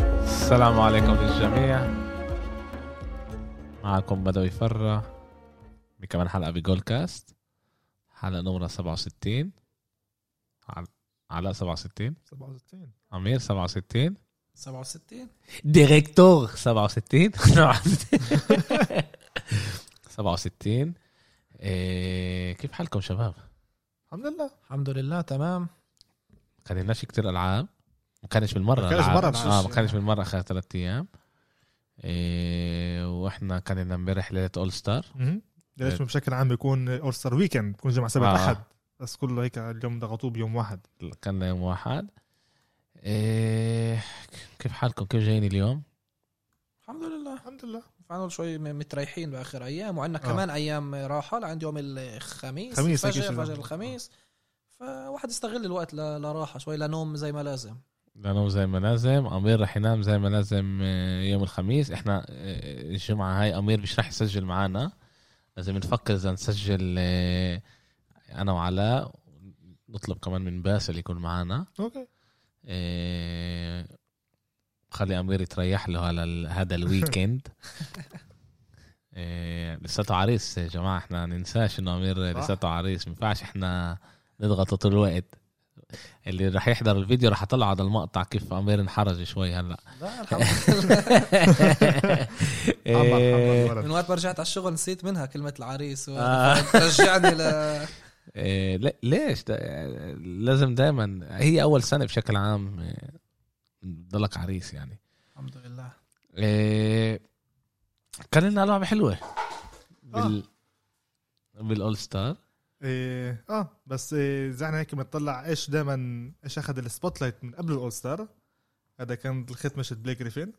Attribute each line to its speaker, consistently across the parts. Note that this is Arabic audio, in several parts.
Speaker 1: السلام عليكم للجميع معكم بدوي فرة بكمان حلقة بجول كاست حلقة نمرة 67 عل- علاء 67
Speaker 2: 67
Speaker 1: أمير 67
Speaker 3: 67
Speaker 1: ديريكتور 67 67 إيه كيف حالكم شباب؟
Speaker 2: الحمد لله
Speaker 3: الحمد لله تمام
Speaker 1: كان لناش كتير العاب ما كانش بالمره
Speaker 2: ما كانش
Speaker 1: ألعاب.
Speaker 2: مرة
Speaker 1: اه ما
Speaker 2: بس.
Speaker 1: كانش بالمره اخر ثلاث ايام إيه واحنا كان لنا امبارح ليله اول ستار
Speaker 2: ليش بشكل عام بيكون اول ستار ويكند بيكون جمعة سبت
Speaker 1: إيه. آه.
Speaker 2: احد بس كله هيك اليوم ضغطوه بيوم واحد
Speaker 1: كان يوم واحد إيه كيف حالكم كيف جايين اليوم؟
Speaker 3: الحمد لله
Speaker 2: الحمد لله
Speaker 3: فعلا شوي م- متريحين باخر ايام وعندنا
Speaker 2: آه.
Speaker 3: كمان ايام راحه لعند يوم الخميس
Speaker 2: خميس هيك
Speaker 3: فجر
Speaker 2: شي.
Speaker 3: فجر الخميس فواحد يستغل الوقت ل- لراحه شوي لنوم زي ما لازم
Speaker 1: لانه زي ما لازم امير رح ينام زي ما لازم آه، يوم الخميس احنا آه، الجمعه هاي امير مش رح يسجل معنا لازم نفكر اذا نسجل آه، انا وعلاء نطلب كمان من باسل يكون معنا
Speaker 2: اوكي
Speaker 1: إيه، خلي امير يتريح له على ال- هذا الويكند إيه، لساته عريس يا جماعه احنا ننساش انه امير
Speaker 2: صح.
Speaker 1: لساته عريس ما ينفعش احنا نضغطه طول الوقت اللي راح يحضر الفيديو راح اطلع هذا المقطع كيف امير انحرج شوي هلا
Speaker 3: لا الحمد لله
Speaker 2: عمر
Speaker 1: إيه،
Speaker 2: حمد
Speaker 3: من
Speaker 2: الولد
Speaker 3: وقت ما رجعت على الشغل نسيت منها كلمه العريس و-
Speaker 1: آه.
Speaker 3: رجعني ل
Speaker 1: إيه، لا- ليش دا- لازم دائما هي اول سنه بشكل عام إيه، بضلك عريس يعني
Speaker 3: الحمد لله
Speaker 1: إيه، كان لنا لعبه
Speaker 2: آه.
Speaker 1: حلوه بال بالاول ستار
Speaker 2: إيه اه بس إيه زعنا هيك بنطلع ايش دائما ايش اخذ السبوت لايت من قبل الاول ستار هذا كان ختمة بليك جريفين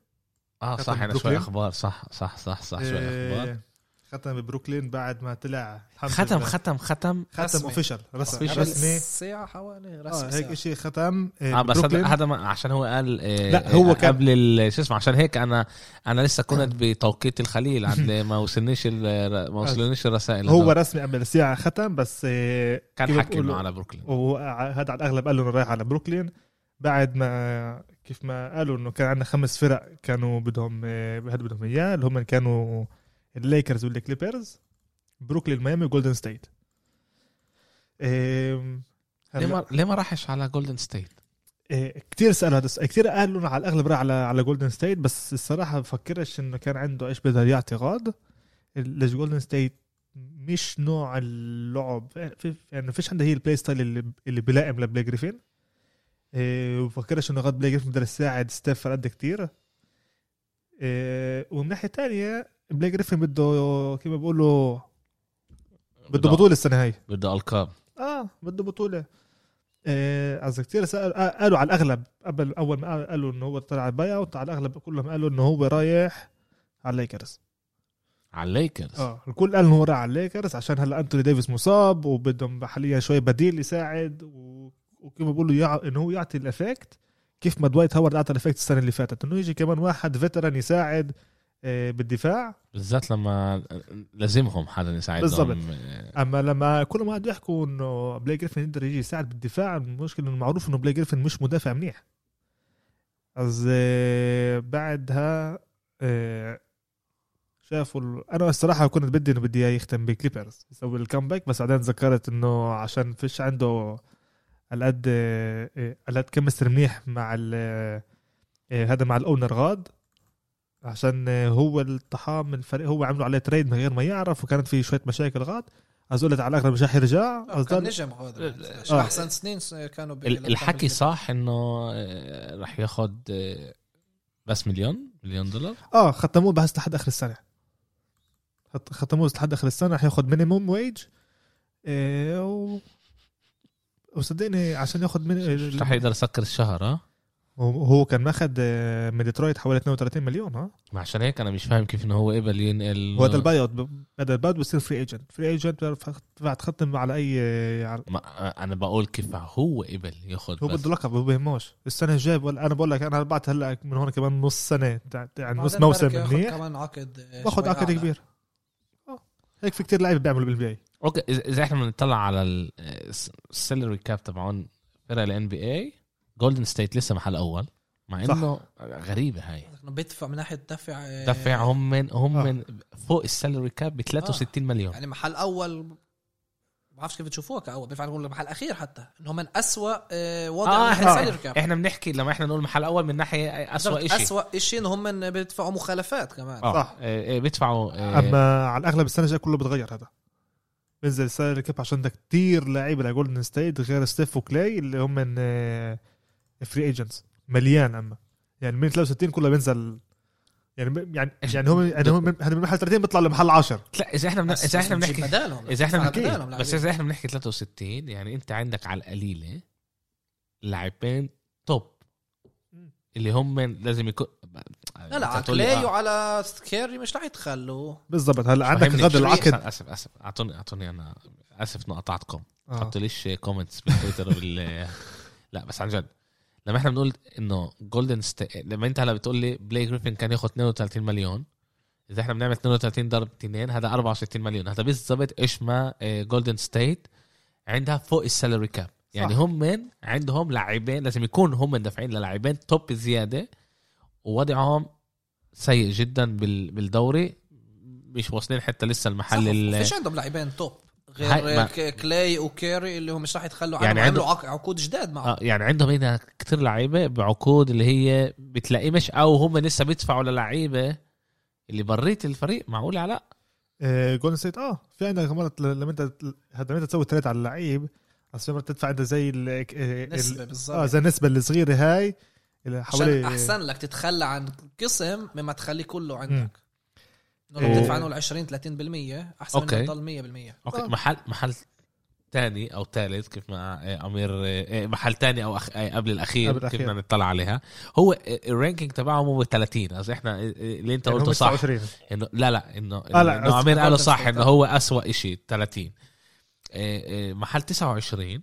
Speaker 1: اه
Speaker 2: كانت
Speaker 1: صح انا شوي
Speaker 2: بروكلين.
Speaker 1: اخبار صح صح صح صح شوي اخبار
Speaker 2: إيه ختم ببروكلين بعد ما طلع الحمد
Speaker 1: ختم
Speaker 2: لله.
Speaker 1: ختم ختم
Speaker 2: ختم
Speaker 3: رسمي.
Speaker 2: اوفيشال رسمي
Speaker 1: Official.
Speaker 2: رسمي
Speaker 3: ساعه حوالي رسم
Speaker 2: اه هيك
Speaker 3: هيك
Speaker 2: شيء ختم إيه
Speaker 1: اه بس
Speaker 2: ببروكلين.
Speaker 1: هذا هذا ما- عشان هو قال إيه،
Speaker 2: لا، هو
Speaker 1: إيه،
Speaker 2: كان- آه.
Speaker 1: قبل ال- شو اسمه عشان هيك انا انا لسه كنت بتوقيت الخليل عند ما وصلنيش ال- ما وصلنيش الرسائل
Speaker 2: هو
Speaker 1: هدول.
Speaker 2: رسمي قبل الساعة ختم بس إيه كيف
Speaker 1: كان حكي
Speaker 2: بقولوا-
Speaker 1: معه على بروكلين
Speaker 2: وهذا على الاغلب قالوا انه رايح على بروكلين بعد ما كيف ما قالوا انه كان عندنا خمس فرق كانوا بدهم آه، هاد بدهم اياه اللي هم كانوا الليكرز والكليبرز بروكلين ميامي وجولدن ستيت آم،
Speaker 1: ليه
Speaker 2: هلا
Speaker 1: ما ليه ما راحش على جولدن ستيت
Speaker 2: آه، كتير سالوا هذا السؤال، كتير قالوا إنه على الاغلب راح على على جولدن ستيت بس الصراحه بفكرش انه كان عنده ايش بده يعطي غاد ليش جولدن ستيت مش نوع اللعب في- يعني فيش عنده هي البلاي ستايل اللي اللي بيلائم لبلاي جريفين إيه وبفكرش انه غاد بلاي جريفين بده يساعد ستيف على قد كتير إيه ومن ناحيه تانية بلاي جريفين بده كيف بيقولوا بده بطوله السنه هاي
Speaker 1: بده القاب
Speaker 2: اه بده بطوله آه، قصدي كثير سأل آه، قالوا على الاغلب قبل اول ما قالوا انه هو طلع باي اوت على الاغلب كلهم قالوا انه هو رايح على الليكرز
Speaker 1: على الليكرز
Speaker 2: اه الكل قال انه هو رايح على الليكرز عشان هلا انتوني ديفيس مصاب وبدهم حاليا شوي بديل يساعد و... وكما بيقولوا يع... انه هو يعطي الافكت كيف ما دوايت هاورد اعطى الافكت السنه اللي فاتت انه يجي كمان واحد فتران يساعد آه، بالدفاع
Speaker 1: بالذات لما لازمهم حدا يساعدهم
Speaker 2: بالضبط.
Speaker 1: إيه،
Speaker 2: اما لما كل ما قعدوا يحكوا انه بلاي جريفن يقدر يجي يساعد بالدفاع المشكله انه معروف انه بلاي جريفن مش مدافع منيح از آه، بعدها آه، شافوا ال- انا الصراحه كنت بدي انه بدي اياه يختم بكليبرز يسوي الكامباك بس بعدين تذكرت انه عشان فيش عنده على قد آه، آه، على قد كمستر منيح مع ال- آه، آه، هذا مع الاونر غاد عشان آه، هو الطحام من الفريق هو عملوا عليه تريد من غير ما يعرف وكانت في شويه مشاكل غاد از قلت على الاغلب مش رح يرجع
Speaker 3: آه، كان
Speaker 2: أظن-
Speaker 3: نجم هذا
Speaker 2: آه.
Speaker 3: احسن سنين س- كانوا بال-
Speaker 1: ال- الحكي صح انه آه، رح ياخد آه، بس مليون مليون دولار
Speaker 2: اه ختموه بس لحد اخر السنه خط- ختموه لحد اخر السنه رح ياخذ مينيموم ويج إيه و... وصدقني عشان ياخذ من
Speaker 1: رح يقدر يسكر الشهر اه
Speaker 2: هو هو كان ماخذ آه، من ديترويت حوالي 32 مليون ها
Speaker 1: ما عشان هيك انا مش فاهم كيف انه هو قبل ينقل
Speaker 2: هو هذا الباي اوت هذا الباي اوت بصير فري ايجنت فري ايجنت بتعرف بعد تختم على اي آه، على
Speaker 1: ما انا بقول كيف هو قبل ياخد
Speaker 2: هو
Speaker 1: بس.
Speaker 2: بده لقب هو بيهموش السنه الجايه بقول انا بقول لك انا بعت هلا من هون كمان نص سنه تع- يعني نص
Speaker 3: بعدين
Speaker 2: موسم
Speaker 3: بركي ياخد
Speaker 2: منيح
Speaker 3: كمان عقد آه،
Speaker 2: باخذ
Speaker 3: شوي
Speaker 2: عقد
Speaker 3: أعلى.
Speaker 2: كبير آه. هيك في كتير لعيبه بيعملوا بالبي اي
Speaker 1: اوكي اذا إذا احنا بنطلع على آه، السالري كاب تبعون فرق الان بي اي جولدن ستيت لسه محل اول مع
Speaker 2: صح.
Speaker 1: انه غريبه هاي
Speaker 3: بيدفع من ناحيه دفع آه،
Speaker 1: دفع هم من هم
Speaker 2: آه.
Speaker 1: من فوق السالري كاب ب 63 مليون
Speaker 3: يعني محل اول ما بعرفش كيف تشوفوها كاول بينفع نقول محل اخير حتى انه من اسوء آه، وضع
Speaker 1: آه،
Speaker 3: آه
Speaker 1: إحنا-
Speaker 3: السالري كاب
Speaker 1: احنا بنحكي لما احنا نقول محل اول من ناحيه اسوء شيء
Speaker 3: اسوء شيء انه هم من بيدفعوا مخالفات كمان
Speaker 1: اه
Speaker 2: صح.
Speaker 1: إيه، إيه، بيدفعوا إيه،
Speaker 2: اما على الاغلب السنه الجايه كله بتغير هذا بنزل السالري كاب عشان ده كتير لعيبه لجولدن ستيت غير ستيف وكلاي اللي هم من فري ايجنتس مليان اما يعني من 63 كله بينزل يعني ب- يعني يعني هم يعني هم من هذا من محل 30 بيطلع لمحل 10
Speaker 1: لا اذا احنا بن-
Speaker 3: بس-
Speaker 1: اذا
Speaker 3: بس
Speaker 1: احنا
Speaker 3: بتجيب
Speaker 1: بنحكي
Speaker 3: بدالهم
Speaker 1: اذا احنا
Speaker 3: بتدفع
Speaker 1: بنحكي
Speaker 3: بدالهم
Speaker 1: بس
Speaker 3: لعيبة.
Speaker 1: اذا احنا بنحكي 63 يعني انت عندك على القليله لاعبين توب
Speaker 2: مم.
Speaker 1: اللي هم من- لازم يكون
Speaker 3: لا لا على
Speaker 1: أنت هتقولي
Speaker 3: كلاي
Speaker 1: آه.
Speaker 3: وعلى كيري مش رح يتخلوا
Speaker 2: بالضبط هلا عندك
Speaker 1: فهمني يعني؟
Speaker 2: غد
Speaker 1: شوي.
Speaker 2: العقد
Speaker 1: اسف اسف اعطوني اعطوني انا اسف انه قطعتكم
Speaker 2: آه.
Speaker 1: حطوا ليش كومنتس بالتويتر وبال لا بس عن جد لما احنا بنقول انه جولدن ست... لما انت هلا بتقول لي بلاي جريفن كان ياخذ 32 مليون اذا احنا بنعمل 32 ضرب 2 هذا 64 مليون هذا بالضبط ايش ما جولدن ستيت عندها فوق السالري كاب يعني
Speaker 2: صح.
Speaker 1: هم من عندهم لاعبين لازم يكون هم دافعين للاعبين توب زياده ووضعهم سيء جدا بال... بالدوري مش واصلين حتى لسه المحل ال-
Speaker 3: فيش عندهم لاعبين توب
Speaker 1: هاي-
Speaker 3: غير
Speaker 1: ما-
Speaker 3: ك- كلاي وكيري اللي هم مش رح يتخلوا
Speaker 1: يعني
Speaker 3: عنهم عملوا
Speaker 1: عندهم-
Speaker 3: عق- عقود جداد معهم
Speaker 1: اه يعني عندهم هنا كتير لعيبه بعقود اللي هي بتلاقيه مش او هم لسه بيدفعوا للعيبه اللي بريت الفريق معقول لا
Speaker 2: جولدن ستيت اه في عندك مرات ل- لما انت هذا لما انت تسوي تريد على اللعيب بس في مرات تدفع انت زي ال آه، ال-
Speaker 1: آه،
Speaker 3: نسبه
Speaker 2: اه
Speaker 3: بالظبط
Speaker 2: زي النسبه الصغيره هاي اللي
Speaker 3: عشان
Speaker 2: حوالي يعني
Speaker 3: احسن لك تتخلى عن قسم مما تخليه كله عندك انه
Speaker 2: إيه.
Speaker 3: لو بتدفع عنه ال 20 30% احسن
Speaker 1: أوكي.
Speaker 3: من تضل 100%
Speaker 1: اوكي
Speaker 2: آه.
Speaker 1: محل محل تاني او ثالث كيف ما آه، امير آه، محل تاني او أخ... آه، قبل الاخير
Speaker 2: قبل
Speaker 1: قبل كيف
Speaker 2: الأخير.
Speaker 1: بدنا نطلع عليها هو آه، الرانكينج تبعهم هو 30 از احنا آه، آه، اللي انت
Speaker 2: يعني هم
Speaker 1: قلته صح
Speaker 2: 29.
Speaker 1: انه لا لا انه
Speaker 2: آه، لا،
Speaker 1: انه
Speaker 2: قصدي
Speaker 1: عمير قالوا
Speaker 3: Golden
Speaker 1: صح
Speaker 3: State.
Speaker 1: انه هو اسوأ شيء 30 آه، آه، محل 29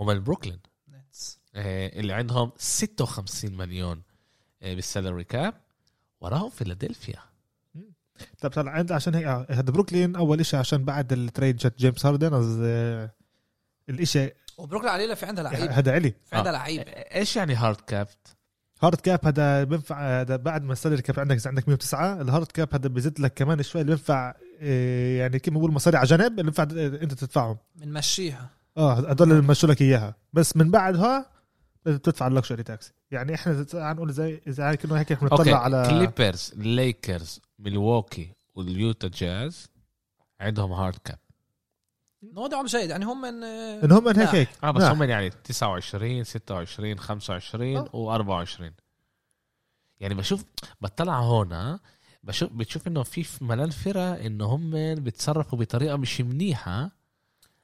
Speaker 1: هم البروكلين
Speaker 3: نتس
Speaker 1: آه، اللي عندهم 56 مليون آه، بالسالري كاب وراهم فيلادلفيا
Speaker 2: طب طلع عند عشان هيك آه، هذا بروكلين اول شيء عشان بعد التريد جت جيمس هاردن از آه، الاشي
Speaker 3: وبروكلين عليلا في عندها لعيبه
Speaker 2: هذا علي
Speaker 3: في عندها
Speaker 1: آه.
Speaker 3: لعيبه
Speaker 1: آه، ايش يعني هارد كابت؟
Speaker 2: هارد كاب هذا بينفع هذا بعد ما السالري كاب عندك إذا عندك 109 الهارد كاب هذا بيزيد لك كمان شوي اللي بينفع آه، يعني كيف بقول مصاري على جنب اللي بينفع آه، انت تدفعهم
Speaker 3: بنمشيها
Speaker 2: اه هدول اللي مشوا لك اياها بس من بعدها بتدفع اللكشري تاكس يعني احنا تعال نقول زي اذا كنا هيك احنا
Speaker 1: اوكي
Speaker 2: بنطلع على
Speaker 1: كليبرز ليكرز ميلواukee واليوتا جاز عندهم هارد كاب
Speaker 3: وضعهم جيد يعني هم من آه،
Speaker 2: ان هم هيك هيك
Speaker 1: اه بس
Speaker 2: نعم.
Speaker 1: هم يعني 29 26 25
Speaker 2: آه.
Speaker 1: و24 يعني بشوف بطلع هون آه، بشوف بتشوف انه في ملان فرق انه هم بيتصرفوا بطريقه مش منيحه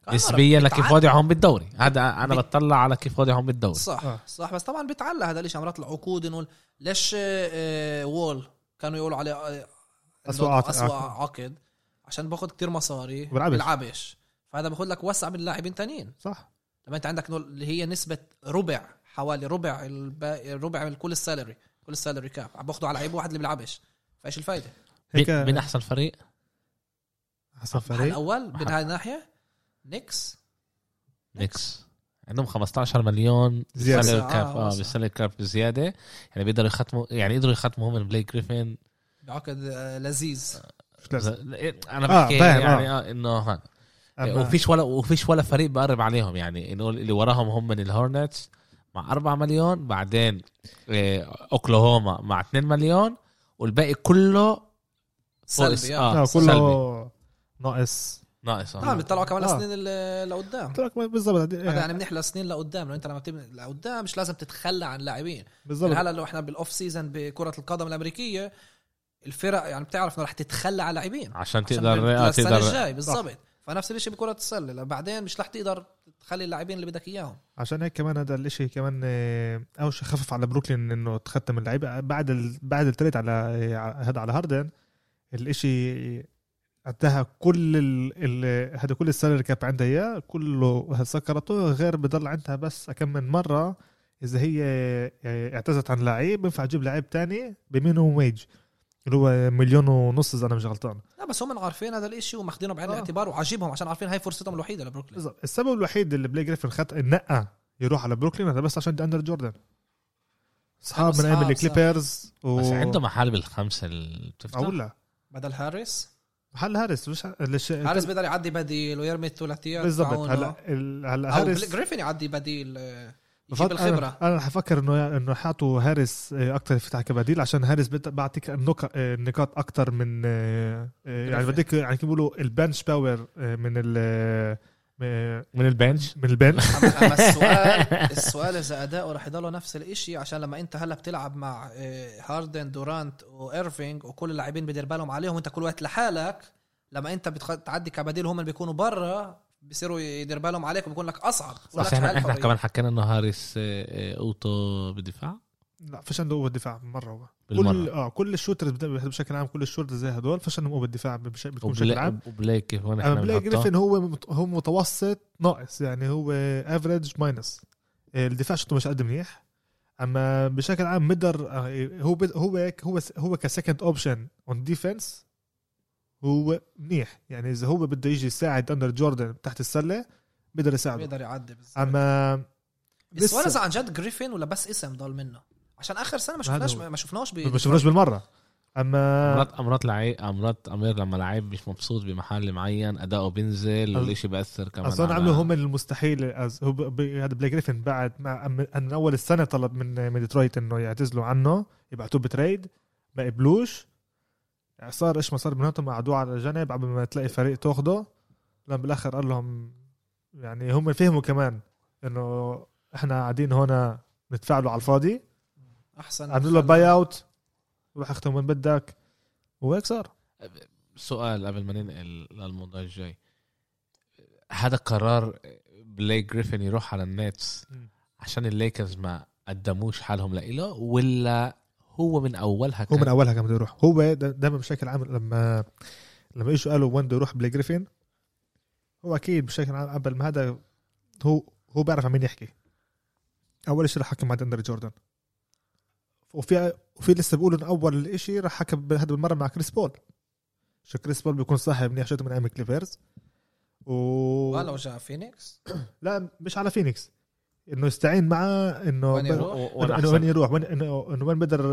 Speaker 3: كان
Speaker 1: نسبيا
Speaker 3: مرة
Speaker 1: لكيف
Speaker 3: بيتعلق.
Speaker 1: وضعهم بالدوري هذا انا
Speaker 3: بي-
Speaker 1: بتطلع على كيف وضعهم بالدوري
Speaker 3: صح
Speaker 2: آه.
Speaker 3: صح بس طبعا بيتعلى هذا الشيء مرات العقود انه ليش آه، آه، وول كانوا يقولوا عليه آه، إنه
Speaker 2: أسوأ عقد.
Speaker 3: أسوأ عقد عشان باخذ كتير مصاري
Speaker 2: بلعبش.
Speaker 3: بيلعبش فهذا باخذ لك وسع من لاعبين تانيين
Speaker 2: صح
Speaker 3: لما انت عندك إنه اللي هي نسبه ربع حوالي ربع الباقي ربع من كل السالري كل السالري كاب عم باخذه على لعيب واحد اللي بيلعبش فايش الفائده؟
Speaker 2: هيك
Speaker 1: مين مين احسن فريق
Speaker 2: حسب
Speaker 3: محل
Speaker 2: فريق
Speaker 3: اول من هاي الناحيه نيكس
Speaker 1: نيكس عندهم 15 مليون
Speaker 2: زيادة.
Speaker 1: بالسالري
Speaker 3: آه،
Speaker 1: كاب
Speaker 3: آه،
Speaker 1: اه
Speaker 3: صح.
Speaker 1: بالسالري كاب زياده يعني بيقدروا يختموا يعني قدروا يختموا هم بلاي جريفن
Speaker 3: بعقد آه، لذيذ
Speaker 2: مش لازم.
Speaker 1: آه، انا إيه، بحكي
Speaker 2: فاهم،
Speaker 1: يعني آه، انه هاد.
Speaker 2: أما-
Speaker 1: وفيش ولا وفيش ولا فريق بقرب عليهم يعني انه اللي وراهم هم من الهورنتس مع 4 مليون بعدين آه، اوكلاهوما مع 2 مليون والباقي كله
Speaker 3: سلبي آه.
Speaker 2: آه،
Speaker 1: سلبي.
Speaker 2: كله ناقص
Speaker 1: ناقص آه.
Speaker 3: طبعا بيطلعوا كمان
Speaker 2: آه.
Speaker 3: السنين اللي لقدام
Speaker 2: قلت لك إيه، بالضبط
Speaker 3: هذا يعني منيح لسنين لقدام لو انت لما بتبني لقدام مش لازم تتخلى عن لاعبين يعني
Speaker 2: بالضبط
Speaker 3: هلا لو احنا بالاوف سيزون بكره القدم الامريكيه الفرق يعني بتعرف انه رح تتخلى عن لاعبين
Speaker 1: عشان
Speaker 3: عشان
Speaker 1: تقدر
Speaker 3: بال-
Speaker 1: آه،
Speaker 3: للسنه
Speaker 1: تقدر
Speaker 3: الجاي بالضبط فنفس الشيء بكره السله لو بعدين مش رح تقدر تخلي اللاعبين اللي بدك اياهم
Speaker 2: عشان هيك كمان هذا الاشي كمان آه، اول شيء خفف على بروكلين انه تختم اللعيبه بعد ال... بعد التريد على آه، على- هذا على هاردن الاشي انتهى كل ال... ال... هذا كل السالري كاب عندها اياه كله سكرته غير بضل عندها بس كم من مره اذا هي آه، اعتزت عن لعيب بينفع تجيب لعيب تاني بمينيموم ويج اللي هو مليون ونص اذا انا مش غلطان
Speaker 3: لا بس هم عارفين هذا الشيء وماخذينه بعين
Speaker 2: آه.
Speaker 3: الاعتبار وعاجبهم عشان عارفين هاي فرصتهم الوحيده لبروكلين
Speaker 2: بالضبط. السبب الوحيد اللي بلاي جريفن خد نقى يروح على بروكلين هذا بس عشان دي اندر جوردن اصحاب من ايام
Speaker 3: أصحاب،
Speaker 2: الكليبرز و...
Speaker 1: بس عنده محل بالخمسه اللي بتفتح
Speaker 2: اقول لا
Speaker 3: بدل هاريس
Speaker 2: محل هارس مش لش...
Speaker 3: هاريس بيقدر يعدي بديل ويرمي الثلاثيات
Speaker 2: بالضبط
Speaker 3: معونه.
Speaker 2: هلا ال- هلا
Speaker 3: او
Speaker 2: هارس
Speaker 3: بل- جريفن يعدي بديل آه، يجيب
Speaker 2: بفكر-
Speaker 3: الخبره
Speaker 2: انا, أنا حفكر انه انه حاطوا هارس اكثر يفتح كبديل عشان هارس بت- بعطيك النك- النقاط اكثر آه، من آه، آه، يعني
Speaker 3: جريفن.
Speaker 2: بديك يعني كيف بيقولوا البنش باور آه، من ال آه،
Speaker 1: من البنش
Speaker 2: من البنش
Speaker 3: أما- أما السؤال السؤال اذا اداؤه رح يضله نفس الاشي عشان لما انت هلا بتلعب مع آه، هاردن دورانت وايرفينج وكل اللاعبين بدير بالهم عليهم انت كل وقت لحالك لما انت بتعدي كبديل هم اللي بيكونوا برا بيصيروا يدير بالهم عليك وبيكون لك اصعب
Speaker 1: بس احنا احنا يعني كمان حكينا انه هاريس آه، آه، اوتو بالدفاع
Speaker 2: لا فش عنده قوه دفاع مره هو كل
Speaker 1: بالمره
Speaker 2: اه كل الشوترز بت- بشكل عام كل الشوترز زي هدول فش عندهم قوه دفاع بش- بتكون بشكل عام
Speaker 1: وبلا- وبلايك كيف وين
Speaker 2: اما
Speaker 1: احنا
Speaker 2: بلاي
Speaker 1: بنحطه
Speaker 2: جريفن هو مت- هو متوسط ناقص يعني هو افريج ماينس الدفاع شفته مش قد منيح اما بشكل عام ميدر آه، هو بد- هو ك- هو س- هو كسكند اوبشن اون ديفense هو منيح يعني اذا هو بده يجي يساعد اندر جوردن تحت السله بيقدر يساعده
Speaker 3: بيقدر يعدي بالظبط.
Speaker 2: اما
Speaker 3: السؤال اذا
Speaker 2: لسه
Speaker 3: عن جد جريفن ولا بس اسم ضل منه عشان اخر سنه ما
Speaker 2: هذا
Speaker 3: شفناش
Speaker 2: هو.
Speaker 3: ما شفناش ب...
Speaker 2: ما شفناش بالمره اما آه.
Speaker 1: مرات امرات لعيب امرات امير لما لعيب مش مبسوط بمحل معين اداؤه بينزل
Speaker 2: أظ-
Speaker 1: والشيء بأثر كمان
Speaker 2: اظن
Speaker 1: على-
Speaker 2: عملوا هم المستحيل أز- هو ب- ب- هذا بلاي جريفن بعد ما أم- من اول السنه طلب من من ديترويت انه يعتزلوا عنه يبعتوه بتريد ما قبلوش صار ايش ما صار بيناتهم قعدوه على جنب قبل ما تلاقي فريق تاخده لما بالاخر قال لهم يعني هم فهموا كمان انه احنا قاعدين هنا نتفاعلوا على الفاضي
Speaker 3: احسن
Speaker 2: قعدوا له باي اوت روح اختم وين بدك وهيك صار
Speaker 1: سؤال قبل ما ننقل للموضوع الجاي هذا قرار بليك جريفن يروح على النتس
Speaker 2: مم.
Speaker 1: عشان الليكرز ما قدموش حالهم لإله ولا هو من اولها
Speaker 2: هو
Speaker 1: كان
Speaker 2: من اولها كان بده يروح هو دا- دائما بشكل عام لما لما اجوا قالوا وين بده يروح بلاي جريفن هو اكيد بشكل عام قبل ما هذا هو هو بيعرف عن مين يحكي اول شيء رح حكي مع دندر جوردن وفي وفي لسه بيقولوا إنه اول شيء رح حكى ب- هذا بالمره مع كريس بول شو كريس بول بيكون صاحب منيح شوته من ايام الكليبرز و
Speaker 3: ولو جاء فينيكس
Speaker 2: لا مش على فينيكس انه يستعين معاه انه
Speaker 3: وين
Speaker 2: بل-
Speaker 1: و- و- وأنا
Speaker 2: انه وين
Speaker 1: أحسن-
Speaker 2: يروح وين انه إنه وين بقدر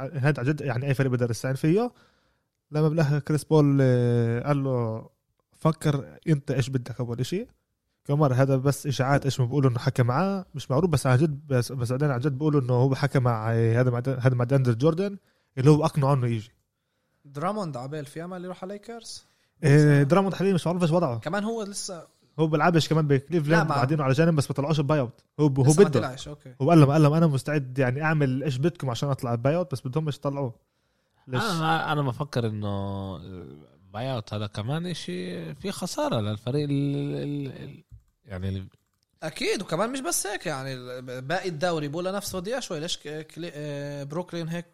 Speaker 2: هذا عن جد يعني اي فريق بقدر يستعين فيه لما بلاها كريس بول آه، قال له فكر انت ايش بدك اول شيء كمر هذا بس اشاعات ايش ما بيقولوا انه حكى معاه مش معروف بس عن جد بس بس بعدين عن جد بيقولوا انه هو حكى مع آه، هذا مع دان- هذا مع داندر جوردن اللي هو اقنعه انه يجي
Speaker 3: دراموند عبال في امل يروح على ليكرز
Speaker 2: آه، دراموند حاليا مش معروف ايش وضعه
Speaker 3: كمان هو لسه
Speaker 2: هو بيلعبش كمان
Speaker 3: لا،
Speaker 2: بكليفلاند
Speaker 3: ما-
Speaker 2: قاعدين على جانب بس ما طلعوش باي اوت هو
Speaker 3: لسه
Speaker 2: هو
Speaker 3: ما
Speaker 2: بده
Speaker 3: طلعش اوكي
Speaker 2: هو قال لهم قال لهم انا مستعد يعني اعمل ايش بدكم عشان اطلع باي اوت بس بدهم مش يطلعوه ليش؟
Speaker 1: انا انا بفكر انه باي اوت هذا كمان شيء في خساره للفريق ال... ال... ال... يعني ال-
Speaker 3: اكيد وكمان مش بس هيك يعني ال- باقي الدوري بولا نفسه ودي شوي ليش ك- كلي- آه، بروكلين هيك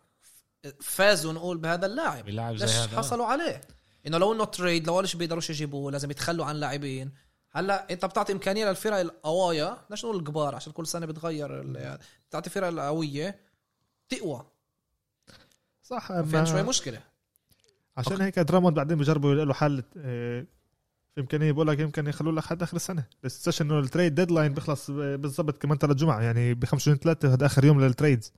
Speaker 3: فازوا نقول بهذا اللاعب
Speaker 1: بيلعب زي
Speaker 3: ليش
Speaker 1: هذا آه.
Speaker 3: حصلوا عليه انه لو انه تريد لو ليش بيقدروش يجيبوه لازم يتخلوا عن لاعبين هلا انت بتعطي امكانيه للفرق القوايا بدناش نقول الكبار عشان كل سنه بتغير ال- بتعطي فرق القويه تقوى
Speaker 2: صح
Speaker 3: فين شوي
Speaker 2: اما
Speaker 3: مشكله
Speaker 2: عشان هيك دراموند بعدين بجربوا يلاقوا له حل آه، في امكانيه بقول لك يمكن يخلوا لك حد اخر السنه بس انه التريد ديدلاين بيخلص آه، بالضبط كمان ثلاث جمعه يعني ب 25 3 هذا اخر يوم للتريدز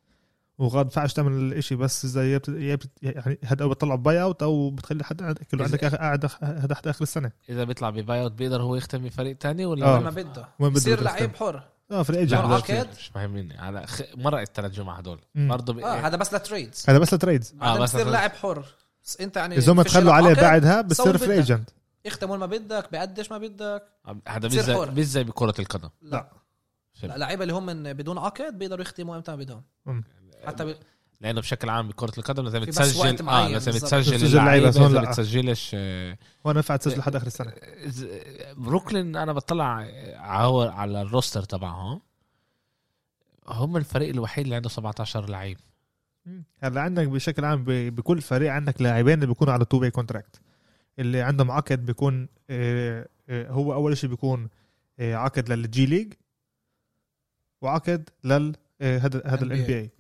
Speaker 2: وغاد فعش تعمل الشيء بس اذا يا بت- يا بت- يعني هذا بتطلع باي اوت او بتخلي حد عند- كله
Speaker 1: إذا-
Speaker 2: عندك آخر- قاعد آخ- هذا حتى اخر السنه
Speaker 1: اذا بيطلع بباي اوت بيقدر هو يختم بفريق تاني
Speaker 2: آه.
Speaker 1: ولا
Speaker 3: لما بده
Speaker 2: وين بده
Speaker 3: يصير
Speaker 2: بده
Speaker 3: لعيب
Speaker 2: يختم.
Speaker 3: حر آه،
Speaker 2: اه فريق
Speaker 1: لا،
Speaker 2: جاهز.
Speaker 1: لا،
Speaker 3: عقد؟
Speaker 1: مش مهمين على خ... مرة الثلاث جمعة هدول
Speaker 2: مم.
Speaker 1: برضه ب...
Speaker 3: اه هذا بس لتريدز
Speaker 2: هذا بس التريدز
Speaker 3: بعدين
Speaker 1: إيه. آه، بس
Speaker 3: بصير
Speaker 1: لتريدز.
Speaker 3: لاعب حر بس انت يعني
Speaker 2: اذا هم
Speaker 3: فيش
Speaker 2: تخلوا
Speaker 3: لك
Speaker 2: عليه
Speaker 3: عقد،
Speaker 2: بعدها بصير
Speaker 3: سوي
Speaker 2: فري
Speaker 3: بدك.
Speaker 2: ايجنت
Speaker 3: اختم وين ما بدك بقدش ما بدك
Speaker 1: هذا مش
Speaker 3: بصير
Speaker 1: زي
Speaker 3: حر.
Speaker 1: مش زي بكرة القدم
Speaker 2: لا.
Speaker 3: لا
Speaker 1: فهمت.
Speaker 3: لا لعيبه اللي هم من بدون عقد بيقدروا يختموا امتى ما بدهم
Speaker 2: مم.
Speaker 3: حتى ب...
Speaker 1: لانه بشكل عام بكرة القدم لازم
Speaker 3: في بس وقت
Speaker 1: تسجل اه
Speaker 3: معين
Speaker 1: لازم
Speaker 3: بالظبط.
Speaker 1: تسجل
Speaker 2: تسجل
Speaker 1: اللعيبة
Speaker 2: لعيبة، هون
Speaker 1: اذا
Speaker 2: لا.
Speaker 1: بتسجلش آه،
Speaker 2: وانا ينفع تسجل لحد اخر السنه
Speaker 1: ز- بروكلين انا بطلع عور على الروستر تبعهم هم الفريق الوحيد اللي عنده 17 لعيب
Speaker 2: هلا عندك بشكل عام ب- بكل فريق عندك لاعبين اللي بيكونوا على تو باي كونتراكت اللي عندهم عقد بيكون آه، آه، هو اول شيء بيكون آه، عقد للجي ليج وعقد لل آه، هذا هذا الان بي اي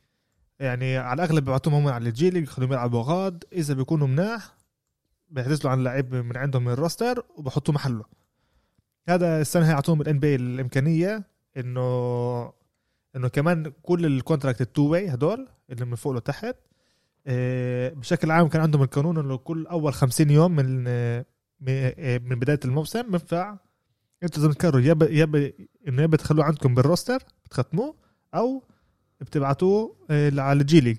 Speaker 2: يعني على الاغلب بيعطوهم هم على الجي ليج خليهم يلعبوا غاد اذا بيكونوا مناح بيعتزلوا عن لعيب من عندهم من الروستر وبحطوه محله هذا السنه هيعطوهم الان بي الامكانيه انه انه كمان كل الكونتراكت التو واي هدول اللي من فوق لتحت آه، بشكل عام كان عندهم القانون انه كل اول 50 يوم من آه، م- آه، من بدايه الموسم بينفع انتوا لازم تقرروا يا ب- يا ب- انه يا بتخلوه عندكم بالروستر بتختموه او بتبعتوه آه، على الجي ليج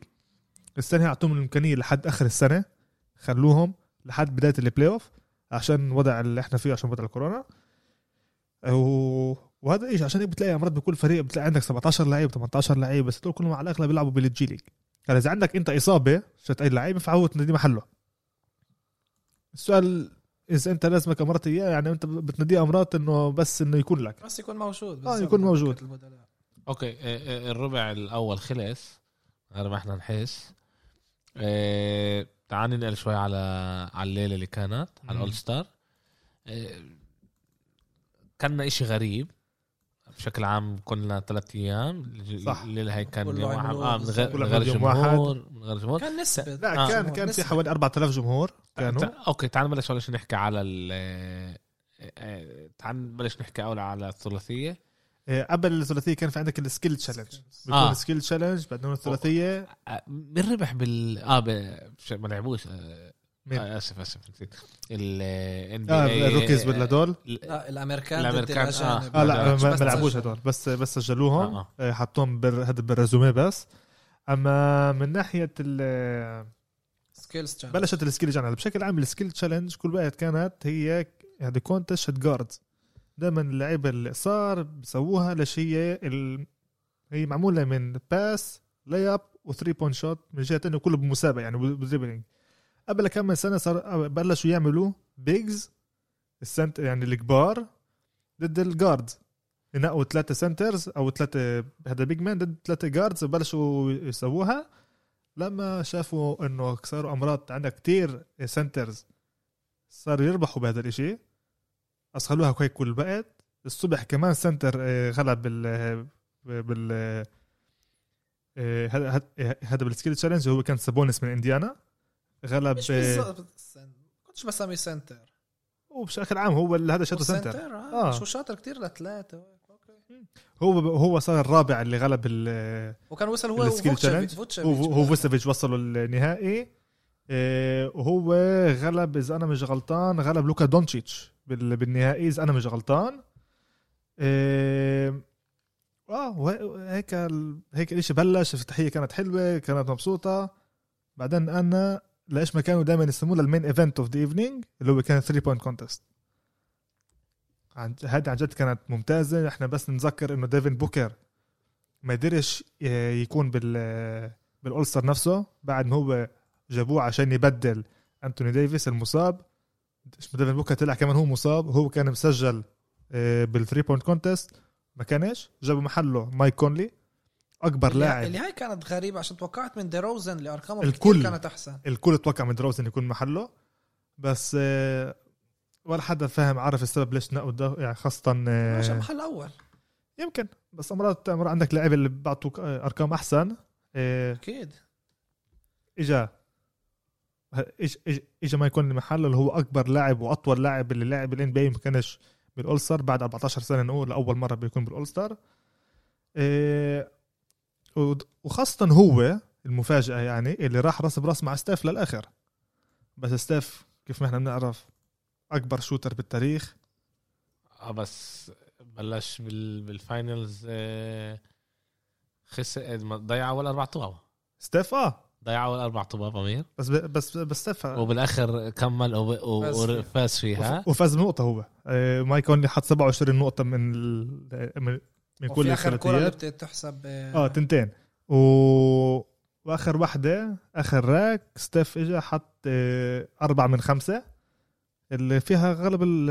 Speaker 2: السنه اعطوهم الامكانيه لحد اخر السنه خلوهم لحد بدايه البلاي اوف عشان وضع اللي احنا فيه عشان وضع الكورونا و- وهذا ايش عشان هيك بتلاقي مرات بكل فريق بتلاقي عندك 17 لعيب 18 لعيب بس هدول كلهم على الاغلب بيلعبوا بالجي ليج هلا اذا عندك انت اصابه شت اي لعيب فعوض تنادي محله السؤال اذا انت لازمك امرات اياه يعني انت بتناديه امرات انه بس انه يكون لك
Speaker 3: بس يكون موجود
Speaker 2: آه،
Speaker 3: بالظبط.
Speaker 2: يكون موجود.
Speaker 3: البدلاء.
Speaker 1: اوكي آه، آه، الربع الاول خلص غير ما احنا نحس آه، تعال ننقل شوي على على الليله اللي كانت على
Speaker 2: مم.
Speaker 1: الاول ستار كنا إشي غريب بشكل عام كنا ثلاث ايام الج-
Speaker 2: صح.
Speaker 1: الليله هي كان
Speaker 3: كله
Speaker 1: يوم واحد
Speaker 3: عملوه
Speaker 1: آه، من غير
Speaker 3: بالظبط.
Speaker 1: من
Speaker 2: كله
Speaker 1: غير
Speaker 2: عملوا يوم واحد.
Speaker 1: جمهور من غير جمهور
Speaker 3: كان نسبة
Speaker 2: لا
Speaker 1: آه،
Speaker 2: كان كان في
Speaker 3: نسبة.
Speaker 2: حوالي 4000 جمهور كانوا
Speaker 1: تع- اوكي تعال نبلش اول شيء نحكي على ال آه، آه، تعال نبلش نحكي اول على الثلاثيه
Speaker 2: آه، قبل الثلاثيه كان في عندك السكيل تشالنج بيكون
Speaker 1: آه.
Speaker 2: السكيل تشالنج بعدين الثلاثيه
Speaker 1: آه، مين ربح بال اه ب... مش- ما لعبوش آه،
Speaker 2: مين؟
Speaker 1: آه، اسف اسف نسيت ال ان
Speaker 2: اه
Speaker 1: إيه،
Speaker 2: الروكيز
Speaker 1: آه،
Speaker 2: ولا دول
Speaker 3: لا الامريكان ضد
Speaker 1: الامريكان
Speaker 3: الاجانب
Speaker 2: اه لا
Speaker 1: لا،
Speaker 2: ما-
Speaker 3: مش بس
Speaker 2: ما لعبوش
Speaker 3: سجل.
Speaker 2: هدول بس بس سجلوهم
Speaker 1: آه.
Speaker 2: آه، حطوهم بال- هذا بالريزومي بس اما من ناحيه ال
Speaker 3: سكيلز challenge.
Speaker 2: بلشت السكيل تشالنج بشكل عام السكيل تشالنج كل وقت كانت هي هذه كونتست جاردز دائما اللعيبه اللي صار بسووها ليش هي ال... هي معموله من باس لي اب وثري بوينت شوت من جهه انه كله بمسابقه يعني بدريبلينج قبل كم من سنه صار بلشوا يعملوا بيجز السنت يعني الكبار ضد الجاردز ينقوا ثلاثة سنترز او ثلاثة هذا بيج مان ضد ثلاثة جاردز بلشوا يسووها لما شافوا انه صاروا امراض عندنا كتير سنترز صاروا يربحوا بهذا الاشي اسخلوها هيك كل وقت الصبح كمان سنتر آه، غلب بال بال آه، هذا هذا- هذا بالسكيل تشالنج هو كان سابونس من انديانا غلب
Speaker 3: مش
Speaker 2: آه،
Speaker 3: بالظبط كنتش بسمي سنتر
Speaker 2: وبشكل عام هو اللي هذا شاتو سنتر
Speaker 3: اه
Speaker 2: آه.
Speaker 3: شو شاطر كتير لثلاثة اوكي
Speaker 2: هو هو صار الرابع اللي غلب ال
Speaker 3: وكان وصل هو
Speaker 2: السكيل challenge. هو هو فوسيفيتش وصلوا النهائي إيه، وهو غلب اذا انا مش غلطان غلب لوكا دونتشيتش بال- بالنهائي اذا انا مش غلطان إيه، اه وه- هيك ال- هيك الاشي بلش الافتتاحيه كانت حلوه كانت مبسوطه بعدين انا لايش ما كانوا دائما يسموه المين ايفنت اوف ذا ايفنينج اللي هو كان 3 بوينت كونتست عن هذه عن جد كانت ممتازه احنا بس نتذكر انه ديفن بوكر ما قدرش آه، يكون بال بالأولستر نفسه بعد ما هو جابوه عشان يبدل انتوني ديفيس المصاب اسمه ديفن بوكر طلع كمان هو مصاب هو كان مسجل آه، بالثري بوينت كونتست ما كانش جابوا محله مايك كونلي اكبر لاعب
Speaker 3: اللي هاي كانت غريبة عشان توقعت من ديروزن اللي ارقامه
Speaker 2: الكل. آه.
Speaker 3: الكل كانت احسن
Speaker 2: الكل اتوقع من دروز انه يكون محله بس آه، ولا حدا فاهم عارف السبب ليش نقوا ده يعني خاصة آه،
Speaker 3: ماشي محل اول
Speaker 2: يمكن بس مرات مرات عندك لعيبة اللي بيعطوك آه، أرقام أحسن آه،
Speaker 3: اكيد
Speaker 2: إجا إج- إج- إجا ما يكون محله اللي هو أكبر لاعب وأطول لاعب اللي لاعب الان بي ما كانش بالأولستر بعد 14 سنة نقول لأول مرة بيكون بالأولستر آه، ود- وخاصة هو المفاجأة يعني اللي راح راس براس مع ستاف للآخر بس ستاف كيف ما احنا بنعرف أكبر شوتر بالتاريخ
Speaker 1: اه بس بلش بال... بالفاينلز آه، خسر ما- ضيع اول اربع طوب
Speaker 2: ستاف اه
Speaker 1: ضيع اول اربع طوب امير
Speaker 2: بس بس بس ستاف آه،
Speaker 1: وبالاخر كمل وب... و...
Speaker 3: فاز فيها.
Speaker 1: وفاز فيها
Speaker 2: وفاز بنقطة هو آه، مايك كونلي حط 27 نقطة من ال... من من كل
Speaker 3: وفي اخر كرة اللي
Speaker 2: الثلاثيات
Speaker 3: بتحسب آه.
Speaker 2: اه تنتين و... واخر واحدة اخر راك ستيف اجا حط آه، أربعة من خمسة اللي فيها غلب ال...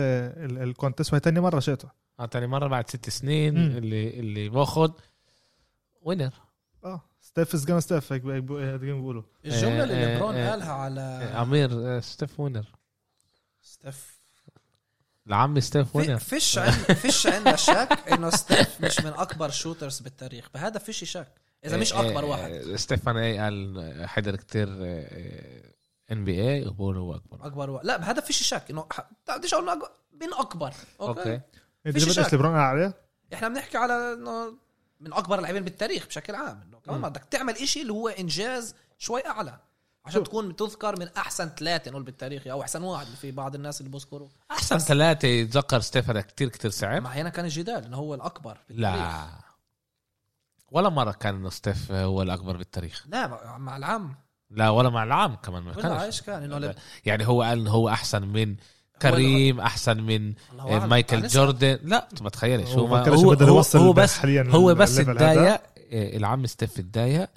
Speaker 2: ال... الكونتست وهي تاني مرة شاته
Speaker 1: اه تاني مره بعد ست سنين
Speaker 2: مم.
Speaker 1: اللي اللي باخذ وينر
Speaker 2: اه ستيف از جون ستيف هيك هيك بقو- هيك بيقولوا
Speaker 3: الجملة
Speaker 1: آه،
Speaker 3: اللي ليبرون
Speaker 1: آه،
Speaker 3: قالها على
Speaker 1: امير آه، ستيف وينر
Speaker 3: ستيف
Speaker 1: العم ستيف
Speaker 3: في-
Speaker 1: وينر
Speaker 3: فيش عن فيش عندنا شك انه ستيف مش من اكبر شوترز بالتاريخ بهذا فيش شك اذا
Speaker 1: آه،
Speaker 3: مش اكبر واحد
Speaker 1: ستيفان اي قال حضر كتير آه، ان بي اي وبقول هو اكبر
Speaker 3: اكبر واحد لا بهذا فيش شك انه ح- بديش اقول إنه أكبر- من اكبر اوكي
Speaker 1: اوكي
Speaker 2: انت
Speaker 3: فيش
Speaker 2: بدك
Speaker 3: شك.
Speaker 2: ليبرون عليه
Speaker 3: احنا بنحكي على انه من اكبر اللاعبين بالتاريخ بشكل عام انه كمان
Speaker 2: مم.
Speaker 3: بدك تعمل إشي اللي هو انجاز شوي اعلى عشان
Speaker 2: شوف.
Speaker 3: تكون تذكر من احسن ثلاثه نقول بالتاريخ او احسن واحد في بعض الناس اللي بذكروا
Speaker 1: احسن ثلاثه يتذكر ستيفن كتير كتير صعب
Speaker 3: ما هنا كان الجدال انه هو الاكبر بالتاريخ.
Speaker 1: لا ولا مره كان ستيف هو الاكبر بالتاريخ
Speaker 3: لا مع- مع العام
Speaker 1: لا ولا مع العام كمان ما
Speaker 3: والله
Speaker 1: كانش
Speaker 3: ايش كان انه ل-
Speaker 1: يعني هو قال إنه هو احسن من كريم احسن من
Speaker 3: الله أعلم.
Speaker 1: إيه، مايكل
Speaker 3: أنا
Speaker 1: جوردن لا يعني ما تخيلش هو
Speaker 2: ما
Speaker 1: يعني ما
Speaker 2: كانش
Speaker 1: هو,
Speaker 2: بقدر
Speaker 1: هو,
Speaker 2: يوصل
Speaker 1: هو بس
Speaker 2: حاليا
Speaker 1: هو بس
Speaker 2: لل level هذا.
Speaker 1: اتضايق آه، العم ستيف اتضايق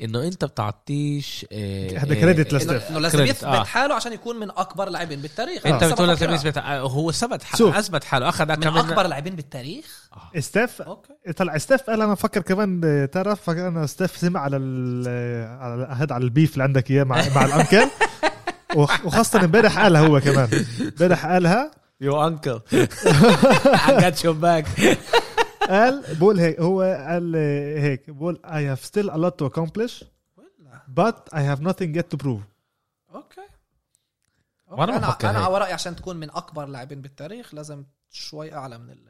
Speaker 1: انه انت بتعطيش آه،
Speaker 2: هذا
Speaker 1: آه،
Speaker 2: كريدت
Speaker 1: آه،
Speaker 2: لستيف.
Speaker 3: انه إنه لازم
Speaker 1: كريدت،
Speaker 3: يثبت
Speaker 1: آه.
Speaker 3: حاله عشان يكون من اكبر اللاعبين بالتاريخ
Speaker 1: انت
Speaker 3: أنا
Speaker 1: بتقول
Speaker 3: سبق
Speaker 1: لازم
Speaker 3: أقرأ.
Speaker 1: يثبت آه، هو ثبت
Speaker 2: شوف.
Speaker 1: حاله اثبت حاله آه. اخذ
Speaker 3: من
Speaker 1: كمان
Speaker 3: اكبر اللاعبين بالتاريخ
Speaker 2: ستيف
Speaker 3: اوكي
Speaker 2: طلع ستيف قال انا بفكر كمان آه، تعرف فكر انا ستيف سمع على ال- آه، على هذا على البيف اللي عندك اياه مع مع الانكل وخ- وخاصه امبارح قالها هو كمان امبارح قالها
Speaker 1: يو انكل I got your back
Speaker 2: قال بقول هيك هو قال آه، هيك بقول I have still a lot to accomplish
Speaker 3: ولا.
Speaker 2: but I have nothing yet to prove
Speaker 3: اوكي
Speaker 1: وأنا
Speaker 3: أوكي. انا
Speaker 1: بفكر
Speaker 3: انا
Speaker 1: هيك.
Speaker 3: على رايي عشان تكون من اكبر اللاعبين بالتاريخ لازم شوي اعلى من ال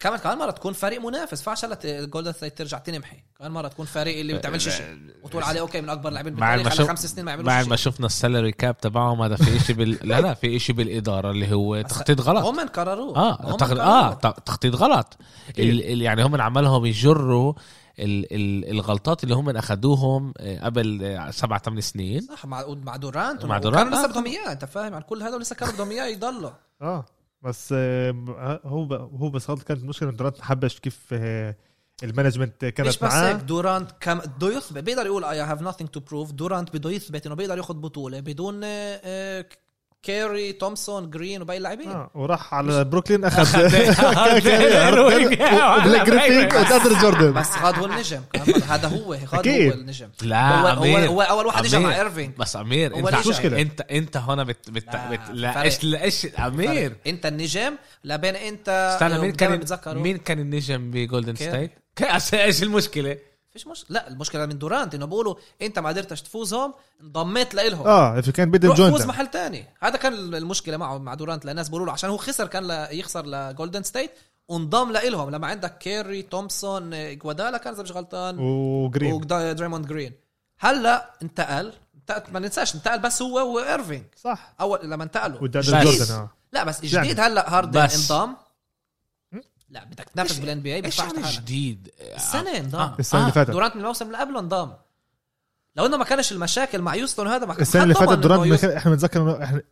Speaker 3: كمان كمان مره تكون فريق منافس فعش هلا جولدن ستيت ترجع تنمحي كمان مره تكون فريق اللي ما بتعملش شيء وتقول عليه اوكي من اكبر اللاعبين
Speaker 1: مع
Speaker 3: بالتاريخ على
Speaker 1: المشو-
Speaker 3: خمس سنين ما
Speaker 1: مع
Speaker 3: يعملوش
Speaker 1: ما
Speaker 3: شيء
Speaker 1: شفنا السالري كاب تبعهم هذا في شيء بال لا لا في شيء بالاداره اللي هو تخطيط غلط
Speaker 3: هم قرروه
Speaker 1: اه
Speaker 3: هم إيه.
Speaker 1: تخ...
Speaker 3: قرروه.
Speaker 1: اه ت- تخطيط غلط ال... ال... يعني هم عمالهم يجروا ال... ال... الغلطات اللي هم اخذوهم آه، قبل آه، سبع ثمان سنين
Speaker 3: صح مع مع دورانت
Speaker 1: مع
Speaker 3: مع
Speaker 1: دورانت،
Speaker 3: دورانت
Speaker 1: آه.
Speaker 3: لسه بدهم اياه انت فاهم عن كل هذا ولسه كانوا بدهم اياه يضلوا
Speaker 2: اه بس آه، هو ب- هو بس غلط كانت المشكله انه ما حبش كيف آه، المانجمنت
Speaker 3: مش
Speaker 2: كانت
Speaker 3: بس هيك
Speaker 2: معاه
Speaker 3: دورانت كم بده يثبت بيقدر يقول اي هاف nothing تو بروف دورانت بده يثبت انه بيقدر ياخذ بطوله بدون آه، آه، كيري تومسون جرين وباقي اللاعبين
Speaker 2: آه وراح على بروكلين اخذ يعني بلاك جريفيك
Speaker 1: لا
Speaker 2: وتاندر جوردن
Speaker 3: بس هذا هو النجم كمان هذا هو هذا
Speaker 2: أكيد.
Speaker 3: هو النجم هو, هو,
Speaker 1: أمير.
Speaker 3: هو اول واحد اجى مع
Speaker 1: أمير.
Speaker 3: ايرفينج
Speaker 1: بس امير
Speaker 3: هو
Speaker 1: انت
Speaker 3: ليش
Speaker 2: مشكلة؟
Speaker 1: انت انت هون بت... بت...
Speaker 3: لا،
Speaker 1: بت... لا
Speaker 3: فرق.
Speaker 1: ايش لا ايش امير
Speaker 3: انت النجم لبين انت
Speaker 1: استنى مين
Speaker 3: دايماً
Speaker 1: كان
Speaker 3: بتذكروا.
Speaker 1: مين كان النجم بجولدن
Speaker 3: كيري.
Speaker 1: ستيت؟ ايش المشكله؟
Speaker 3: فيش مش لا المشكله من دورانت انه بقولوا انت ما قدرتش تفوزهم انضميت لإلهم
Speaker 1: آه.
Speaker 2: اه اف كان بدهم
Speaker 3: روح فوز
Speaker 2: جوين
Speaker 3: محل تاني هذا كان المشكله معه مع دورانت للناس بيقولوا له عشان هو خسر كان ل... يخسر لجولدن ستيت وانضم لإلهم لما عندك كيري تومسون آه، جوادالا كان اذا مش غلطان
Speaker 2: وجرين
Speaker 3: ودريموند جرين هلا انتقل انتقل ما ننساش انتقل بس هو وايرفينج
Speaker 2: صح
Speaker 3: اول لما انتقلوا
Speaker 2: وتاندر
Speaker 1: بس.
Speaker 2: جوردن اه
Speaker 3: لا بس
Speaker 2: يعني.
Speaker 3: جديد هلا هاردن
Speaker 1: بس.
Speaker 3: انضم
Speaker 2: م?
Speaker 3: لا بدك تنافس بالان بي اي
Speaker 1: ايش
Speaker 3: بدفعش
Speaker 1: يعني
Speaker 3: حالك
Speaker 1: جديد؟ آه.
Speaker 3: السنه انضم
Speaker 2: السنه اللي فاتت
Speaker 3: دورانت من الموسم اللي قبله انضم لو انه ما كانش المشاكل مع يوستون هذا ما كان
Speaker 2: السنه اللي
Speaker 3: حد ضمن إنه
Speaker 2: فاتت دورانت ما
Speaker 3: يوستون-
Speaker 2: كان- احنا بنتذكر انه احنا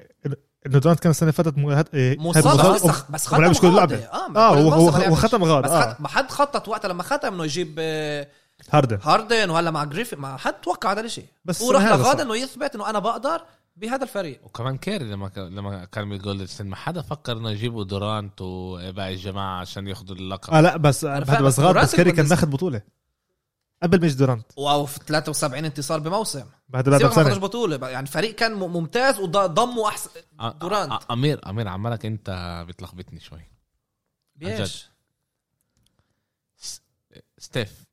Speaker 2: انه دورانت كان السنه اللي فاتت مو- هاد- إيه، هاد
Speaker 3: مصاب
Speaker 2: مصاب
Speaker 3: بس بس
Speaker 2: وما لعبش
Speaker 3: ختم
Speaker 2: كل
Speaker 3: غاضي.
Speaker 2: لعبه
Speaker 3: اه
Speaker 2: اه هو هو
Speaker 3: ما لعبش.
Speaker 2: هو ختم غاد
Speaker 3: بس
Speaker 2: اه
Speaker 3: خط- ما حد خطط وقتها لما ختم انه يجيب آه،
Speaker 2: هاردن
Speaker 3: هاردن وهلا مع جريفي ما حد توقع هذا الشيء
Speaker 2: بس
Speaker 3: هو راح
Speaker 2: هذا
Speaker 3: لغاد
Speaker 2: صح.
Speaker 3: انه يثبت انه انا بقدر بهذا الفريق
Speaker 1: وكمان كيري لما كان- لما كان بالجولدن ستيت ما حدا فكر انه يجيبوا دورانت وباقي الجماعه عشان ياخذوا اللقب
Speaker 2: اه لا بس
Speaker 3: أنا
Speaker 2: بعد
Speaker 3: فاهم،
Speaker 2: بس غاد
Speaker 3: دورانت
Speaker 2: بس كاري كان
Speaker 3: كنت-
Speaker 2: ماخذ بطوله قبل ما يجي دورانت
Speaker 3: واو 73 انتصار بموسم
Speaker 2: بعد بعد
Speaker 3: سيبك ما خدوش
Speaker 2: سنه
Speaker 3: بطوله بقى، يعني فريق كان م- ممتاز وضموا احسن
Speaker 1: آه،
Speaker 3: دورانت.
Speaker 1: آه، آه، امير امير عمالك انت بتلخبطني شوي جد.
Speaker 3: ليش؟
Speaker 1: س- ستيف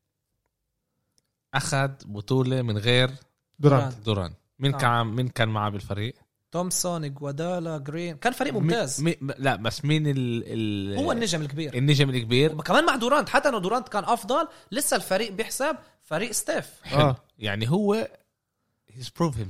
Speaker 1: اخذ بطوله من غير
Speaker 2: دورانت
Speaker 1: دورانت مين
Speaker 3: آه.
Speaker 1: كان مين كان معه بالفريق؟
Speaker 3: تومسون جوادالا جرين كان فريق ممتاز
Speaker 1: مي... مي... لا بس مين ال... ال...
Speaker 3: هو النجم الكبير
Speaker 1: النجم الكبير
Speaker 3: كمان مع دورانت حتى انه دورانت كان افضل لسه الفريق بيحسب فريق ستيف
Speaker 1: حلو
Speaker 2: آه.
Speaker 1: آه. يعني هو هيز بروف هيم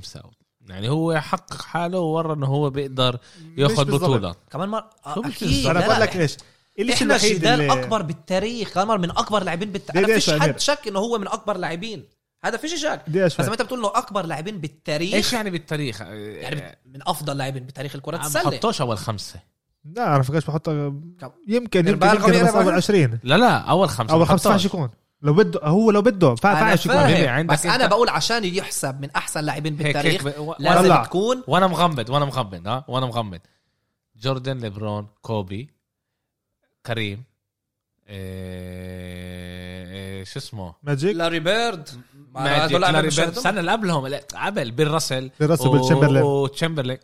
Speaker 1: يعني هو حقق حاله وورى انه هو بيقدر ياخذ
Speaker 2: بالظبط.
Speaker 1: بطوله
Speaker 3: كمان مره آه،
Speaker 1: شو مش
Speaker 3: أكيد.
Speaker 1: بالظبط؟
Speaker 2: انا
Speaker 3: لا، لا،
Speaker 2: بقول لك ايش الشيء
Speaker 3: احنا
Speaker 2: الوحيد
Speaker 3: جدال
Speaker 2: اللي-
Speaker 3: اكبر بالتاريخ كان من اكبر لاعبين بالتاريخ
Speaker 2: ليه-
Speaker 3: انا
Speaker 2: ليش يعني؟
Speaker 3: فيش
Speaker 2: يا أمير؟
Speaker 3: حد شك انه هو من اكبر لاعبين هذا فيش شك
Speaker 2: دي
Speaker 3: بس ما
Speaker 2: اشوف
Speaker 3: انت بتقول انه اكبر لاعبين بالتاريخ
Speaker 1: ايش يعني بالتاريخ؟ آه،
Speaker 3: يعني من افضل لاعبين بتاريخ الكره
Speaker 1: ما
Speaker 3: السله
Speaker 1: حطوش اول خمسه
Speaker 2: لا انا ما فكرش بحط يمكن يمكن
Speaker 3: إربعة
Speaker 2: يمكن
Speaker 3: القوية
Speaker 2: بس اول
Speaker 3: لعبة.
Speaker 2: 20
Speaker 1: لا لا اول خمسه
Speaker 2: اول
Speaker 1: ما حطوش.
Speaker 2: 15 يكون لو بده هو لو بده فا-
Speaker 3: انا
Speaker 2: فاعش يكون
Speaker 1: حبيبي،
Speaker 3: فاهم
Speaker 1: عندك
Speaker 3: بس انا
Speaker 1: أنت-
Speaker 3: بقول عشان يحسب من احسن لاعبين
Speaker 1: هيك-
Speaker 3: بالتاريخ
Speaker 1: هيك ب- و-
Speaker 3: لازم
Speaker 2: طلع.
Speaker 3: تكون
Speaker 1: وانا مغمض وانا مغمض ها وانا مغمض جوردن ليبرون كوبي كريم إيه... إيه... شو اسمه
Speaker 2: ماجيك
Speaker 3: لاري بيرد مع
Speaker 1: ماجيك،
Speaker 3: هدول لاعبين
Speaker 1: لاري بيرد.
Speaker 3: مشاهدهم.
Speaker 1: السنه اللي قبلهم لا، قبل بيل راسل
Speaker 2: بيل راسل، بيل تشامبرلين.
Speaker 1: وتشامبرلين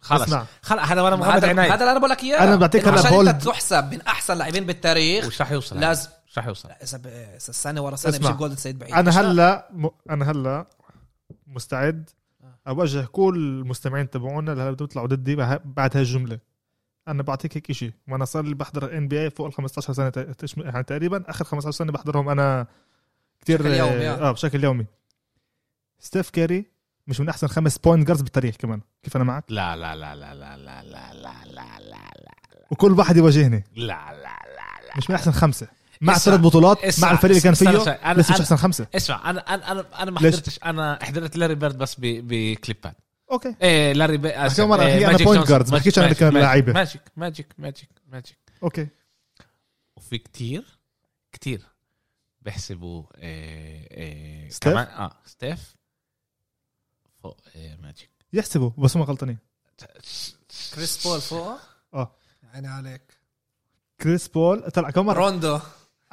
Speaker 1: خلص
Speaker 2: اسمع.
Speaker 1: خلص هذا وانا مغمض
Speaker 3: هذا هذا
Speaker 1: عيني
Speaker 3: اللي انا بقول لك اياه
Speaker 2: أنا بعطيك
Speaker 3: إنه
Speaker 2: هلا
Speaker 3: عشان انت
Speaker 2: bold.
Speaker 3: تحسب من احسن لاعبين بالتاريخ
Speaker 1: وش رح يوصل هذا؟
Speaker 3: لازم
Speaker 1: مش رح يوصل
Speaker 3: إذا ب- إذا السنه ورا سنه
Speaker 2: اسمع.
Speaker 3: بجيب جولدن سيد
Speaker 1: إيه،
Speaker 3: بعيد
Speaker 2: انا
Speaker 3: مش
Speaker 2: هلا م... انا هلا
Speaker 1: آه.
Speaker 2: مستعد اوجه كل المستمعين تبعونا اللي هلا بدهم يطلعوا ضدي بع- بعد هاي الجمله انا بعطيك هيك شيء وانا صار لي بحضر ان بي اي فوق ال 15 سنه تق- تش- يعني تقريبا اخر 15 سنه بحضرهم انا كثير
Speaker 3: بشكل يومي، يعني.
Speaker 1: آه.
Speaker 2: اه بشكل يومي ستيف كاري مش من احسن خمس بوينت جاردز بالتاريخ كمان كيف انا معك
Speaker 1: لا لا لا لا لا لا لا لا لا لا لا
Speaker 2: وكل واحد يواجهني
Speaker 1: لا لا لا لا
Speaker 2: مش من احسن خمسه مع
Speaker 1: اسمع،
Speaker 2: ثلاث بطولات
Speaker 1: اسمع،
Speaker 2: مع الفريق اللي كان
Speaker 1: استنى
Speaker 2: فيه
Speaker 1: شوي، أنا-
Speaker 2: بس مش
Speaker 1: أنا-
Speaker 2: احسن خمسه
Speaker 1: اسمع انا انا انا انا ما
Speaker 2: ليش؟
Speaker 1: حضرتش انا حضرت لاري بيرد بس ب- بكليبات
Speaker 2: اوكي
Speaker 1: ايه لاري بيرد
Speaker 2: أحكي مرة، أحكي أنا point guards، ما أحكيش أنا اللي كان لعيبة.
Speaker 1: ماجيك ماجيك ماجيك ماجيك
Speaker 2: اوكي
Speaker 1: وفي كتير كتير بيحسبوا إيه إيه
Speaker 2: ستيف؟
Speaker 1: كمان اه ستيف فوق إيه ماجيك
Speaker 2: يحسبوا بس هم غلطانين
Speaker 3: كريس بول فوقه
Speaker 2: اه
Speaker 3: يعني عليك
Speaker 2: كريس بول طلع كم مره
Speaker 3: روندو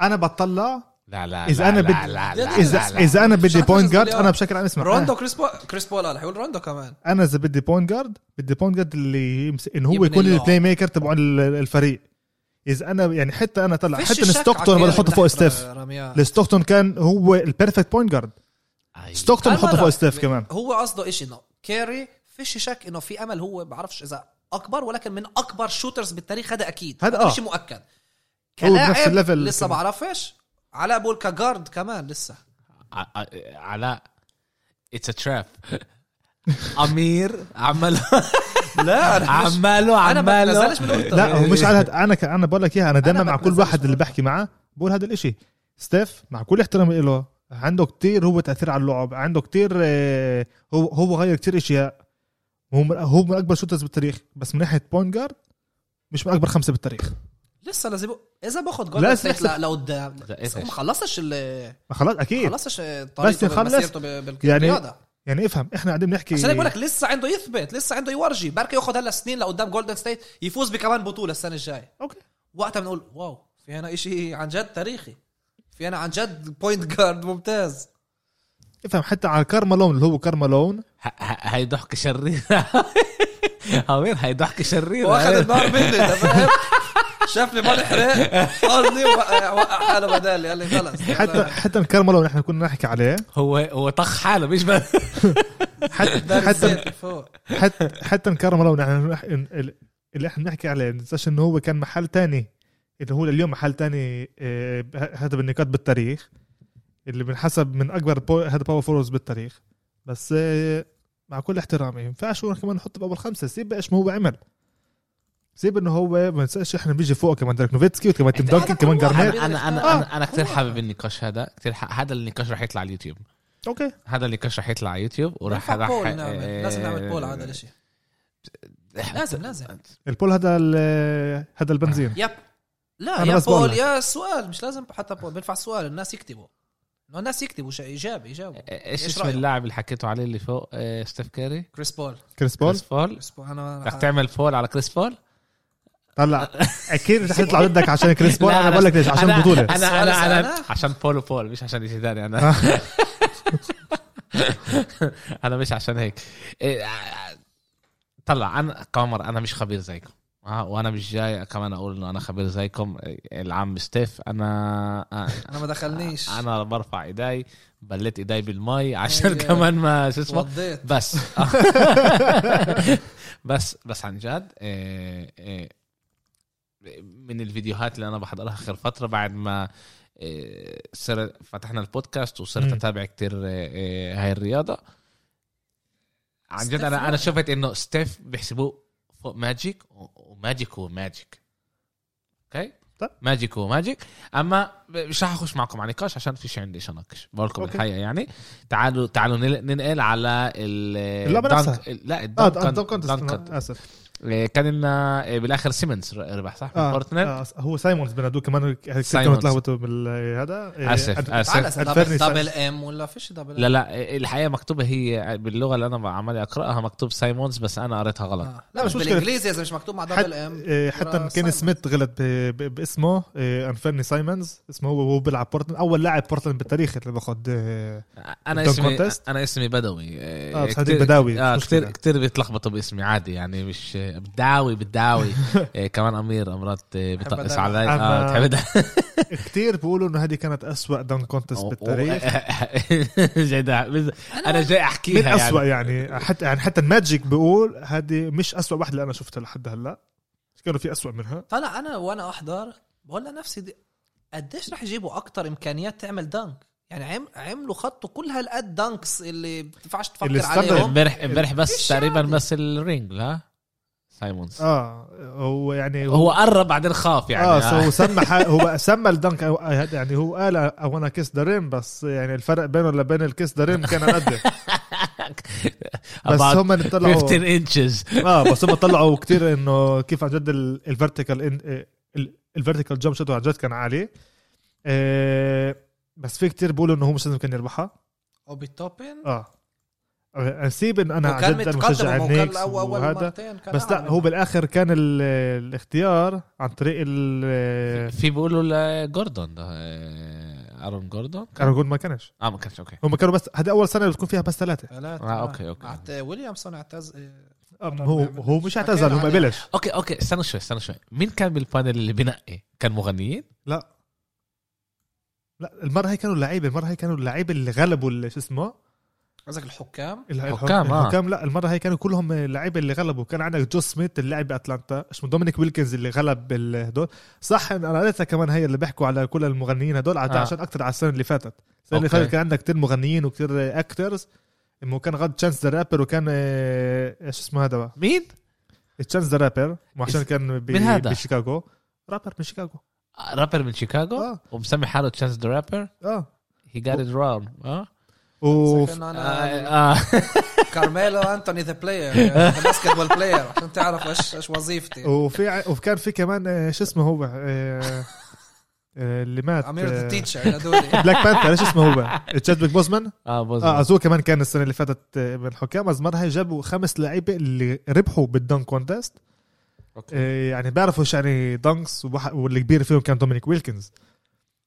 Speaker 2: انا بطلع
Speaker 1: لا لا
Speaker 2: إذا
Speaker 1: لا
Speaker 2: أنا
Speaker 1: لا
Speaker 2: بدي-
Speaker 1: لا لا
Speaker 2: اذا
Speaker 1: لا لا.
Speaker 2: اذا انا
Speaker 3: مش
Speaker 2: بدي
Speaker 3: عارف
Speaker 2: بوينت
Speaker 3: أحسب
Speaker 2: جارد
Speaker 3: اليوم.
Speaker 2: انا بشكل عام اسمع
Speaker 3: روندو كريس بول كريس بول قال حيقول روندو كمان
Speaker 2: انا اذا بدي بوينت جارد بدي بوينت جارد اللي يمس... ان هو
Speaker 3: يبني
Speaker 2: يكون
Speaker 3: اللعب.
Speaker 2: البلاي ميكر تبع ال- الفريق اذا انا يعني حتى انا طلع
Speaker 3: فيش
Speaker 2: حتى
Speaker 3: شك
Speaker 2: ستوكتون
Speaker 3: عكير
Speaker 2: بدي احطه فوق
Speaker 3: تحت
Speaker 2: ستيف
Speaker 3: رمياه.
Speaker 2: لستوكتون كان هو البيرفكت بوينت جارد
Speaker 1: أي.
Speaker 2: ستوكتون
Speaker 3: أنا
Speaker 2: بحطه
Speaker 3: لا.
Speaker 2: فوق ستيف كمان
Speaker 3: هو قصده إشي انه كاري فيش شك انه في امل هو بعرفش اذا اكبر ولكن من اكبر شوترز بالتاريخ هذا اكيد
Speaker 2: هذا آه.
Speaker 3: شيء مؤكد
Speaker 2: هو بنفس
Speaker 3: كلاعب
Speaker 2: الليفل
Speaker 3: لسه
Speaker 2: كمان.
Speaker 3: بعرفش على بول كجارد كمان لسه
Speaker 1: ع- ع- علاء اتس ا تراب امير عماله
Speaker 3: لا
Speaker 1: عماله
Speaker 3: انا ما نزلش
Speaker 1: عماله
Speaker 3: من الأوضة.
Speaker 2: لا هو
Speaker 1: إيه،
Speaker 2: مش على هاد انا ك... انا بقول لك اياها انا دائما
Speaker 3: أنا
Speaker 2: مع كل
Speaker 3: بتنزلش
Speaker 2: واحد اللي
Speaker 3: مرة.
Speaker 2: بحكي معاه بقول هذا الاشي ستيف مع كل احترامي له عنده كتير هو تاثير على اللعب عنده كتير آه، هو هو غير كتير اشياء هو من... هو من اكبر شوترز بالتاريخ بس من ناحيه بوينت جارد مش من اكبر خمسه بالتاريخ
Speaker 3: لسه لازم اذا باخذ
Speaker 2: لا،
Speaker 3: جولدن ستيت
Speaker 2: لسه-
Speaker 3: لا لقدام بس هو ما خلصش ال
Speaker 2: ما خلاص اكيد
Speaker 3: خلصش طريقته
Speaker 2: بس يخلص،
Speaker 3: مسيرته بال- بالرياضه
Speaker 2: يعني افهم احنا قاعدين بنحكي
Speaker 3: عشان هيك بقول لك لسه عنده يثبت لسه عنده يورجي بركي ياخذ هلا سنين لقدام جولدن ستيت يفوز بكمان بطوله السنه الجايه
Speaker 2: اوكي
Speaker 3: وقتها بنقول واو في هنا شيء عن جد تاريخي في هنا عن جد بوينت جارد ممتاز
Speaker 2: افهم حتى على كارمالون اللي هو كارمالون
Speaker 1: هاي ضحكه شريره امير هاي ضحكه شريره
Speaker 3: واخذ النار مني انت فاهم شافني بنحرق قصدي وقع وقع حاله بدالي قال لي خلص
Speaker 2: حتى حتى كارمالون احنا كنا نحكي عليه
Speaker 1: هو هو طخ حاله مش بس
Speaker 2: حتى حتى
Speaker 3: حتى فوق
Speaker 2: حتى حتى نكرمه لو اللي احنا بنحكي عليه ننساش انه هو كان محل تاني اللي هو اليوم محل تاني آه، ه- هذا بالنقاط بالتاريخ اللي بنحسب من اكبر بو- هذا باور فورز بالتاريخ بس آه، مع كل احترامي ما ينفعش هو كمان نحطه باول خمسه سيب ايش ما هو عمل سيب انه هو ما ننساش احنا بيجي فوقه كمان دريك نوفيتسكي وكمان تيم
Speaker 1: أنت-
Speaker 2: دانكن كمان
Speaker 3: هذا هو
Speaker 2: جارنيت
Speaker 1: انا انا انا, أنا كثير حابب النقاش هذا كثير ح- هذا النقاش رح يطلع على اليوتيوب
Speaker 2: اوكي
Speaker 1: هذا النقاش رح يطلع على اليوتيوب وراح
Speaker 3: نرفع
Speaker 1: راح إيه. آه،
Speaker 3: بول نعمل لازم نعمل بول على هذا الشيء لازم لازم
Speaker 2: البول هذا ال- هذا البنزين
Speaker 3: يب لا
Speaker 2: أنا
Speaker 3: يا
Speaker 2: بس بقول
Speaker 3: بول
Speaker 2: لك.
Speaker 3: يا سؤال مش لازم حتى بول بينفع سؤال الناس يكتبوا انه الناس يكتبوا شيء اجابه اجابه
Speaker 1: ايش
Speaker 3: إيش
Speaker 1: اسم
Speaker 3: رأيك؟
Speaker 1: اللاعب اللي حكيتوا عليه اللي فوق آه، ستيف كاري
Speaker 3: كريس بول
Speaker 2: كريس بول
Speaker 1: كريس بول
Speaker 3: كريس بول انا
Speaker 1: رح تعمل فول على كريس بول
Speaker 2: طلع اكيد رح يطلع ضدك عشان كريس بول
Speaker 1: لا،
Speaker 2: انا بقول لك ليش عشان
Speaker 1: أنا-
Speaker 2: البطوله
Speaker 1: انا انا
Speaker 3: السؤال
Speaker 1: انا
Speaker 3: سألها؟
Speaker 1: عشان بول وبول مش عشان يعني. شيء ثاني
Speaker 2: آه.
Speaker 1: انا انا مش عشان هيك إيه، آه، طلع انا قمر انا مش خبير زيكم آه، وانا مش جاي كمان اقول انه انا خبير زيكم إيه، العم ستيف انا آه،
Speaker 3: انا ما دخلنيش انا
Speaker 1: انا برفع ايداي بليت ايداي بالمي عشان
Speaker 3: أيوة.
Speaker 1: كمان ما شو اسمه
Speaker 3: وضيت
Speaker 1: بس بس بس عن جد إيه، إيه، من الفيديوهات اللي انا بحضرها اخر فتره بعد ما إيه، صر فتحنا البودكاست وصرت
Speaker 2: مم.
Speaker 1: اتابع كتير إيه، إيه، هاي الرياضه عن جد
Speaker 3: ستيف
Speaker 1: انا انا
Speaker 3: يعني.
Speaker 1: شفت انه ستيف بيحسبوه فوق ماجيك و- وماجيك هو ماجيك اوكي
Speaker 2: طيب.
Speaker 1: ماجيك هو ماجيك اما مش رح اخش معكم على نقاش عشان فيش عندي شيء اناقش بقول لكم
Speaker 2: أوكي.
Speaker 1: الحقيقه يعني تعالوا تعالوا نل- ننقل على ال
Speaker 2: اللعبة
Speaker 1: الدنك-
Speaker 2: نفسها.
Speaker 1: لا
Speaker 2: اه
Speaker 1: الدنك
Speaker 2: دنك كونتست
Speaker 1: دنك
Speaker 2: أنا
Speaker 1: كونتست.
Speaker 2: اسف
Speaker 1: إيه، كان لنا إيه، بالاخر سيمنز ر- ربح صح
Speaker 2: آه.
Speaker 1: بارتنر
Speaker 2: آه هو سايمونز بنادوه كمان كانوا
Speaker 1: سايمونز.
Speaker 2: تلخبطوا بالهذا
Speaker 1: آسف، آسف.
Speaker 3: تعال اسأل دبل,
Speaker 2: أدفرني
Speaker 3: دبل ام ولا فيش دبل
Speaker 1: آه، لا لا إيه، الحقيقه مكتوبه هي باللغه اللي انا عمال اقراها مكتوب سايمونز بس انا قريتها غلط
Speaker 3: آه. لا مش
Speaker 2: مش مشكلة.
Speaker 3: بالانجليزي اذا مش مكتوب مع دبل ام
Speaker 2: إيه، حتى حتى كين
Speaker 3: سايمونز.
Speaker 2: سميث غلط ب- ب- باسمه آه، انفيرني سايمونز اسمه هو وهو بيلعب بورتلاند اول لاعب بورتلاند بالتاريخ اللي باخذ آه،
Speaker 1: انا
Speaker 2: الدنك
Speaker 1: اسمي
Speaker 2: كونتست؟
Speaker 1: انا اسمي بدوي
Speaker 2: آه، بس هذيك بداوي،
Speaker 1: اه
Speaker 2: مش
Speaker 1: كثير
Speaker 2: مشكلة.
Speaker 1: كثير بيتلخبطوا باسمي عادي يعني مش آه، بداوي بداوي إيه، كمان امير امرات آه،
Speaker 3: بحب
Speaker 1: بطقس
Speaker 3: أداوي.
Speaker 1: علي اه
Speaker 2: أما-
Speaker 1: بتحب أداوي.
Speaker 2: كتير بيقولوا انه هذه كانت أسوأ دنك كونتست بالتاريخ
Speaker 1: جاي ده- انا جاي
Speaker 2: من
Speaker 1: احكيها
Speaker 2: أسوأ
Speaker 1: يعني
Speaker 2: يعني حتى يعني حتى الماجيك بيقول هذه مش أسوأ واحدة اللي انا شفتها لحد هلا كانوا في أسوأ منها
Speaker 3: طلع انا وانا احضر بقول لنفسي دي- قديش رح يجيبوا اكتر امكانيات تعمل دانك يعني عم عملوا خطوا كل هالقد دانكس اللي بتنفعش تفكر
Speaker 2: اللي استبعد.
Speaker 3: عليهم
Speaker 1: امبارح امبارح
Speaker 3: مش
Speaker 1: بس تقريبا
Speaker 3: عادي.
Speaker 1: بس الرينج ها سايمونز
Speaker 2: اه هو يعني
Speaker 1: هو قرب بعدين خاف يعني
Speaker 2: اه سو سمى ح- هو سمى الدنك أو- يعني هو قال او انا كيس ذا ريم بس يعني الفرق بينه وبين الكيس ذا ريم كان قد
Speaker 1: About
Speaker 2: بس هم طلعوا
Speaker 1: 15 انشز
Speaker 2: اه بس هم طلعوا كتير انه كيف عن جد الفيرتيكال الفيرتيكال جمب شوت عن جد كان عالي آه، بس في كتير بيقولوا انه هو مش لازم كان يربحها آه،
Speaker 3: اوبي توبن
Speaker 2: اه نسيب ان انا عن
Speaker 3: وكان
Speaker 2: جد
Speaker 3: متقدم
Speaker 2: مشجع
Speaker 3: وهو كان
Speaker 2: النيكس
Speaker 3: الأول- أول
Speaker 2: وهذا
Speaker 3: مرتين كان
Speaker 2: بس لا
Speaker 3: أعلى
Speaker 2: هو
Speaker 3: منه.
Speaker 2: بالاخر كان ال- الاختيار عن طريق ال
Speaker 1: في بيقولوا لجوردون ده آه، ارون جوردون
Speaker 2: اراجون ما كانش
Speaker 1: اه ما كانش اوكي
Speaker 2: هم كانوا بس هذا اول سنه بتكون فيها بس ثلاثه
Speaker 3: ثلاثة.
Speaker 1: آه، أوكي، أوكي.
Speaker 3: عت- ويليامسون اعتز
Speaker 2: هو هو مش اعتزل
Speaker 3: حكينا
Speaker 2: هو ما
Speaker 3: عليه.
Speaker 2: بلش
Speaker 1: اوكي اوكي استنى شوي استنى شوي مين كان بالبانل اللي بنقي كان مغنيين
Speaker 2: لا لا المره هي كانوا اللعيبه المره هي كانوا اللعيبه اللي غلبوا ال- شو اسمه
Speaker 3: قصدك الحكام
Speaker 2: ال- الح-
Speaker 1: حكام، آه.
Speaker 2: الحكام لا المره هي كانوا كلهم اللعيبه اللي غلبوا كان عندك جو سميث اللاعب باتلانتا اسمه دومينيك ويلكنز اللي غلب ال- هدول صح إن انا قريتها كمان هي اللي بيحكوا على كل المغنيين هدول عاد
Speaker 1: آه.
Speaker 2: عشان اكثر على السنه اللي فاتت السنه اللي
Speaker 1: أوكي.
Speaker 2: فاتت كان عندك كثير مغنيين وكثير اكترز انه كان غاد تشانس ذا رابر وكان آه، ايش اسمه هذا
Speaker 1: مين
Speaker 2: تشانس ذا رابر وعشان
Speaker 1: إس-
Speaker 2: كان ب-
Speaker 1: من هذا؟
Speaker 2: بشيكاغو رابر من شيكاغو
Speaker 1: آه، رابر من شيكاغو
Speaker 2: آه.
Speaker 1: ومسمي حاله تشانس ذا رابر
Speaker 2: اه
Speaker 1: هي جات ات رون اه
Speaker 2: وف...
Speaker 3: قصدك إنه أنا
Speaker 1: آه، آه.
Speaker 3: كارميلو انتوني ذا بلاير باسكت بول بلاير عشان تعرف ايش ايش وظيفتي
Speaker 2: وفي ع- وكان في كمان آه، شو اسمه هو آه، آه، اللي مات
Speaker 3: امير ذا
Speaker 2: بلاك
Speaker 3: تيتشر هذول
Speaker 2: بانثر ايش اسمه هو تشادويك بوزمان
Speaker 1: اه بوز
Speaker 2: اه زو كمان كان السنه اللي فاتت آه، من الحكام از مرة هي جابوا خمس لعيبه اللي ربحوا بالدنك كونتست
Speaker 1: أوكي.
Speaker 2: آه، يعني بيعرفوا ايش يعني دنكس وبح- واللي كبير فيهم كان دومينيك ويلكنز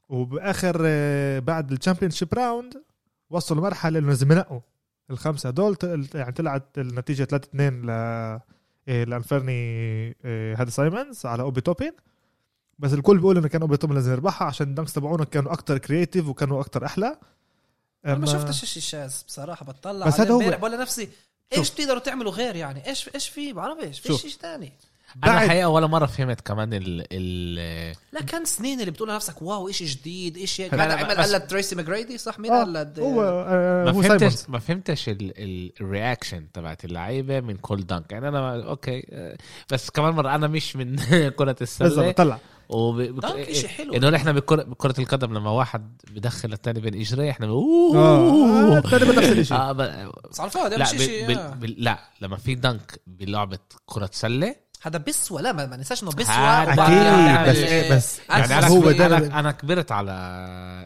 Speaker 2: وباخر آه، بعد الشامبيون شيب راوند وصلوا لمرحله انه لازم ينقوا الخمسه هدول ت- يعني طلعت النتيجه 3 2 ل آه، لانفيرني آه، هذا سايمونز على اوبي توبين بس الكل بيقول انه كان اوبي توبين لازم يربحها عشان الدنكس تبعونه كانوا اكثر كرييتيف وكانوا اكثر احلى
Speaker 3: انا ما
Speaker 2: أما-
Speaker 3: شفتش شيء شاذ بصراحه بطلع
Speaker 2: بس
Speaker 3: على
Speaker 2: هذا هو.
Speaker 3: امبارح بقول لنفسي
Speaker 2: شوف.
Speaker 3: ايش بتقدروا تعملوا غير يعني ايش ايش في بعرفش في
Speaker 2: شوف.
Speaker 3: شيء ثاني
Speaker 1: انا
Speaker 2: بعد-
Speaker 1: الحقيقه ولا مره فهمت كمان ال ال
Speaker 3: لا كان سنين اللي بتقول لنفسك واو ايش جديد ايش هيك
Speaker 1: هلا
Speaker 3: كان
Speaker 1: بس-
Speaker 3: عمل قال تريسي ماجريدي صح مين
Speaker 2: آه،
Speaker 3: قال لد-
Speaker 2: هو آه،
Speaker 1: ما
Speaker 2: هو سايمونز
Speaker 1: فهمتش ما فهمتش ال- ال- الرياكشن تبعت اللعيبه من كل دنك يعني انا اوكي آه، بس كمان مره انا مش من كره السله
Speaker 2: بالضبط طلع
Speaker 1: وب...
Speaker 3: دنك
Speaker 1: إيه،
Speaker 3: إشي حلو.
Speaker 1: انه احنا بكرة... بكره القدم لما واحد بدخل الثاني بين اجريه احنا ب...
Speaker 3: آه.
Speaker 2: اه
Speaker 1: اوه
Speaker 2: تقريبا نفس الشيء
Speaker 1: آه ب...
Speaker 3: بس على الفاضي
Speaker 1: لا
Speaker 3: مش آه. شيء
Speaker 1: بال... بال... بال... لا لما في دنك بلعبه كره سله
Speaker 3: هذا بسوى لا ما ما ننساش انه بسوى
Speaker 1: هذا
Speaker 3: وبعدين
Speaker 1: آه، أكيد،
Speaker 3: عمل-
Speaker 1: بس-
Speaker 3: آه،
Speaker 2: بس
Speaker 3: يعني
Speaker 1: يعني انا
Speaker 3: هو
Speaker 1: هو
Speaker 3: ده-
Speaker 1: انا انا كبرت على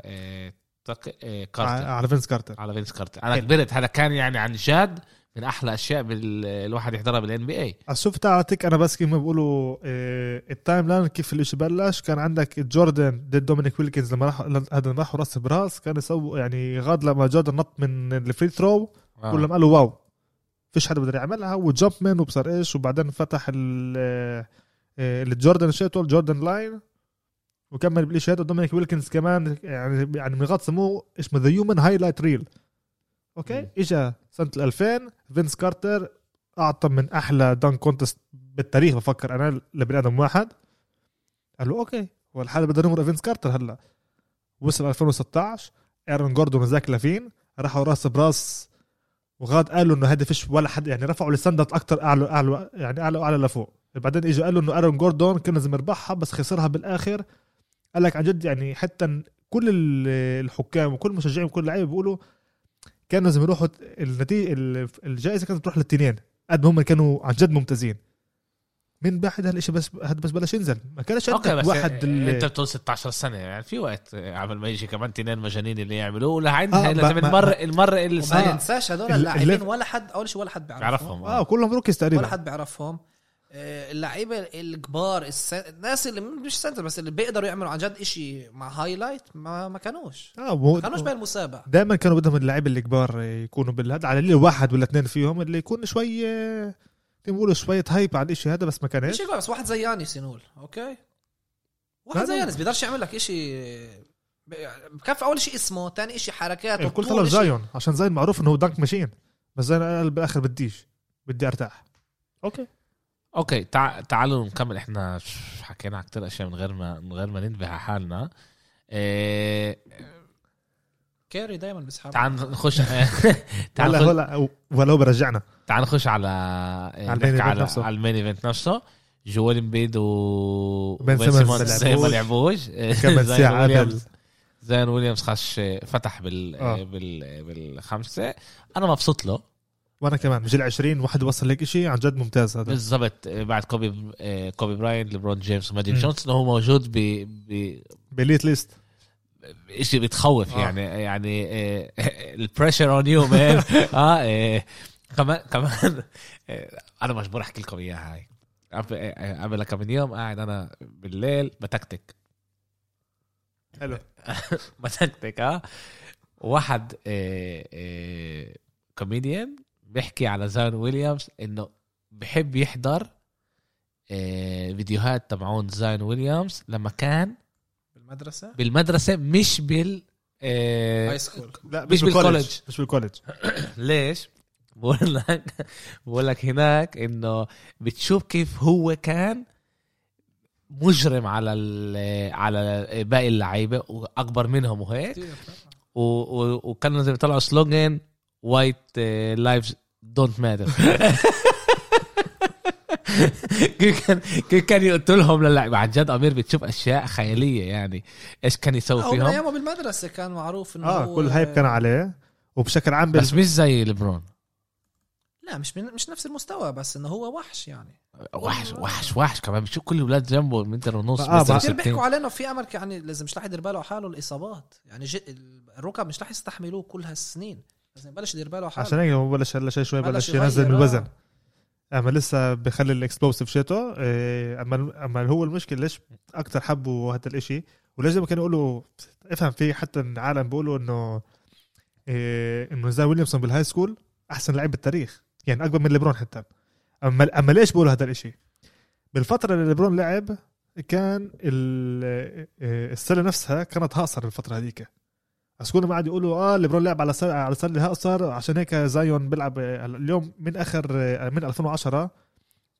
Speaker 1: آه، تق... آه، كارتر
Speaker 2: على فينس كارتر
Speaker 1: على فينس كارتر انا كبرت هذا كان يعني عن جد من احلى اشياء بال... الواحد يحضرها بالان بي اي
Speaker 2: شفت اعطيك انا بس كيف ما بيقولوا آه، التايم لاين كيف الاشي بلش كان عندك جوردن ضد دومينيك ويلكنز لما راح هذا لما راحوا راس براس كان يسووا يعني غاد لما جوردن نط من الفري ثرو
Speaker 1: آه.
Speaker 2: كلهم قالوا واو فيش حدا بيقدر يعملها وجمب مان وبصر ايش وبعدين فتح ال الجوردن شيتو الجوردن لاين وكمل بالشيء هذا دومينيك ويلكنز كمان يعني يعني من غاد سموه اسمه ذا هيومن هايلايت ريل اوكي
Speaker 1: مم.
Speaker 2: اجا سنه 2000 فينس كارتر اعطى من احلى دان كونتست بالتاريخ بفكر انا لبني ادم واحد قال له اوكي ولا حدا بده يمرق فينس كارتر هلا وصل 2016 ايرون جوردون وزاك لافين راحوا راس براس وغاد قالوا انه هذا فيش ولا حد يعني رفعوا الستاندرد اكثر اعلى اعلى يعني اعلى واعلى لفوق بعدين اجوا قالوا انه ايرون جوردون كان لازم يربحها بس خسرها بالاخر قال لك عن جد يعني حتى كل ال- الحكام وكل المشجعين وكل اللعيبه بيقولوا كانوا لازم يروحوا النتيجه ال- الجائزه كانت تروح للتنين قد ما هم كانوا عن جد ممتازين من بعد هالشيء بس هاد بس بلش ينزل ما كانش
Speaker 1: اوكي
Speaker 2: عندك
Speaker 1: بس إيه،
Speaker 2: واحد
Speaker 1: واحد
Speaker 2: ال-
Speaker 1: انت بتقول 16 سنه يعني في وقت آه، قبل ما يجي كمان تنين مجانين اللي يعملوه ولا
Speaker 2: آه،
Speaker 1: عندنا
Speaker 2: ما-
Speaker 1: لازم
Speaker 2: ما-
Speaker 1: المره المره اللي
Speaker 3: ما
Speaker 1: صار
Speaker 3: ننساش هذول
Speaker 2: ال-
Speaker 3: اللاعبين
Speaker 2: الليفل.
Speaker 3: ولا حد اول شيء ولا حد بيعرفهم
Speaker 1: بيعرفهم
Speaker 2: اه
Speaker 1: آه.
Speaker 2: كلهم روكيز
Speaker 3: ولا
Speaker 2: تقريبا
Speaker 3: حد بيعرفهم آه، اللعيبه الكبار الس- الناس اللي مش سنتر بس اللي بيقدروا يعملوا عن جد إشي مع هايلايت ما ما كانوش
Speaker 2: اه مو-
Speaker 3: ما كانوش بهالمسابقه
Speaker 2: دائما كانوا بدهم اللعيبه الكبار يكونوا بالهذا على اللي واحد ولا اثنين فيهم اللي يكون شوي آه، كيف بيقولوا شوية هايب على الشيء هذا بس ما كانش
Speaker 3: مش هيك بس واحد زي يانس ينول اوكي واحد
Speaker 2: لا،
Speaker 3: زي
Speaker 2: لا.
Speaker 3: يانس بيقدرش يعمل لك اشي ب- بكفي اول شيء اسمه ثاني شيء حركاته
Speaker 2: الكل
Speaker 3: طول
Speaker 2: إيه، طلب
Speaker 3: إشي.
Speaker 2: زايون عشان زايون معروف انه هو دانك ماشين بس زايون قال بالاخر بديش بدي ارتاح اوكي
Speaker 1: اوكي تع... تعالوا نكمل احنا حكينا على كتير اشياء من غير ما من غير ما ننبه على حالنا إيه...
Speaker 3: كاري دائما بيسحب
Speaker 1: تعال نخش تعال
Speaker 2: ولا
Speaker 1: نخش...
Speaker 2: ولا ولو برجعنا
Speaker 1: تعال نخش على
Speaker 2: المين
Speaker 1: نحكي
Speaker 2: إيفنت
Speaker 1: على
Speaker 2: نفسه.
Speaker 1: على المين ايفنت نفسه جوال امبيد و
Speaker 2: وبن
Speaker 1: وبن
Speaker 2: سيمونز
Speaker 1: سيمونز
Speaker 2: ما
Speaker 1: زي ما
Speaker 2: لعبوش.
Speaker 1: لعبوش
Speaker 2: كمان
Speaker 1: زاين
Speaker 2: ساعه
Speaker 1: ويليامز-
Speaker 2: قبل
Speaker 1: زاين ويليامز خش فتح بال...
Speaker 2: آه.
Speaker 1: بال... بالخمسه انا مبسوط له
Speaker 2: وانا كمان مش ال 20 واحد وصل لك شيء عن جد ممتاز هذا
Speaker 1: بالضبط بعد كوبي آه، كوبي براين ليبرون جيمس وماجيك
Speaker 2: مم.
Speaker 1: جونسون هو موجود ب... ب...
Speaker 2: بليت ليست
Speaker 1: شيء بتخوف
Speaker 2: آه.
Speaker 1: يعني يعني البريشر اون يو مان اه إيه. كمان كمان إيه، انا مجبور احكي لكم اياها هاي قبل- إيه، قبل كم من يوم قاعد انا بالليل بتكتك
Speaker 2: حلو
Speaker 1: بتكتك اه واحد إيه، إيه، كوميديان بيحكي على زان ويليامز انه بحب يحضر إيه، فيديوهات تبعون زاين ويليامز لما كان
Speaker 3: بالمدرسه
Speaker 1: بالمدرسه مش بال إيه،
Speaker 3: هاي سكول
Speaker 2: لا
Speaker 1: مش بالكولج.
Speaker 2: مش بالكولج
Speaker 1: ليش؟ بقول لك بقول لك هناك انه بتشوف كيف هو كان مجرم على ال- على باقي اللعيبه واكبر منهم وهيك و- و- وكانوا زي بيطلعوا سلوجن آه، وايت لايفز دونت ماتر كيف كان كيف كان يقتلهم للعيبه عن جد امير بتشوف اشياء خياليه يعني ايش كان يسوي
Speaker 3: هو من
Speaker 1: فيهم
Speaker 3: ايامه بالمدرسه كان معروف انه
Speaker 2: اه
Speaker 3: هو-
Speaker 2: كل هايب كان عليه وبشكل عام بال...
Speaker 1: بس مش زي لبرون
Speaker 3: لا مش من مش نفس المستوى بس انه هو وحش يعني
Speaker 1: وحش وحش وحش كمان بتشوف كل الاولاد جنبه متر ونص
Speaker 2: آه،
Speaker 1: متر
Speaker 2: بقى-
Speaker 3: كثير بيحكوا
Speaker 1: وستين.
Speaker 3: علينا في امل يعني لازم مش رح يدير باله على حاله الاصابات يعني ج... الركب مش رح يستحملوه كل هالسنين لازم يبلش يدير باله على حاله
Speaker 2: عشان هيك هو بلش هلا شوي شوي
Speaker 3: بلش
Speaker 2: بلش
Speaker 3: يغير،
Speaker 2: ينزل من
Speaker 3: آه.
Speaker 2: الوزن اما لسه بخلي الاكسبلوسيف شيته إيه، اما اما هو المشكله ليش اكثر حبوا هذا الاشي وليش لما كانوا يقولوا افهم في حتى العالم بيقولوا انه إيه، انه زي ويليامسون بالهاي سكول احسن لعيب بالتاريخ يعني اكبر من ليبرون حتى اما اما ليش بيقولوا هذا الاشي بالفتره اللي ليبرون لعب كان ال- إيه، السله نفسها كانت هاصر الفتره هذيك بس كنا قاعد يقولوا اه ليبرون لعب على سله على سله هاصر عشان هيك زايون بيلعب آه، اليوم من اخر آه، من 2010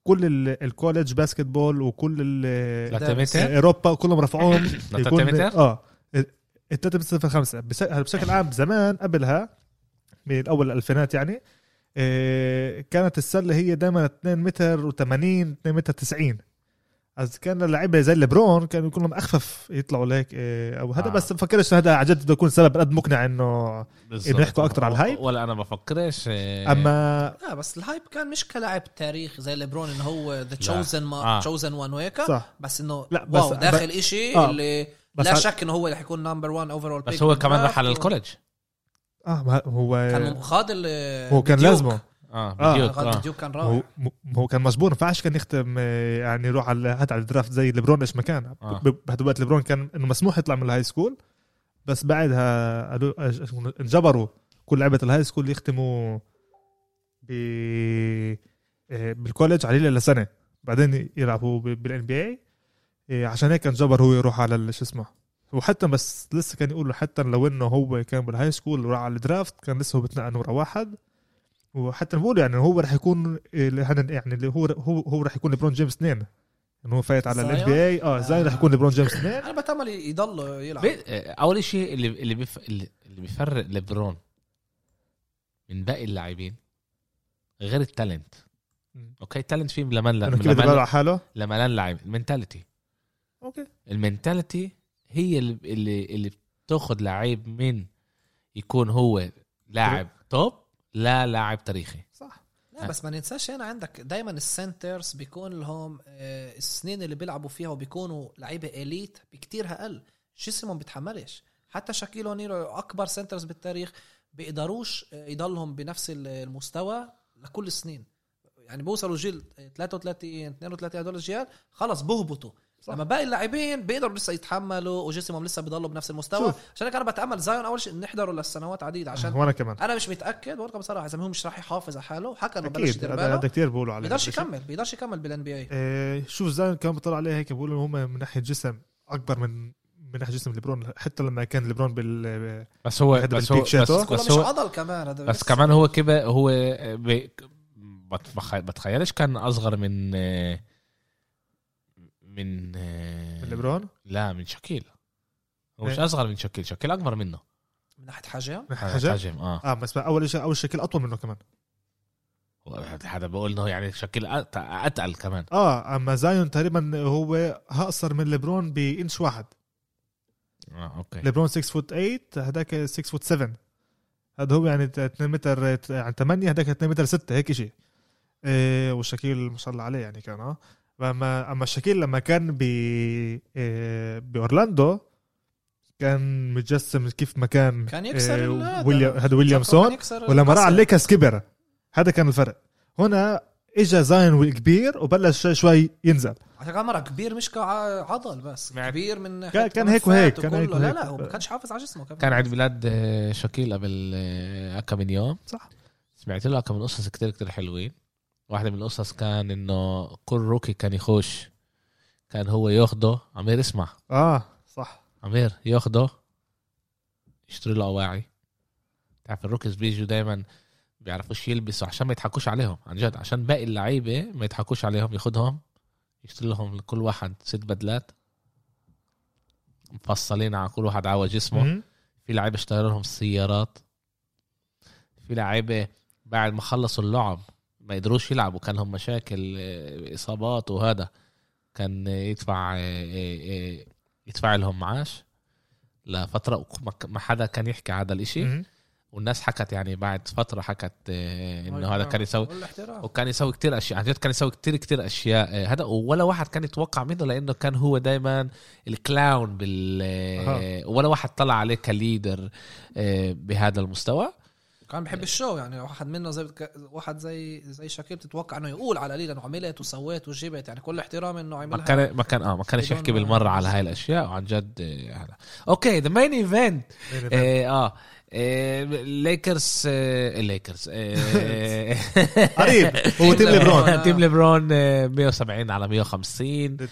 Speaker 2: كل ال- الكوليدج باسكتبول وكل ال-
Speaker 1: لا تمتر؟
Speaker 2: اوروبا إيه؟ كلهم رفعوهم
Speaker 1: إيه؟ لا
Speaker 2: يكون
Speaker 1: تمتر؟
Speaker 2: اه التلاتة بصفر خمسة بس- هلا بشكل عام زمان قبلها من اول الالفينات يعني آه، كانت السله هي دائما 2 متر و80 2 متر 90 از كان اللعيبه زي ليبرون كانوا كلهم اخفف يطلعوا لهيك آه، او هذا
Speaker 1: آه. إيه.
Speaker 2: آه. بس بفكرش إنه هذا عن جد بده يكون سبب قد مقنع انه
Speaker 1: بالظبط.
Speaker 2: يحكوا أكتر على الهايب؟
Speaker 1: ولا انا بفكرش آه،
Speaker 2: اما
Speaker 3: لا بس الهايب كان مش كلاعب تاريخ زي ليبرون انه هو ذا
Speaker 1: لا.
Speaker 3: تشوزن ما
Speaker 1: آه.
Speaker 3: تشوزن وان وهيك
Speaker 2: صح
Speaker 3: بس انه
Speaker 2: لا،
Speaker 3: لا بس
Speaker 2: بس-
Speaker 3: واو داخل اشي
Speaker 2: آه.
Speaker 3: اللي
Speaker 2: بس
Speaker 3: لا
Speaker 2: على-
Speaker 3: شك انه هو اللي حيكون نمبر 1 اوفرول
Speaker 1: بس هو كمان راح على الكولج
Speaker 2: اه ما هو
Speaker 3: كان خاض ال-
Speaker 2: هو كان
Speaker 3: بديوك.
Speaker 2: لازمه
Speaker 1: اه
Speaker 2: آه.
Speaker 1: بديوك
Speaker 3: خاض
Speaker 1: آه.
Speaker 3: ديوك كان
Speaker 2: هو
Speaker 3: رائع
Speaker 2: م- هو كان مجبور ما ينفعش كان يختم آه، يعني يروح على حتى على الدرافت زي ليبرون ايش ما كان
Speaker 1: آه.
Speaker 2: ب- بهذا الوقت ليبرون كان انه مسموح يطلع من الهاي سكول بس بعدها قالوا أج- انجبروا كل لعبه الهاي سكول يختموا ب آه، بالكوليدج عليه لسنه بعدين يلعبوا بالان بي اي عشان هيك انجبر هو يروح على ال- شو اسمه وحتى بس لسه كان يقولوا حتى لو انه هو كان بالهاي سكول وراح على الدرافت كان لسه هو بتنقل نمره واحد وحتى بقول يعني هو راح يكون اللي هن- يعني اللي هو هو هو راح يكون ليبرون جيمس اثنين انه هو فايت على الان
Speaker 3: زايون؟ آه.
Speaker 2: بي اي اه زاين راح يكون ليبرون جيمس اثنين
Speaker 3: انا بتامل يعني يضل يلعب
Speaker 1: بي- آه، اول شيء اللي اللي بيف... اللي اللي بيفرق لبرون من باقي اللاعبين غير التالنت
Speaker 2: مم.
Speaker 1: اوكي التالنت فيه لمن
Speaker 2: انه كيف بده
Speaker 1: لمن
Speaker 2: على حاله
Speaker 1: لمن لاعب المنتاليتي
Speaker 2: اوكي
Speaker 1: المنتاليتي هي اللي اللي, اللي بتاخد لعيب من يكون هو لاعب توب لا لاعب تاريخي
Speaker 2: صح
Speaker 3: لا بس ما ننساش هنا عندك دايما السنترز بيكون لهم آه، السنين اللي بيلعبوا فيها وبيكونوا لعيبه اليت بكتير اقل جسمهم بيتحملش حتى شاكيل اونيل اكبر سنترز بالتاريخ بيقدروش آه، يضلهم بنفس ال- المستوى لكل السنين يعني بوصلوا جيل 33 32 هدول الجيال خلص بهبطوا
Speaker 2: صح.
Speaker 3: لما باقي اللاعبين بيقدروا لسه يتحملوا وجسمهم لسه بيضلوا بنفس المستوى
Speaker 2: شوف.
Speaker 3: عشان هيك انا بتامل زايون اول شيء نحضره للسنوات عديده عشان
Speaker 2: وانا كمان
Speaker 3: انا مش متاكد ورقه بصراحه اذا هو مش راح يحافظ على حاله حكى انه بلاش
Speaker 2: اكيد
Speaker 3: يدير
Speaker 2: هذا
Speaker 3: باله
Speaker 2: هذا كثير بيقولوا عليه
Speaker 3: بيقدرش يكمل بيقدرش يكمل بالان بي اي
Speaker 2: آه، شوف زاين كان بيطلع عليه هيك بيقولوا هم من ناحيه جسم اكبر من من ناحيه جسم ليبرون حتى لما كان ليبرون بال
Speaker 1: بس هو
Speaker 2: هذا
Speaker 1: بس
Speaker 2: بالبيك
Speaker 1: هو
Speaker 2: شاتو.
Speaker 1: بس,
Speaker 3: كله
Speaker 1: بس
Speaker 3: مش
Speaker 1: هو
Speaker 3: عضل كمان هذا
Speaker 1: بس كمان هو كده هو ب- بتخ- بتخيلش كان اصغر من آه، من آه،
Speaker 2: من ليبرون
Speaker 1: لا من شاكيل هو مش
Speaker 2: إيه.
Speaker 1: اصغر من شاكيل شاكيل اكبر منه
Speaker 3: من ناحيه حجم
Speaker 2: حاجه
Speaker 1: حجم اه
Speaker 2: اه بس بقى اول شيء اول شكل اطول منه كمان
Speaker 1: حدا بقول انه يعني شاكيل أت- اتقل كمان
Speaker 2: اه اما زايون تقريبا هو اقصر من ليبرون بانش واحد
Speaker 1: اه اوكي
Speaker 2: ليبرون 6 فوت 8 هذاك 6 فوت 7 هذا هو يعني 2 متر يعني 8 هذاك 2 متر 6 هيك شيء إيه والشكيل ما شاء الله عليه يعني كان اه اما اما الشكيل لما كان ب إيه باورلاندو كان متجسم كيف ما كان إيه،
Speaker 3: كان يكسر ال- هذا.
Speaker 2: ويليام هذا ويليامسون ولما راح على الليكرز كبر هذا كان الفرق هنا اجى زاين كبير وبلش شوي شوي ينزل
Speaker 3: عشان كان مرة كبير مش كعضل بس
Speaker 1: معك.
Speaker 3: كبير من
Speaker 2: كان-
Speaker 3: حيث
Speaker 2: كان هيك وهيك،
Speaker 3: كتفات
Speaker 2: كان هيك
Speaker 3: وكله. لا
Speaker 2: وهيك.
Speaker 3: لا هو ما كانش حافظ على جسمه كمان
Speaker 1: كان عيد ميلاد آه، شاكيل قبل آه، كم من يوم
Speaker 2: صح
Speaker 1: سمعت له كم من قصص كتير كتير حلوين واحدة من القصص كان انه كل روكي كان يخش كان هو ياخده عمير اسمع
Speaker 2: اه صح
Speaker 1: عمير ياخده يشتري له اواعي تعرف الروكيز بيجوا دايما بيعرفوش يلبسوا عشان ما يضحكوش عليهم عن جد عشان باقي اللعيبه ما يضحكوش عليهم ياخدهم يشتري لهم لكل واحد ست بدلات مفصلين على كل واحد على جسمه
Speaker 2: مم.
Speaker 1: في لعيبه اشتروا لهم السيارات في لعيبه بعد ما خلصوا اللعب ما قدروش يلعبوا كان لهم مشاكل آه، اصابات وهذا كان يدفع آه، آه، آه، يدفع لهم معاش لفتره وك- ما ك- ما حدا كان يحكي هذا الاشي
Speaker 2: مم.
Speaker 1: والناس حكت يعني بعد فتره حكت آه، انه
Speaker 3: هاي
Speaker 1: هذا كان يسوي
Speaker 3: والاحترام.
Speaker 1: وكان يسوي كتير اشياء عن جد كان يسوي كتير كتير اشياء آه، هذا ولا واحد كان يتوقع منه لانه كان هو دايما الكلاون بال آه، ولا واحد طلع عليه كليدر آه، بهذا المستوى
Speaker 3: كان بحب الشو يعني واحد منه زي بتك... واحد زي زي شاكيل بتتوقع انه يقول على القليل انه عملت وسويت وجبت يعني كل احترام انه
Speaker 1: ما
Speaker 3: عملها
Speaker 1: كان ما كان اه ما كانش يحكي بالمره على هاي الاشياء وعن جد آه، هذا اوكي ذا مين ايفنت اه آه، آه، ليكرز آه، ليكرز آه،
Speaker 2: قريب هو تيم ليبرون
Speaker 1: تيم ليبرون آه، 170 على 150
Speaker 2: دي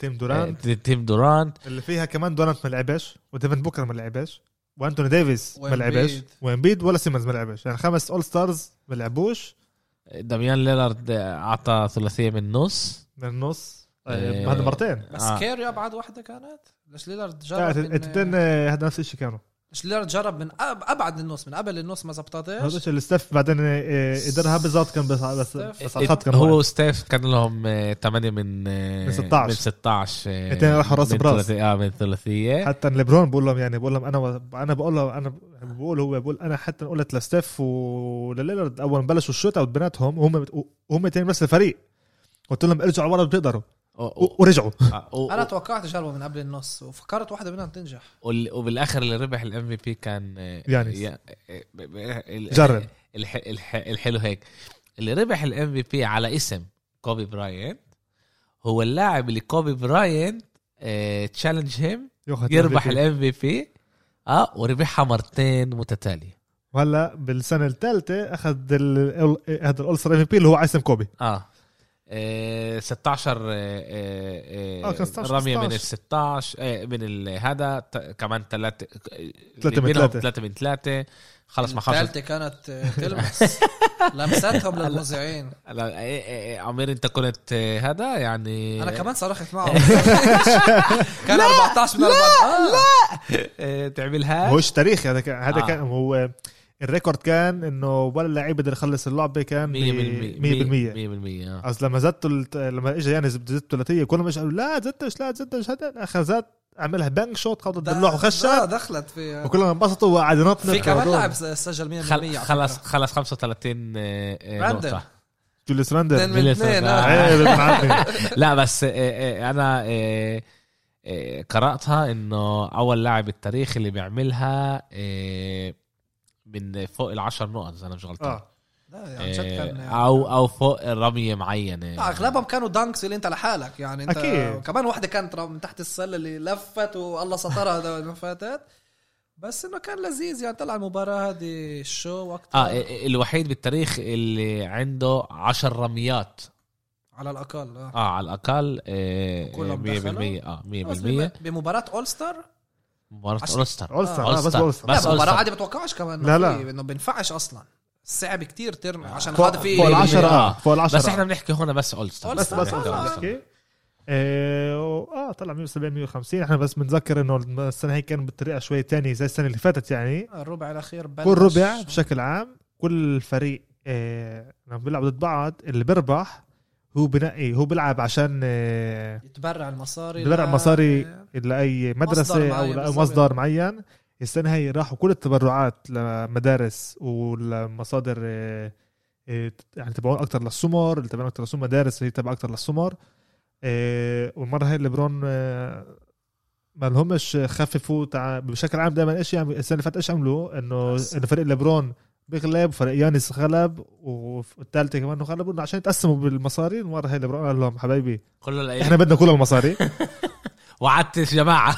Speaker 2: تيم
Speaker 1: آه،
Speaker 2: دورانت
Speaker 1: تيم دورانت
Speaker 2: اللي فيها كمان دورانت ما لعبش وديفن بوكر ما لعبش وانتوني ديفيس ما لعبش
Speaker 3: وإمبيد.
Speaker 2: وامبيد ولا سيمنز ما لعبش يعني خمس اول ستارز ما لعبوش
Speaker 1: داميان ليلارد اعطى ثلاثيه من النص
Speaker 2: من النص
Speaker 1: إيه.
Speaker 2: آه، هذا مرتين
Speaker 3: بس
Speaker 1: آه.
Speaker 3: كيري ابعد واحده كانت ليش ليلارد
Speaker 2: لا،
Speaker 3: جرب
Speaker 2: التنتين
Speaker 3: من...
Speaker 2: آه، هذا نفس الشيء كانوا
Speaker 3: ليش ليلارد جرب من أب- ابعد النص من قبل النص ما
Speaker 2: هذا
Speaker 3: زبطتش
Speaker 2: الشيء اللي ستيف بعدين آه، قدرها بالضبط كان بس بس
Speaker 3: ستيف.
Speaker 2: بس على الخط كان
Speaker 1: هو
Speaker 2: واقف.
Speaker 1: وستيف كان لهم آه، 8 من آه،
Speaker 2: من 16.
Speaker 1: من 16 آه،
Speaker 2: اتنين راحوا راس
Speaker 1: من
Speaker 2: براس.
Speaker 1: ثلاثية- اه من ثلاثيه
Speaker 2: حتى ليبرون بقول لهم يعني بقول لهم انا انا بقول له انا بقول هو بقول انا حتى قلت لستيف ولليلارد اول ما بلشوا الشوت اوت بيناتهم وهم وهم تاني نفس الفريق قلت لهم ارجعوا ورا بتقدروا
Speaker 1: و- و-
Speaker 2: و- ورجعوا
Speaker 1: آه، و-
Speaker 3: انا
Speaker 1: و-
Speaker 3: توقعت جربه من قبل النص وفكرت واحده منهم تنجح
Speaker 1: وال- وبالاخر اللي ربح الام في بي كان آه،
Speaker 2: يانس.
Speaker 1: يا- آه، ب- ب- ال-
Speaker 2: جرب.
Speaker 1: الح- الح- الحلو هيك اللي ربح الام في بي على اسم كوبي براينت هو اللاعب اللي كوبي براينت آه، تشالنج هيم
Speaker 2: ياخد
Speaker 1: يربح
Speaker 2: MVP.
Speaker 1: الام في بي اه وربحها مرتين متتاليه
Speaker 2: وهلا بالسنه الثالثه اخذ ال- ال- هذا الاول ستار ام بي اللي هو عاصم كوبي
Speaker 1: اه إيه، 16 إيه، إيه،
Speaker 2: آه، كان 16
Speaker 1: رميه من
Speaker 2: 16.
Speaker 1: ال 16 إيه، من ال- هذا ت- كمان ثلاثه
Speaker 2: تلاتة من تلاتة.
Speaker 1: 3 من 3 خلص ما خلص
Speaker 3: الثالثه كانت آه، تلمس لمستهم للمذيعين
Speaker 1: لا، إيه، إيه، إيه، عمير انت كنت إيه، هذا يعني
Speaker 3: انا كمان صرخت معه كان 14 من 14 لا
Speaker 1: إيه، تعملها
Speaker 2: هوش تاريخي يعني؟ هذا كان هذا
Speaker 1: آه.
Speaker 2: كان هو الريكورد كان انه ولا لعيب قدر يخلص اللعبه كان
Speaker 1: 100% 100%
Speaker 2: 100%
Speaker 1: آه.
Speaker 2: اصل لما زدتوا الت- لما يعني اجى يانس بده يزت الثلاثيه كلهم اجوا قالوا لا زدتش لا زدتش هذا اخر زاد عملها بانك شوت خبطت باللوح
Speaker 3: آه،
Speaker 2: وخشت
Speaker 3: دخلت في
Speaker 2: وكلهم انبسطوا وقعد ينطنط
Speaker 3: في كمان
Speaker 2: وهدول.
Speaker 3: لاعب سجل 100%
Speaker 1: خل... خلص خلص 35 إيه، إيه،
Speaker 3: راندل.
Speaker 1: نقطه
Speaker 2: جوليس
Speaker 3: اثنين
Speaker 2: راندل
Speaker 3: من
Speaker 1: بيلسون،
Speaker 3: اثنين
Speaker 1: آه.
Speaker 3: آه.
Speaker 2: عيب ابن عمي.
Speaker 1: لا بس إيه، إيه، انا إيه، إيه، قراتها انه اول لاعب التاريخ اللي بيعملها إيه، من فوق العشر نقط اذا انا مش غلطان
Speaker 2: اه
Speaker 3: لا، عن جد آه، يعني كان- آه،
Speaker 1: إيه، او او فوق إيه. رميه
Speaker 3: لا،
Speaker 1: معينه
Speaker 3: اغلبهم كانوا دانكس اللي انت لحالك يعني انت
Speaker 2: أكيد.
Speaker 3: كمان واحده كانت من تحت السله اللي لفت والله سطرها ده ما فاتت بس انه كان لذيذ يعني طلع المباراه هذه الشو وقتها
Speaker 1: اه إيه، إيه، الوحيد بالتاريخ اللي عنده عشر رميات
Speaker 3: على الاقل اه
Speaker 1: اه على الاقل إيه،
Speaker 3: كلهم
Speaker 1: 100% اه
Speaker 3: بس
Speaker 1: 100%
Speaker 3: بم- بمباراه اول ستار
Speaker 1: مباراه
Speaker 3: عشان-
Speaker 1: اولستر
Speaker 2: اول ستار آه، بس
Speaker 1: All-Star.
Speaker 2: اول ستار
Speaker 1: بس
Speaker 3: لا مباراه
Speaker 1: All-Star.
Speaker 3: عادي بتوقعش كمان
Speaker 2: لا، لا.
Speaker 3: انه بينفعش اصلا صعب كتير ترمي عشان
Speaker 1: فوق-
Speaker 3: هذا في
Speaker 2: فوق العشرة
Speaker 1: آه.
Speaker 2: اه فوق العشرة
Speaker 1: بس احنا بنحكي هون بس اول ستار
Speaker 3: All Star.
Speaker 2: بس بس
Speaker 3: آه، آه.
Speaker 2: اوكي اه و- آه، طلع 170 150 احنا بس بنتذكر انه السنه هي كان بالطريقه شوي تانية زي السنه اللي فاتت يعني
Speaker 3: الربع الاخير بلش
Speaker 2: كل ربع بشكل عام كل فريق آه، لما بيلعبوا ضد بعض اللي بيربح هو بنقي هو بيلعب عشان آه،
Speaker 3: يتبرع المصاري
Speaker 2: بيتبرع
Speaker 3: ل-
Speaker 2: مصاري لاي
Speaker 3: مصدر
Speaker 2: مدرسه او
Speaker 3: معين
Speaker 2: لاي
Speaker 3: بالضبط.
Speaker 2: مصدر معين السنه هي راحوا كل التبرعات لمدارس ولمصادر آه، آه، يعني تبعون اكثر للسمر اللي تبعون اكثر للسمر مدارس هي تبع اكثر للسمر آه، والمره هي ليبرون آه، ما لهمش خففوا تع... بشكل عام دائما ايش يعمل السنه اللي فاتت ايش عملوا انه
Speaker 3: بس.
Speaker 2: انه فريق ليبرون بيغلب وفريق يانس غلب والثالثه كمان غلبوا إنه عشان يتقسموا بالمصاري المره هي ليبرون قال لهم حبايبي
Speaker 1: كله لأي-
Speaker 2: احنا بدنا كل المصاري
Speaker 1: وعدت جماعه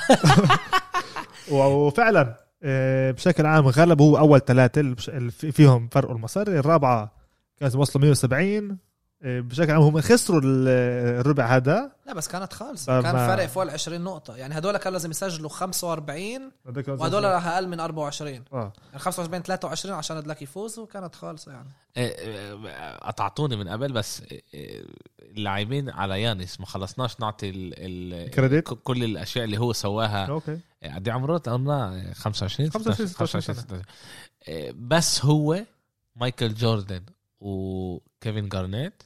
Speaker 2: وفعلا آه، بشكل عام غلب هو اول ثلاثه اللي بش- اللي في- فيهم فرقوا المصاري الرابعه كانوا وصلوا 170 آه، بشكل عام هم خسروا ال- الربع هذا
Speaker 3: لا بس كانت خالصه كان
Speaker 2: فما-
Speaker 3: فرق فوق ال 20 نقطه يعني هدول كان لازم يسجلوا 45
Speaker 2: هذول كانوا-
Speaker 3: وهدول راح اقل من 24 يعني
Speaker 2: اه
Speaker 3: 25 23 عشان هدلاك يفوز وكانت خالصه يعني
Speaker 1: إيه، قطعتوني من قبل بس إيه، اللاعبين على يانس ما خلصناش نعطي ال ال
Speaker 2: كريدت.
Speaker 1: كل الاشياء اللي هو سواها
Speaker 2: اوكي
Speaker 1: قد إيه عمره قلنا 25
Speaker 2: 25 سنة.
Speaker 1: 26 إيه، بس هو مايكل جوردن وكيفن جارنيت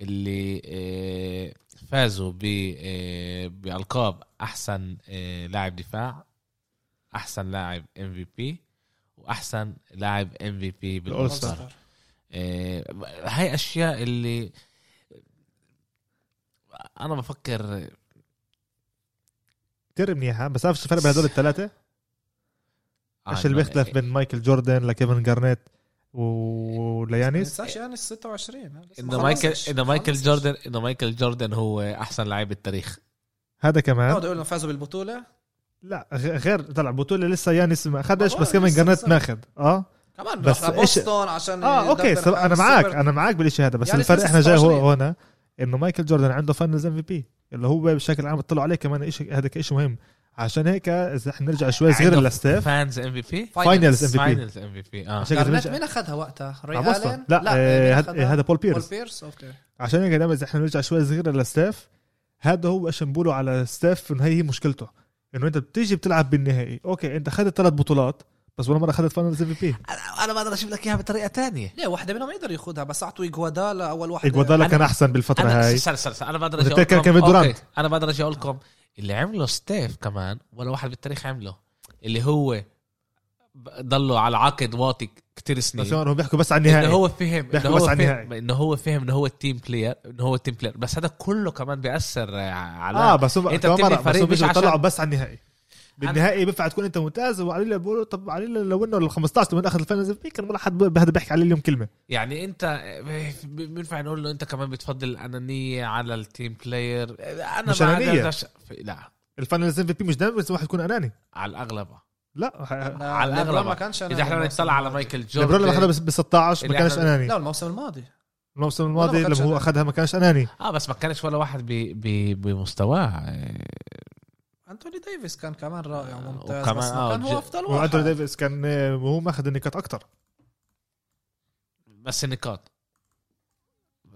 Speaker 1: اللي إيه، فازوا ب إيه، بالقاب احسن إيه، لاعب دفاع احسن لاعب ام في بي واحسن لاعب ام في بي
Speaker 2: بالأول
Speaker 1: بالاول ستار إيه، هاي اشياء اللي انا بفكر
Speaker 2: كثير منيحه بس عارف شو الفرق بين هدول الثلاثه؟
Speaker 1: آه،
Speaker 2: ايش اللي بيختلف بين مايكل جوردن لكيفن جارنيت وليانيس؟
Speaker 3: ننساش يعني 26 لسه ما
Speaker 1: انه مايكل
Speaker 3: خلصش.
Speaker 1: انه
Speaker 3: ما
Speaker 1: مايكل
Speaker 3: خلصش.
Speaker 1: جوردن انه مايكل جوردن هو احسن لاعب بالتاريخ
Speaker 2: هذا كمان
Speaker 3: بيقعدوا يقولوا إنه فازوا بالبطوله
Speaker 2: لا غ- غير طلع بطوله لسه يانيس ما اخذش
Speaker 3: آه،
Speaker 2: بس كيفن
Speaker 3: لسه-
Speaker 2: جارنيت
Speaker 3: لسه.
Speaker 2: ماخذ اه
Speaker 3: كمان
Speaker 2: بس
Speaker 3: بس
Speaker 2: إيش-
Speaker 3: بوسطن عشان
Speaker 2: اه اوكي
Speaker 3: يدبر
Speaker 2: سب...
Speaker 3: حال
Speaker 2: انا معك
Speaker 3: السوبر.
Speaker 2: انا معك بالشيء هذا بس
Speaker 3: يعني
Speaker 2: الفرق
Speaker 3: لسه
Speaker 2: احنا جاي
Speaker 3: 26.
Speaker 2: هو هنا انه مايكل جوردن عنده فاينلز ام في بي اللي هو بشكل عام طلعوا عليه كمان شيء هذا شيء مهم عشان هيك اذا احنا نرجع شوي صغير
Speaker 1: عنده
Speaker 2: للستيف
Speaker 1: فانز ام في بي
Speaker 2: فاينلز ام في بي
Speaker 1: فاينلز ام في بي اه
Speaker 2: عشان هيك
Speaker 3: جارنيت
Speaker 2: نرجع
Speaker 3: مين اخذها وقتها؟ ري
Speaker 2: على بوسطن
Speaker 3: الين؟
Speaker 2: لا آه،
Speaker 3: مين
Speaker 2: هذا
Speaker 3: أخذها؟
Speaker 2: هذا
Speaker 3: بول
Speaker 2: بول بيرس
Speaker 3: بيرس اوكي
Speaker 2: عشان هيك دائما اذا احنا نرجع شوي صغير للستيف هذا هو ايش بنقوله على ستيف انه هي هي مشكلته انه انت بتيجي بتلعب بالنهائي اوكي انت اخذت ثلاث بطولات بس ولا مره اخذت فاينلز ام في بي
Speaker 1: انا انا بقدر اشوف لك اياها بطريقه تانية
Speaker 3: ليه واحدة منهم يقدر ياخذها بس اعطوا اجوادالا اول واحدة
Speaker 2: اجوادالا كان احسن بالفتره
Speaker 1: انا
Speaker 2: هاي
Speaker 1: سر سر سر انا بقدر
Speaker 2: إذا
Speaker 1: اجي أقول
Speaker 2: كان
Speaker 1: لكم-
Speaker 2: كيفن دورانت.
Speaker 1: أوكي، انا بقدر اجي اقول لكم اللي عمله ستيف كمان ولا واحد بالتاريخ عمله اللي هو ب- ضلوا على عقد واطي كتير سنين
Speaker 2: بس هون هم بيحكوا بس عن
Speaker 1: انه
Speaker 2: النهائي
Speaker 1: هو فهم انه
Speaker 2: بيحكوا
Speaker 1: هو
Speaker 2: بس عن
Speaker 1: فهم
Speaker 2: النهائي.
Speaker 1: انه هو فهم انه هو التيم بلاير انه هو التيم بلاير بس هذا كله كمان بياثر آه، على
Speaker 2: اه بس هم
Speaker 1: أنت
Speaker 2: كمان
Speaker 1: بتبني
Speaker 2: مرة- بس
Speaker 1: فريق
Speaker 2: هم
Speaker 1: مش
Speaker 2: بيجوا
Speaker 1: عشان-
Speaker 2: بيطلعوا بس على النهائي بالنهائي بينفع تكون انت ممتاز وعلي بيقولوا طب علي لو انه ال 15 لما اخذ الفاينلز بي كان ولا حد ب- هذا بيحكي عليه اليوم كلمه
Speaker 1: يعني انت ب- بينفع نقول له انت كمان بتفضل الانانيه على التيم بلاير انا
Speaker 2: مش
Speaker 1: ما
Speaker 2: أنانية.
Speaker 1: قدرتش- لا
Speaker 2: الفاينلز ام في بي مش دائما بس واحد يكون اناني
Speaker 1: على الاغلب
Speaker 2: لا ح-
Speaker 1: على
Speaker 3: على
Speaker 1: الأغلب.
Speaker 3: ما كانش أنا
Speaker 1: اذا احنا
Speaker 3: الموسم
Speaker 1: بنطلع على
Speaker 3: الماضي.
Speaker 1: مايكل
Speaker 2: ليبرون لما
Speaker 1: جوردن
Speaker 2: اخذها بس بال 16 ما
Speaker 1: اللي
Speaker 2: كانش
Speaker 1: إحنا-
Speaker 2: اناني
Speaker 3: لا الموسم الماضي
Speaker 2: الموسم
Speaker 3: ما
Speaker 2: الماضي
Speaker 3: كانش
Speaker 2: لما هو
Speaker 3: أناني.
Speaker 2: اخذها ما كانش اناني
Speaker 1: اه بس ما كانش ولا واحد ب- ب- بمستواه آه،
Speaker 3: انتوني ديفيس كان كمان رائع وممتاز
Speaker 1: وكمان
Speaker 3: بس ما
Speaker 1: آه،
Speaker 3: كان
Speaker 1: وج-
Speaker 3: هو افضل
Speaker 2: وانتوني
Speaker 3: واحد
Speaker 2: ديفيس كان آه، هو ماخذ النقاط اكثر
Speaker 1: بس النقاط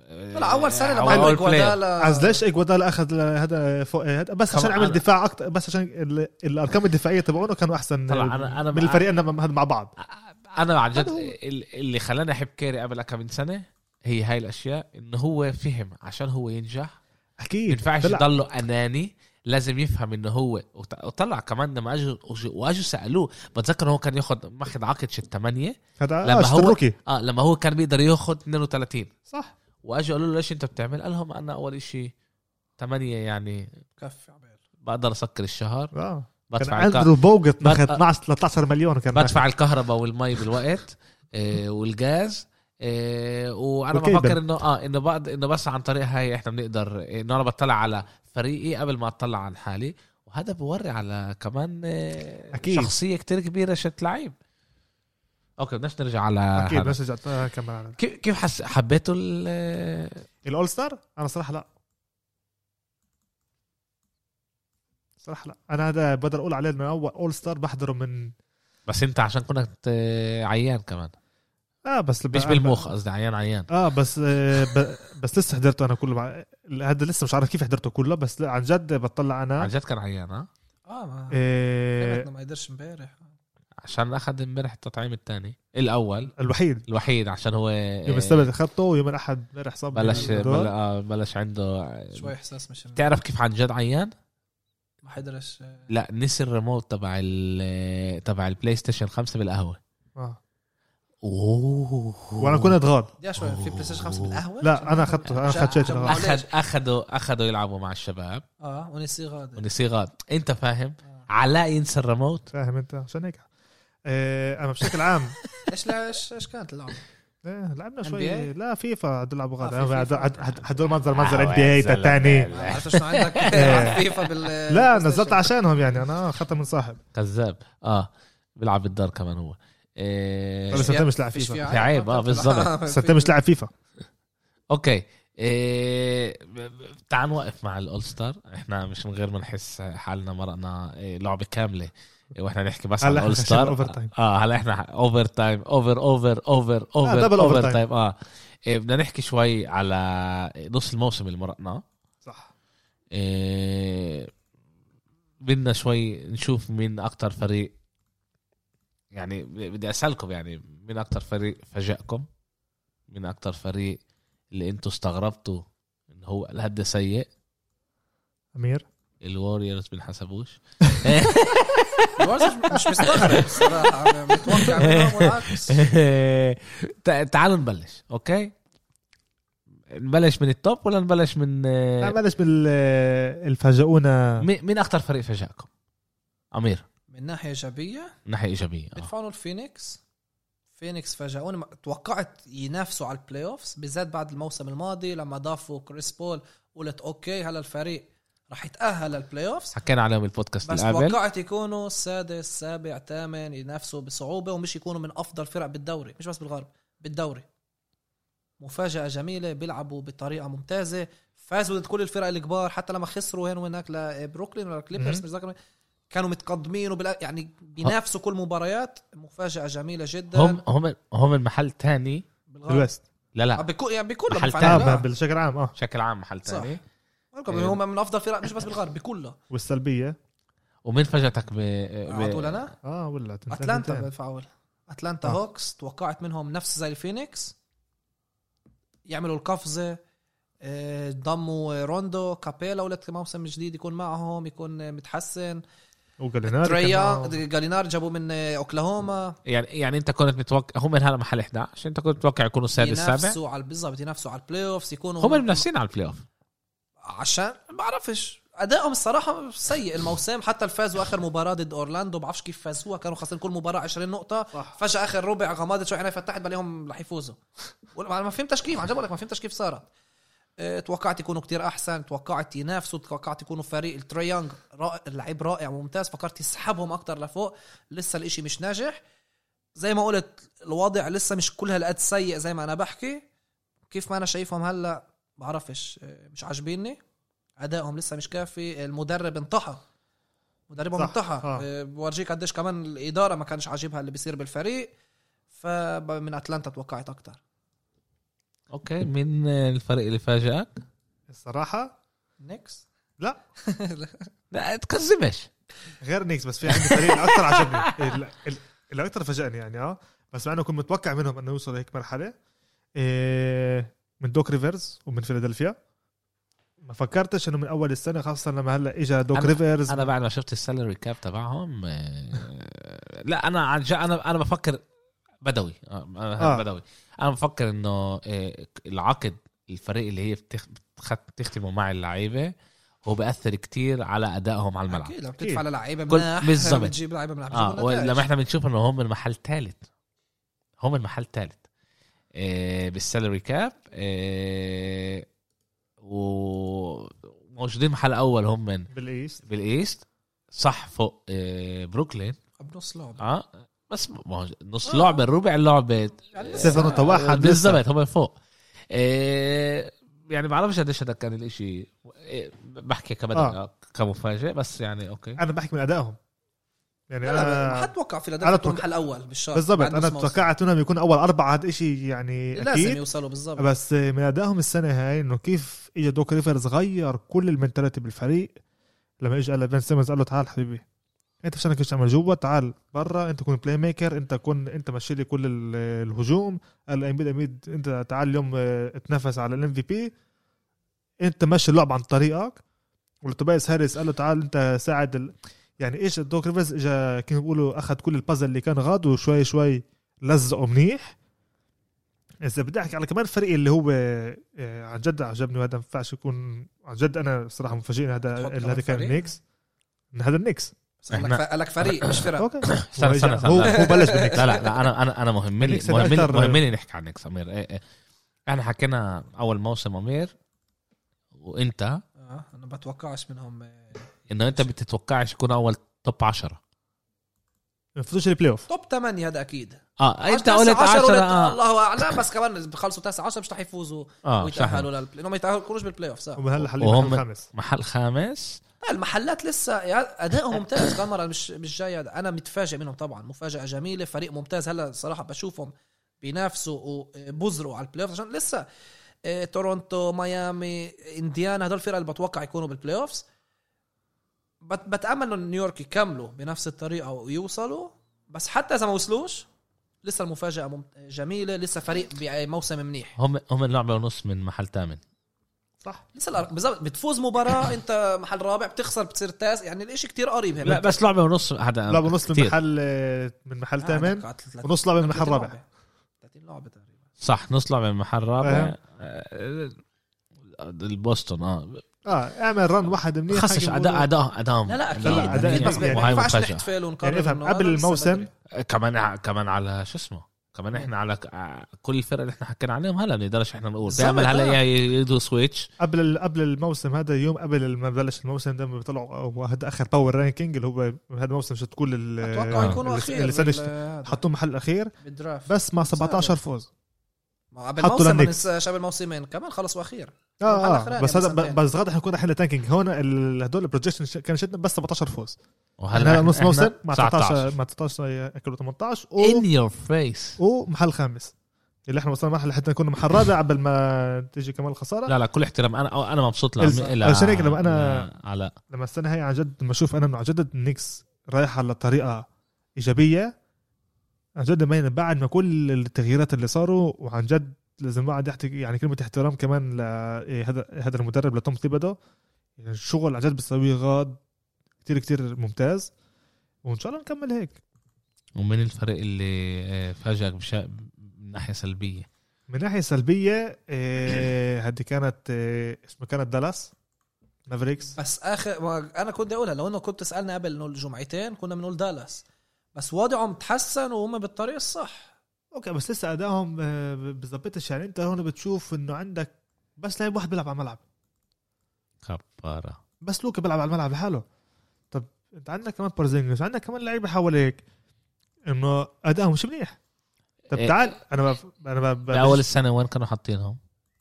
Speaker 1: آه،
Speaker 3: لا اول سنة لما
Speaker 1: أول-
Speaker 3: عملوا
Speaker 1: أول player.
Speaker 3: اجوادالا
Speaker 2: عز ليش اجوادالا اخذ ل- هذا فوق هذا بس عشان
Speaker 1: آه. طبعاً
Speaker 2: عمل
Speaker 1: أنا-
Speaker 2: دفاع اكثر بس عشان ال- الارقام الدفاعيه تبعونه كانوا احسن
Speaker 1: طبعاً
Speaker 2: آه،
Speaker 1: أنا- أنا-
Speaker 2: من الفريق انما مع بعض
Speaker 1: انا عن جد
Speaker 3: هذا هو.
Speaker 1: ال- اللي خلاني احب كيري قبل كم من سنه هي هاي الاشياء انه هو فهم عشان هو ينجح
Speaker 2: اكيد
Speaker 1: ما ينفعش
Speaker 2: إيه، طلع-
Speaker 1: يضله اناني لازم يفهم انه هو وط- وطلع كمان لما اجوا واجوا سالوه بتذكر هو كان ياخذ ماخذ عقد شت 8
Speaker 2: هذا آه،
Speaker 1: لما
Speaker 2: لما
Speaker 1: هو-
Speaker 2: هو
Speaker 1: اه لما هو كان بيقدر ياخذ 32
Speaker 2: صح
Speaker 1: واجوا قالوا له ليش انت بتعمل؟ قال لهم انا اول شيء 8 يعني
Speaker 3: كفي عبال
Speaker 1: بقدر اسكر الشهر
Speaker 2: اه كان
Speaker 1: بدفع الك...
Speaker 2: اندرو بوجت ماخذ
Speaker 1: بدفع-
Speaker 2: 12 13 مليون كان ماخذ.
Speaker 1: بدفع الكهرباء والمي بالوقت آه والغاز آه وانا
Speaker 2: وكيبل.
Speaker 1: بفكر انه اه انه بعد انه بس عن طريق هاي احنا بنقدر انه انا بطلع على فريقي قبل ما اطلع عن حالي وهذا بوري على كمان آه
Speaker 2: أكيد.
Speaker 1: شخصيه كتير كبيره شت لعيب اوكي بدناش نرجع على
Speaker 2: اكيد
Speaker 1: هذا.
Speaker 2: بس رجعت آه، كمل على
Speaker 1: كيف كيف حس حبيته ال-
Speaker 2: الاول ستار انا صراحه لا صراحه لا انا هذا بقدر اقول عليه من اول اول ستار بحضره من
Speaker 1: بس انت عشان كنت آه، عيان كمان
Speaker 2: اه بس
Speaker 1: مش بالمخ قصدي عيان عيان
Speaker 2: اه بس آه ب... بس لسه حضرته انا كله مع... هذا لسه مش عارف كيف حضرته كله بس لا، عن جد بطلع
Speaker 1: عن
Speaker 2: انا
Speaker 1: جد كان عيان ها
Speaker 3: اه ما
Speaker 2: آه
Speaker 3: إنه ما قدرش امبارح
Speaker 1: عشان اخذ امبارح التطعيم الثاني الاول
Speaker 2: الوحيد
Speaker 1: الوحيد عشان هو آه،
Speaker 2: يوم السبت اخذته ويوم الاحد امبارح صاب
Speaker 1: بلش
Speaker 2: بالدور.
Speaker 1: بل- آه، بلش عنده
Speaker 3: شوي احساس مش
Speaker 1: بتعرف كيف عن جد عيان؟
Speaker 3: ما حضرش آه،
Speaker 1: لا نسي الريموت تبع ال- تبع البلاي ستيشن 5 بالقهوه
Speaker 2: آه.
Speaker 1: اوه
Speaker 2: وانا كنت اتغاض
Speaker 3: يا شوي في بلاي ستيشن 5 بالقهوه
Speaker 2: لا انا اخذته انا
Speaker 3: عشان-
Speaker 2: اخذت شيء
Speaker 3: عشان
Speaker 2: اتغاض.
Speaker 3: معقولة.
Speaker 1: اخذ اخذوا اخذوا يلعبوا مع الشباب
Speaker 3: اه ونسي غادر
Speaker 1: ونسي غاد انت فاهم
Speaker 3: آه.
Speaker 1: علاء ينسى الريموت
Speaker 2: فاهم انت عشان هيك آه، انا بشكل عام
Speaker 3: ايش ايش ايش كانت اللعبه؟
Speaker 2: إيه، لعبنا شوي
Speaker 3: NBA؟
Speaker 2: لا فيفا عد لعبوا غاد
Speaker 3: آه، في
Speaker 2: أنا
Speaker 3: فيفا.
Speaker 2: عد- عد- حضر منظر منظر
Speaker 1: آه،
Speaker 2: ان بي اي
Speaker 1: زلمة.
Speaker 2: تاني
Speaker 3: ما عرفت شو عندك تلعب فيفا بال
Speaker 2: إيه. لا نزلت عشانهم يعني انا اخذتها من صاحب
Speaker 1: كذاب اه بيلعب بالدار كمان هو إيه...
Speaker 2: بس أنت مش لاعب
Speaker 3: فيش
Speaker 2: فيفا.
Speaker 3: فيها
Speaker 1: في عيب، آه، بالظبط.
Speaker 2: بس انت مش لاعب فيفا
Speaker 1: اوكي إيه... تعال نوقف مع الاول ستار احنا مش من غير ما نحس حالنا مرقنا إيه لعبه كامله إيه، واحنا نحكي بس عن
Speaker 2: هلا إحنا
Speaker 1: الاول
Speaker 2: عشان
Speaker 1: ستار
Speaker 2: أوفر تايم.
Speaker 1: اه هلا احنا اوفر تايم اوفر اوفر اوفر اوفر
Speaker 2: دبل أوفر تايم.
Speaker 1: تايم اه إيه بدنا نحكي شوي على نص الموسم اللي مرقناه
Speaker 2: صح
Speaker 1: إيه، بدنا شوي نشوف مين اكتر فريق يعني ب- بدي اسالكم يعني مين اكتر فريق فاجئكم مين اكتر فريق اللي انتم استغربتوا ان هو لهد سيء
Speaker 2: امير
Speaker 1: الوريورز بنحسبوش
Speaker 3: مش مستغرب صراحه متوقع منهم والعكس
Speaker 1: تع- تعالوا نبلش اوكي نبلش من التوب ولا نبلش من
Speaker 3: آه.
Speaker 2: لا آه، بلش بال آه، الفاجئونا
Speaker 1: مين مين اكتر فريق فاجئكم امير
Speaker 3: من ناحيه ايجابيه
Speaker 1: من ناحيه ايجابيه آه.
Speaker 3: بدفعوا الفينيكس فينيكس فاجئوني ما- توقعت ينافسوا على البلاي اوفز بالذات بعد الموسم الماضي لما ضافوا كريس بول قلت اوكي هلا الفريق رح يتاهل للبلاي اوفز
Speaker 1: حكينا عليهم البودكاست
Speaker 3: بس
Speaker 1: اللي قبل
Speaker 3: توقعت يكونوا سادس سابع ثامن ينافسوا بصعوبه ومش يكونوا من افضل فرق بالدوري مش بس بالغرب بالدوري مفاجاه جميله بيلعبوا بطريقه ممتازه فازوا ضد كل الفرق الكبار حتى لما خسروا هنا وهناك لبروكلين ولا كليبرز
Speaker 2: مهم.
Speaker 3: مش ذاكر كانوا متقدمين وبلا يعني بينافسوا كل مباريات مفاجاه جميله جدا
Speaker 1: هم هم هم المحل تاني
Speaker 3: بالغرب
Speaker 2: بالويست
Speaker 1: لا
Speaker 3: آه،
Speaker 1: لا
Speaker 3: بكو يعني بكل
Speaker 1: محل
Speaker 2: اه
Speaker 1: لا.
Speaker 2: ما- بالشكل عام اه
Speaker 1: بشكل عام محل
Speaker 3: صح.
Speaker 1: تاني
Speaker 3: هم من افضل فرق مش بس بالغرب بكله
Speaker 2: والسلبيه
Speaker 1: ومين فاجأتك ب
Speaker 3: على طول انا
Speaker 2: اه ولا تنسى
Speaker 3: اتلانتا
Speaker 2: تنسى.
Speaker 3: بالفعول اتلانتا
Speaker 2: آه.
Speaker 3: هوكس توقعت منهم نفس زي الفينيكس يعملوا القفزه آه، ضموا روندو كابيلا ولت موسم جديد يكون معهم يكون آه، متحسن
Speaker 2: وجاليناري كان
Speaker 3: تريا
Speaker 2: معه.
Speaker 3: جالينار جابوه من آه، اوكلاهوما
Speaker 1: يعني يعني انت كنت متوقع هم من هلا محل 11 انت كنت متوقع يكونوا السادس السابع
Speaker 3: ينافسوا على بالظبط ينافسوا على البلاي اوفز يكونوا
Speaker 1: هم منافسين على البلاي اوف
Speaker 3: عشان ما بعرفش ادائهم الصراحه سيء الموسم حتى الفازوا اخر مباراه ضد اورلاندو بعرفش كيف فازوها كانوا خاسرين كل مباراه 20 نقطه
Speaker 2: صح.
Speaker 3: فجاه اخر ربع غمضت شوي عيني فتحت بلاقيهم رح يفوزوا ولا- ما فهمتش كيف عن جد بقول لك ما فهمتش كيف صارت أه، توقعت يكونوا كتير احسن توقعت ينافسوا توقعت يكونوا فريق التريانج رائع لعيب رائع وممتاز فكرت يسحبهم اكتر لفوق لسه الاشي مش ناجح زي ما قلت الوضع لسه مش كل هالقد سيء زي ما انا بحكي كيف ما انا شايفهم هلا بعرفش أه، مش عاجبيني ادائهم لسه مش كافي المدرب انطحى مدربهم
Speaker 2: صح،
Speaker 3: انطحى
Speaker 2: آه.
Speaker 3: أه، بورجيك قديش كمان الاداره ما كانش عاجبها اللي بيصير بالفريق فمن اتلانتا توقعت اكتر
Speaker 1: اوكي مين الفريق اللي فاجأك؟
Speaker 2: الصراحه
Speaker 3: نيكس
Speaker 2: لا
Speaker 1: لا تكذبش
Speaker 2: غير نيكس بس في عندي فريق الاكثر عجبني ال- ال- الاكثر فاجئني يعني اه بس مع انه كنت متوقع منهم انه يوصل لهيك مرحله إيه من دوك ريفرز ومن فيلادلفيا ما فكرتش انه من اول السنه خاصه لما هلا اجى دوك
Speaker 1: أنا-
Speaker 2: ريفرز
Speaker 1: انا بعد ما شفت السالري كاب تبعهم آه، لا انا عن جد انا انا بفكر بدوي آه، أنا
Speaker 2: آه.
Speaker 1: بدوي انا بفكر انه آه، العقد الفريق اللي هي بتخ- بتخ- بتختمه مع اللعيبه هو بأثر كتير على ادائهم على الملعب
Speaker 3: اكيد لما
Speaker 2: أكيد.
Speaker 3: بتدفع للعيبه
Speaker 1: كل-
Speaker 3: مناح
Speaker 1: بالظبط.
Speaker 3: بتجيب لعيبه مناح
Speaker 1: اه
Speaker 3: بتجيب نتائج.
Speaker 1: ولما احنا بنشوف انه هم المحل الثالث هم المحل الثالث آه بالسالري كاب آه وموجودين محل اول هم من
Speaker 2: بالايست
Speaker 1: بالايست صح فوق آه بروكلين
Speaker 3: بنص لعبه
Speaker 2: آه،
Speaker 1: اه بس ما هو نص لعبه الربع لعبه
Speaker 3: يعني لسه
Speaker 2: صفر نقطة واحد لسه.
Speaker 1: بالضبط هم فوق آه يعني بعرفش قديش هذا كان الاشي آه، بحكي كمان
Speaker 2: آه.
Speaker 1: كمفاجئ بس يعني اوكي
Speaker 2: انا بحكي من ادائهم يعني
Speaker 3: لا لا ما
Speaker 2: انا
Speaker 3: حد توقع
Speaker 2: أنا
Speaker 3: فيلادلفيا
Speaker 2: أتوقع-
Speaker 3: تكون محل اول بالشهر
Speaker 2: بالضبط
Speaker 3: بعد نص
Speaker 2: انا
Speaker 3: موسم.
Speaker 2: توقعت انهم يكون اول اربعه هاد شيء يعني
Speaker 3: لازم
Speaker 2: اكيد
Speaker 3: يوصلوا بالضبط
Speaker 2: بس من ادائهم السنه هاي انه كيف اجى دوك ريفرز غير كل المنتاليتي بالفريق لما اجى قال لبن سيمنز قال له تعال حبيبي انت مش انك تعمل جوا تعال برا انت كون بلاي ميكر انت كون انت مشي لي كل ال- الهجوم قال اميد اميد انت تعال اليوم اه، اتنافس على الام في بي انت مشي اللعب عن طريقك ولتوبيس هاريس قال له تعال انت ساعد ال... يعني ايش دوك ريفرز اجى كانوا بيقولوا اخذ كل البازل اللي كان غاد وشوي شوي لزقه منيح اذا بدي احكي على كمان فريق اللي هو آه، عن جد عجبني وهذا ما ينفعش يكون عن جد انا صراحه مفاجئ إن هذا
Speaker 3: تحط
Speaker 2: اللي
Speaker 3: كمان
Speaker 2: هذا كان
Speaker 3: فريق؟
Speaker 2: النكس إن هذا النكس
Speaker 3: بس قال لك
Speaker 1: إحنا-
Speaker 3: ف- قال لك فريق مش فرق
Speaker 2: اوكي
Speaker 1: استنى استنى استنى
Speaker 2: هو هو بلش بالنكس
Speaker 1: لا لا لا انا انا انا مهم لي
Speaker 2: النكس
Speaker 1: مهم لي
Speaker 2: الأكتر-
Speaker 1: مهم لي نحكي عن نكس امير إيه إيه. احنا حكينا اول موسم امير وانت
Speaker 3: آه، انا ما بتوقعش منهم آه،
Speaker 1: انه انت بتتوقعش يكون اول توب 10
Speaker 2: ما فوتوش البلاي اوف
Speaker 3: توب 8 هذا اكيد
Speaker 1: اه انت
Speaker 3: تاسع
Speaker 1: قلت 10
Speaker 3: قلت
Speaker 1: اه
Speaker 3: الله اعلم بس كمان إذا بخلصوا 9 10 مش رح يفوزوا
Speaker 2: آه،
Speaker 1: اه صح.
Speaker 3: ويتاهلوا للبلاي انهم ما يتاهلوش بالبلاي اوف صح
Speaker 2: هم هلا حاليا
Speaker 1: وهم-
Speaker 2: محل الخامس
Speaker 1: محل خامس
Speaker 3: لا، المحلات لسه يا- ادائهم ممتاز قمر مش مش جاي هذا. انا متفاجئ منهم طبعا مفاجاه جميله فريق ممتاز هلا صراحه بشوفهم بينافسوا وبزروا على البلاي اوف عشان لسه آه، تورونتو ميامي انديانا هدول الفرق اللي بتوقع يكونوا بالبلاي اوف بت- بتامل انه نيويورك يكملوا بنفس الطريقه ويوصلوا بس حتى اذا ما وصلوش لسه المفاجاه ممت- جميله لسه فريق بموسم منيح
Speaker 1: هم هم لعبه ونص من محل ثامن
Speaker 2: صح
Speaker 3: لسه الأر- بالظبط بتفوز مباراه انت محل رابع بتخسر بتصير تاس يعني الاشي كتير قريب هنا
Speaker 1: لا بس لعبه ونص هذا
Speaker 2: لعبوا نص من
Speaker 1: كتير.
Speaker 2: محل آه، من محل
Speaker 3: آه،
Speaker 2: ثامن
Speaker 3: دقة على تلاتة-
Speaker 2: ونص لعبه من محل
Speaker 3: 30
Speaker 2: رابع
Speaker 3: لعبة. 30 لعبه تقريبا
Speaker 1: صح نص لعبه من محل رابع
Speaker 2: فاهم.
Speaker 1: آه، البوسطن اه
Speaker 2: اه اعمل رن واحد منيح
Speaker 1: خصص
Speaker 2: حكي
Speaker 1: اداء
Speaker 2: بقولوا-
Speaker 1: اداء ادائهم
Speaker 3: لا لا اكيد
Speaker 2: لا، أداء
Speaker 3: أكيد، بس ما
Speaker 2: يعني-
Speaker 1: وهي
Speaker 3: ينفعش
Speaker 1: مفاجاه
Speaker 3: نحتفل ونقرر
Speaker 2: يعني افهم
Speaker 3: إنه
Speaker 2: قبل
Speaker 3: هذا لسه
Speaker 2: الموسم
Speaker 3: بدري.
Speaker 1: كمان كمان على شو اسمه كمان احنا على ع- كل الفرق اللي احنا حكينا عليهم هلا بنقدرش احنا نقول
Speaker 3: بالظبط،
Speaker 1: بيعمل هلا
Speaker 3: آه.
Speaker 1: يا يدو سويتش
Speaker 2: قبل ال- قبل الموسم هذا يوم قبل ما بلش الموسم ده بيطلعوا أو هذا اخر باور رانكينج اللي هو هذا الموسم شو تقول ال-
Speaker 3: اتوقع
Speaker 1: آه.
Speaker 3: يكونوا
Speaker 2: اللي-
Speaker 3: اخير
Speaker 2: اللي
Speaker 3: بال-
Speaker 2: سنة-
Speaker 3: هذا،
Speaker 2: حطوه محل الاخير
Speaker 3: بالدرافت
Speaker 2: بس مع 17 فوز
Speaker 3: ما قبل
Speaker 2: حطوا
Speaker 3: موسم ما
Speaker 2: للنكس.
Speaker 3: ننساش قبل موسمين كمان خلصوا اخير محل
Speaker 2: اه
Speaker 3: آخراني
Speaker 2: اه بس هذا
Speaker 3: بسنتين.
Speaker 2: ب- بس غدا حنكون احنا تانكينج هون ال- هدول البروجكشن كان شدنا بس 17 فوز يعني
Speaker 1: وهلا
Speaker 2: هلا نص
Speaker 1: إحنا
Speaker 2: موسم مع
Speaker 1: 19
Speaker 2: 19 مع 19 اكلوا 18
Speaker 1: ان
Speaker 2: و
Speaker 1: يور فيس
Speaker 2: ومحل خامس اللي احنا وصلنا مرحله حتى نكون محل رابع قبل ما تيجي كمان الخساره
Speaker 1: لا لا كل احترام انا أو- انا مبسوط لعم-
Speaker 2: الز-
Speaker 1: لا
Speaker 2: عشان هيك لما أنا-
Speaker 1: لا- على
Speaker 2: لما السنه هاي عن جد لما اشوف انا انه عن جد النكس رايحه على طريقه ايجابيه عن جد ما يعني بعد ما كل التغييرات اللي صاروا وعن جد لازم الواحد يحكي يعني كلمه احترام كمان لهذا هذا المدرب لتوم ثيبادو يعني الشغل عن جد بيسويه غاد كتير كتير ممتاز وان شاء الله نكمل هيك
Speaker 1: ومن الفريق اللي آه، فاجئك بشيء من ناحيه سلبيه
Speaker 2: من ناحيه سلبيه آه، هذه كانت آه، اسمه كانت دالاس مافريكس
Speaker 3: بس اخر ما- انا كنت اقولها لو انه كنت تسالنا قبل انه الجمعتين كنا بنقول دالاس بس وضعهم تحسن وهم بالطريق الصح
Speaker 2: اوكي بس لسه ادائهم آه، بزبطش يعني انت هون بتشوف انه عندك بس لاعب واحد بيلعب على الملعب
Speaker 1: كبارة
Speaker 2: بس لوكا بيلعب على الملعب لحاله طب انت عندك كمان بارزينجز عندك كمان لعيبه حواليك انه ادائهم مش منيح طب
Speaker 1: إيه.
Speaker 2: تعال انا بف... انا ب...
Speaker 1: باول السنه وين كانوا حاطينهم؟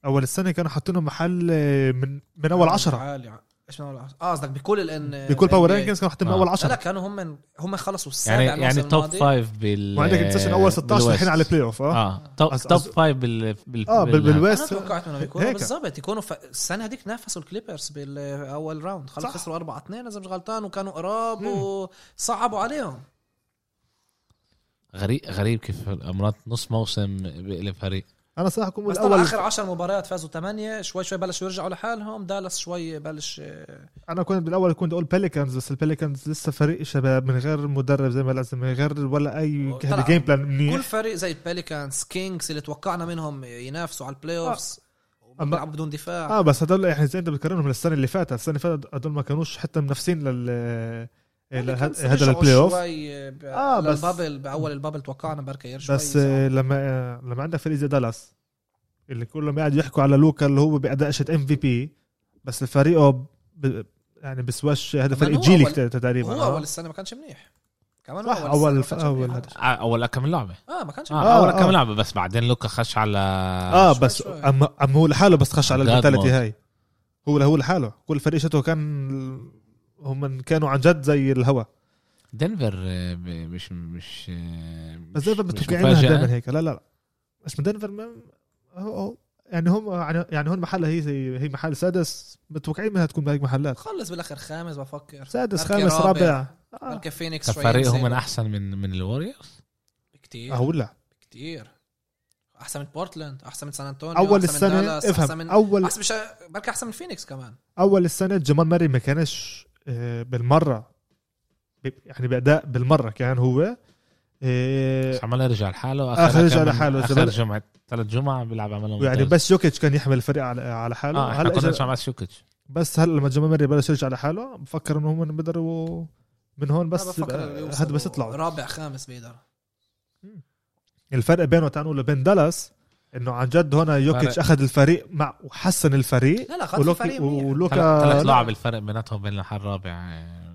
Speaker 2: اول السنه كانوا حاطينهم محل آه، من من اول عشرة
Speaker 3: عالي ايش من اول 10 اه قصدك بكل الان
Speaker 2: بكل باور رانكينجز كانوا حاطين من
Speaker 1: آه.
Speaker 2: اول
Speaker 3: لا لا
Speaker 2: عشرة
Speaker 3: كانوا هم هم خلصوا السابع
Speaker 1: يعني يعني
Speaker 3: الموسم
Speaker 1: توب
Speaker 3: الماضي.
Speaker 1: فايف بال
Speaker 2: وعندك انسان اول 16
Speaker 1: بالويست. آه.
Speaker 2: الحين على البلاي اوف اه
Speaker 1: اه توب
Speaker 2: أز-
Speaker 1: توب
Speaker 2: أز-
Speaker 1: فايف بال بال
Speaker 2: اه بال-
Speaker 1: بال-
Speaker 3: انا
Speaker 2: بالويست
Speaker 3: توقعت منهم يكونوا
Speaker 2: هيك.
Speaker 3: بالضبط يكونوا ف... السنه هذيك نافسوا الكليبرز بالاول راوند خلص
Speaker 2: صح.
Speaker 3: خسروا 4 2 اذا مش غلطان وكانوا قراب
Speaker 2: مم.
Speaker 3: وصعبوا عليهم
Speaker 1: غريب غريب كيف مرات نص موسم بيقلب فريق
Speaker 2: انا صراحه كنت
Speaker 3: بس طبعا
Speaker 2: الاول
Speaker 3: اخر 10 مباريات فازوا 8 شوي شوي بلشوا يرجعوا لحالهم دالاس شوي بلش آه،
Speaker 2: انا كنت بالاول كنت اقول بيليكانز بس البيليكانز لسه فريق شباب من غير مدرب زي ما لازم من غير ولا اي
Speaker 3: طلع.
Speaker 2: جيم بلان
Speaker 3: كل
Speaker 2: منيح
Speaker 3: فريق زي الباليكانز كينجز اللي توقعنا منهم ينافسوا على البلاي اوفز
Speaker 2: آه. أما-
Speaker 3: بيلعبوا بدون دفاع
Speaker 2: اه بس هدول يعني زي انت بتكررهم من السنه اللي فاتت السنه اللي فاتت هدول ما كانوش حتى منافسين لل لل-
Speaker 3: الباليكانز
Speaker 2: هذا
Speaker 3: رجعوا
Speaker 2: البلاي اوف
Speaker 3: شوي ب-
Speaker 2: آه، بس-
Speaker 3: للبابل باول البابل توقعنا بركة يرجعوا
Speaker 2: بس آه، لما آه، لما عندك فريق زي دالاس اللي كلهم قاعد يحكوا على لوكا اللي هو باداء شت ام في بي بس فريقه ب... يعني بسواش هذا
Speaker 3: كمان
Speaker 2: فريق
Speaker 3: هو
Speaker 2: جيلي
Speaker 3: أول-
Speaker 2: كت- تقريبا
Speaker 3: هو
Speaker 2: آه.
Speaker 3: اول السنه ما كانش منيح كمان هو
Speaker 2: صح،
Speaker 3: السنة
Speaker 2: أول-
Speaker 3: ما كانش
Speaker 2: أول
Speaker 3: منيح.
Speaker 2: هذا.
Speaker 1: آه، اول كم لعبه
Speaker 3: اه ما كانش
Speaker 1: آه,
Speaker 3: منيح.
Speaker 2: آه،
Speaker 1: اول كم
Speaker 2: آه.
Speaker 1: لعبه بس بعدين لوكا خش على
Speaker 2: اه
Speaker 3: شوي
Speaker 2: بس
Speaker 3: شوي.
Speaker 2: اما اما هو لحاله بس خش على
Speaker 1: آه، God
Speaker 2: المنتاليتي
Speaker 1: mode.
Speaker 2: هاي هو هو لحاله كل فريق شته كان هم كانوا عن جد زي الهوا
Speaker 1: دنفر آه، ب- مش مش آه،
Speaker 2: بس دنفر
Speaker 1: مش
Speaker 2: بتوقعين لها
Speaker 1: مفاجأة.
Speaker 2: دائما هيك لا لا لا بس من دنفر ما هو هو- يعني هم يعني هون محلها هي زي هي محل سادس متوقعين منها تكون بهيك محلات
Speaker 3: خلص بالاخر خامس بفكر
Speaker 2: سادس
Speaker 3: بركي
Speaker 2: خامس
Speaker 3: رابع.
Speaker 2: رابع آه.
Speaker 3: بلكي فينيكس
Speaker 1: طب فريقهم من احسن من من الوريورز
Speaker 3: كثير
Speaker 2: اه ولا
Speaker 3: كتير احسن من بورتلاند احسن من سان انطونيو
Speaker 2: اول
Speaker 3: أحسن من
Speaker 2: السنه
Speaker 3: دالاس، احسن
Speaker 2: افهم
Speaker 3: من
Speaker 2: اول
Speaker 3: احسن مش بركي احسن من فينيكس كمان
Speaker 2: اول السنه جمال ماري ما كانش آه، بالمره ب- يعني باداء بالمره كان هو آه،
Speaker 1: بس عمال يرجع لحاله
Speaker 2: آخر رجع
Speaker 1: كمان-
Speaker 2: لحاله،
Speaker 1: اخر
Speaker 2: زمان.
Speaker 1: جمعه ثلاث جمعه بيلعب عملهم
Speaker 2: يعني بس يوكيتش كان يحمل الفريق على على حاله
Speaker 1: اه احنا
Speaker 2: هلا
Speaker 1: كنا
Speaker 2: إجا-
Speaker 1: نسمع بس شوكيتش
Speaker 2: بس هلا لما جمال ماري بلش يرجع لحاله بفكر انه هم بيقدروا من هون
Speaker 3: أنا
Speaker 2: بس
Speaker 3: بفكر
Speaker 2: يبقى-
Speaker 3: يوصلوا
Speaker 2: هاد بس يطلعوا
Speaker 3: رابع خامس بيقدر
Speaker 2: الفرق بينه تانو وبين دالاس انه عن جد هون يوكيتش
Speaker 1: فرق.
Speaker 2: اخذ الفريق مع وحسن الفريق
Speaker 3: لا لا خط
Speaker 2: إيه، ولوكي-
Speaker 3: الفريق منيح.
Speaker 2: ولوكا
Speaker 1: ثلاث لاعب الفرق بيناتهم بين الحال الرابع آه،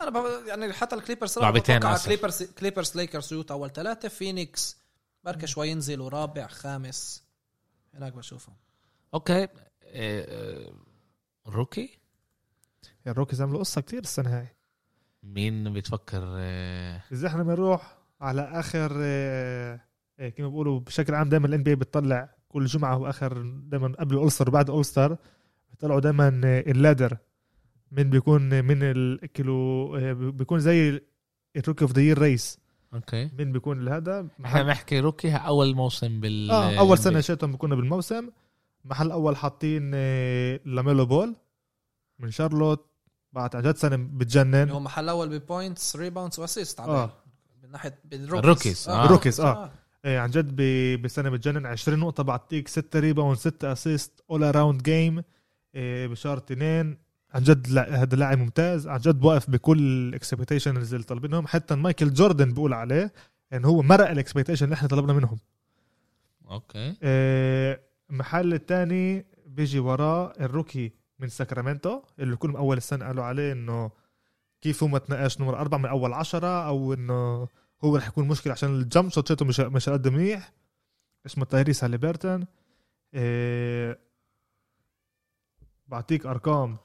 Speaker 3: انا بف- يعني حتى الكليبرز
Speaker 1: لعبتين
Speaker 3: بتوقع
Speaker 1: آسف.
Speaker 3: كليبرز كليبرز ليكرز يوتا اول ثلاثه فينيكس بركي شوي ينزلوا رابع خامس هناك بشوفهم
Speaker 1: اوكي آه، آه، روكي
Speaker 2: الروكيز عملوا قصه كتير السنه هاي
Speaker 1: مين بتفكر آه،
Speaker 2: اذا احنا بنروح على اخر آه، آه، كما بيقولوا بشكل عام دائما الان بي بتطلع كل جمعه واخر دائما قبل الاولستر وبعد الاولستر بيطلعوا دائما اللادر من بيكون آه، من الكيلو آه، بيكون زي الروكي اوف ذا يير ريس
Speaker 1: اوكي
Speaker 2: مين بيكون الهذا
Speaker 1: احنا
Speaker 2: محل
Speaker 1: بنحكي روكي اول موسم بال
Speaker 2: اه اول سنه شاتهم بيكونوا بالموسم محل اول حاطين آه، لاميلو بول من شارلوت بعد عن جد سنه
Speaker 3: اللي
Speaker 2: بتجنن
Speaker 3: هو محل اول ببوينتس ريباوندز واسيست
Speaker 2: آه.
Speaker 3: من ناحيه
Speaker 1: الروكيز، آه.
Speaker 2: الروكيز، آه. إيه، عن جد ب- بسنه بتجنن 20 نقطه بعطيك 6 ريباوند 6 اسيست اول اراوند جيم آه، بشهر اثنين عن جد لا- هذا لاعب ممتاز عن جد واقف بكل الاكسبكتيشنز اللي طالبينهم حتى مايكل جوردن بيقول عليه ان هو مرق الاكسبكتيشن اللي احنا طلبنا منهم
Speaker 1: اوكي
Speaker 2: إيه، المحل الثاني بيجي وراه الروكي من ساكرامنتو اللي كلهم اول السنه قالوا عليه انه كيف هو ما تنقاش نمر أربعة من أول عشرة أو إنه هو رح يكون مشكلة عشان الجمب شوت شوته مش مش قد منيح اسمه تايريس هاليبرتون إيه بعطيك أرقام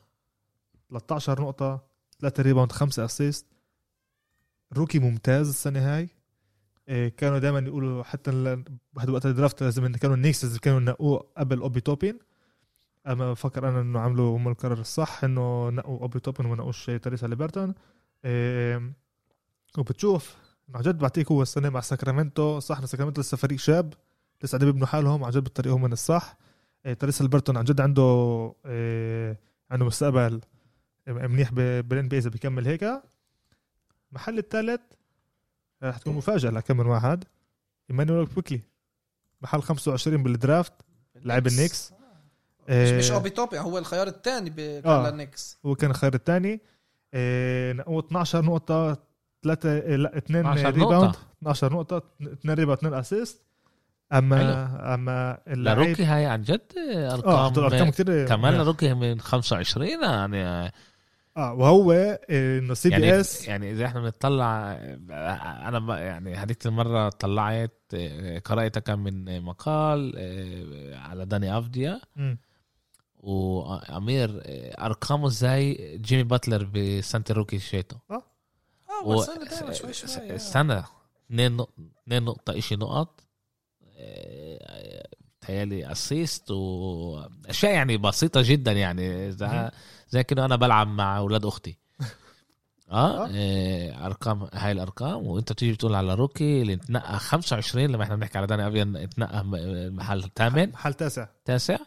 Speaker 2: 13 نقطة 3 ريباوند 5 أسيست روكي ممتاز السنة هاي إيه كانوا دائما يقولوا حتى ال- بهذا وقت الدرافت لازم إن كانوا النيكسز كانوا نقوه قبل أوبي توبين اما بفكر انا انه عملوا هم القرار الصح انه نقوا اوبي توبن وما نقوش تريسا ليبرتون إيه، وبتشوف إنه عن جد بعطيك هو السنه مع ساكرامنتو صح إنه ساكرامنتو لسه فريق شاب لسه عم يبنوا حالهم عن جد بالطريقه هم الصح إيه، تريسا ليبرتون عن جد عنده إيه، عنده مستقبل منيح بالان بي اذا بيكمل هيك المحل الثالث رح تكون مفاجاه لكمل واحد ايمانويل بوكلي محل 25 بالدرافت لاعب النكس
Speaker 3: مش,
Speaker 2: إيه،
Speaker 3: آه، مش اوبي توبي هو الخيار الثاني بكان
Speaker 2: آه.
Speaker 3: النكس
Speaker 2: هو كان الخيار الثاني نقوا 12 نقطة 3 لا 2
Speaker 1: 12
Speaker 2: ريباوند
Speaker 1: نقطة
Speaker 2: 12 نقطة 2 ريباوند 2 اسيست اما اما اللعيب
Speaker 1: لروكي هاي عن جد آه،
Speaker 2: اه
Speaker 1: ارقام
Speaker 2: حطوا ارقام كثير
Speaker 1: كمان لروكي من 25 يعني آه،
Speaker 2: اه وهو آه، انه سي بي
Speaker 1: يعني
Speaker 2: اس
Speaker 1: يعني اذا احنا بنطلع انا ب- يعني هذيك المره طلعت آه، قرات كم من مقال آه، على داني افديا وامير آه، ارقامه زي جيمي باتلر بسانتا روكي شيتو
Speaker 3: اه
Speaker 1: و-
Speaker 3: بس أنا دايماً شوي شوي، آه.
Speaker 1: استنى 2 نقطة شيء نقط آه، تهيألي اسيست واشياء يعني بسيطة جدا يعني
Speaker 2: مهم.
Speaker 1: زي, زي كده انا بلعب مع اولاد اختي
Speaker 2: آه.
Speaker 1: اه, آه ارقام هاي الارقام وانت بتيجي بتقول على روكي اللي اتنقى 25 لما احنا بنحكي على داني ابيان اتنقى م- محل ثامن
Speaker 2: محل تاسع
Speaker 1: تاسع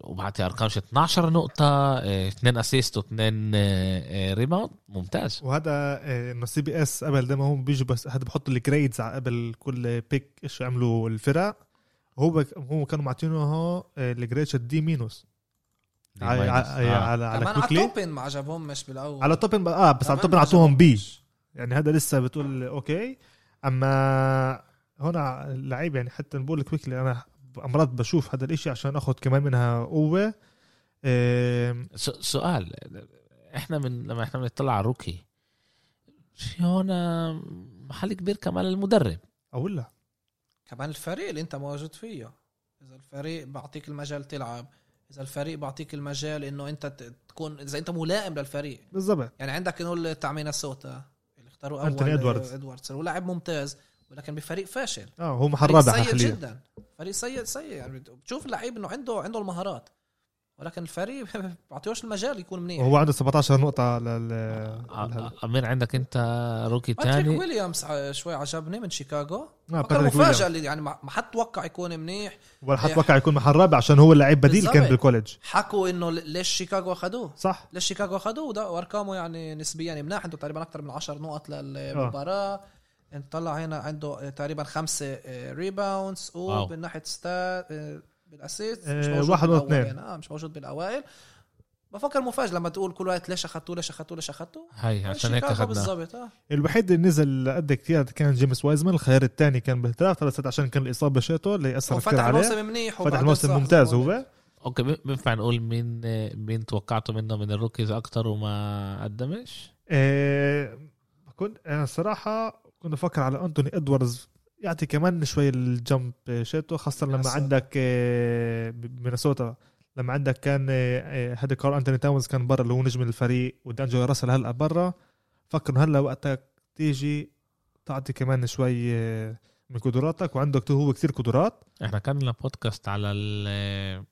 Speaker 1: وبعطي ارقام شي 12 نقطة آه، 2 اسيست و2 ريباوند آه، ممتاز
Speaker 2: وهذا آه، انه سي بي اس قبل دائما هو بيجي بس هذا بحط الجريدز على قبل كل بيك ايش عملوا الفرق هو هو كانوا معطينه الجريد الدي مينوس
Speaker 1: دي
Speaker 2: على
Speaker 1: ماينس.
Speaker 2: على
Speaker 1: آه.
Speaker 2: على- على
Speaker 3: كمان على
Speaker 2: كويكلي
Speaker 3: توبن ما عجبهمش بالاول
Speaker 2: على توبن بقى- اه بس على
Speaker 3: كمان
Speaker 2: توبن
Speaker 3: ما
Speaker 2: اعطوهم بي
Speaker 3: عجبهمش.
Speaker 2: يعني هذا لسه بتقول اوكي اما هنا اللعيب يعني حتى نقول كويكلي انا امرات بشوف هذا الاشي عشان اخذ كمان منها قوه إيه،
Speaker 1: س- سؤال احنا من لما احنا بنطلع على روكي في هنا محل كبير كمان للمدرب
Speaker 2: اقول لا
Speaker 3: كمان الفريق اللي انت موجود فيه اذا الفريق بعطيك المجال تلعب اذا الفريق بعطيك المجال انه انت ت- تكون اذا انت ملائم للفريق
Speaker 2: بالضبط
Speaker 3: يعني عندك انه اللي بتاع مينيسوتا اللي اختاروه اول
Speaker 2: أنتوني إدواردز.
Speaker 3: ادواردز هو لاعب ممتاز ولكن بفريق فاشل
Speaker 2: اه هو محل
Speaker 3: فريق
Speaker 2: رابع
Speaker 3: إيه، سيء
Speaker 2: حاليا
Speaker 3: جدا فريق سيء سيء يعني بت- بتشوف اللعيب انه عنده عنده المهارات ولكن الفريق بعطيهوش المجال يكون منيح
Speaker 2: وهو عنده 17 نقطة لل
Speaker 3: آه،
Speaker 2: لهذا.
Speaker 1: ع- امير آه، عندك انت روكي
Speaker 3: باتريك
Speaker 1: تاني
Speaker 3: ويليامز ع- آه، شوي عجبني من شيكاغو
Speaker 2: آه،
Speaker 3: كان
Speaker 2: باتريك
Speaker 3: مفاجاه
Speaker 2: ويليامز.
Speaker 3: اللي يعني ما ما حد توقع يكون منيح
Speaker 2: ولا حتوقع يكون محل رابع عشان هو لعيب بديل كان
Speaker 3: بالضبط.
Speaker 2: بالكوليدج
Speaker 3: حكوا انه ل- ليش شيكاغو اخذوه
Speaker 2: صح
Speaker 3: ليش شيكاغو اخذوه وده- وارقامه يعني نسبيا مناح عنده تقريبا اكثر من 10 نقط
Speaker 2: آه.
Speaker 3: للمباراه انت طلع هنا عنده تقريبا خمسه ريباوندز
Speaker 1: واو.
Speaker 3: ومن ناحيه ستا آه، بالاسيست مش
Speaker 2: آه،
Speaker 3: موجود
Speaker 2: واحد
Speaker 3: بالأول
Speaker 2: واثنين.
Speaker 3: يعني، اه مش موجود بالاوائل بفكر مفاجاه لما تقول كل وقت ليش اخذتوه ليش اخذتوه ليش اخذتوه
Speaker 1: هاي يعني عشان هيك
Speaker 3: شيكاغو
Speaker 1: اخذناه
Speaker 3: بالظبط اه
Speaker 2: الوحيد اللي نزل قد كثير كان جيمس وايزمان الخيار الثاني كان باهتراف ثلاثة عشان كان الإصابة شاتو اللي أثر
Speaker 3: هو
Speaker 2: كثير
Speaker 3: فتح
Speaker 2: عليه
Speaker 3: الموسم منيح
Speaker 2: فتح
Speaker 3: وبعدين
Speaker 2: الموسم
Speaker 3: صح
Speaker 2: ممتاز
Speaker 3: زي ما
Speaker 2: هو
Speaker 3: قلت.
Speaker 1: اوكي ب- بينفع نقول مين مين توقعته منه من الروكيز اكتر وما قدمش
Speaker 2: آه، كنت أنا الصراحة كنت أفكر على أنتوني إدواردز يعطي كمان شوي الجمب شاتو خاصة لما
Speaker 3: مينيسوتا.
Speaker 2: عندك آه، مينيسوتا لما عندك كان آه، آه، هذا كارل أنتوني تاونز كان برا اللي هو نجم الفريق ودانجو راسل هلا برا فكر إنه هلا وقتك تيجي تعطي كمان شوي آه، من قدراتك وعنده هو كثير قدرات
Speaker 1: احنا كان لنا بودكاست على ال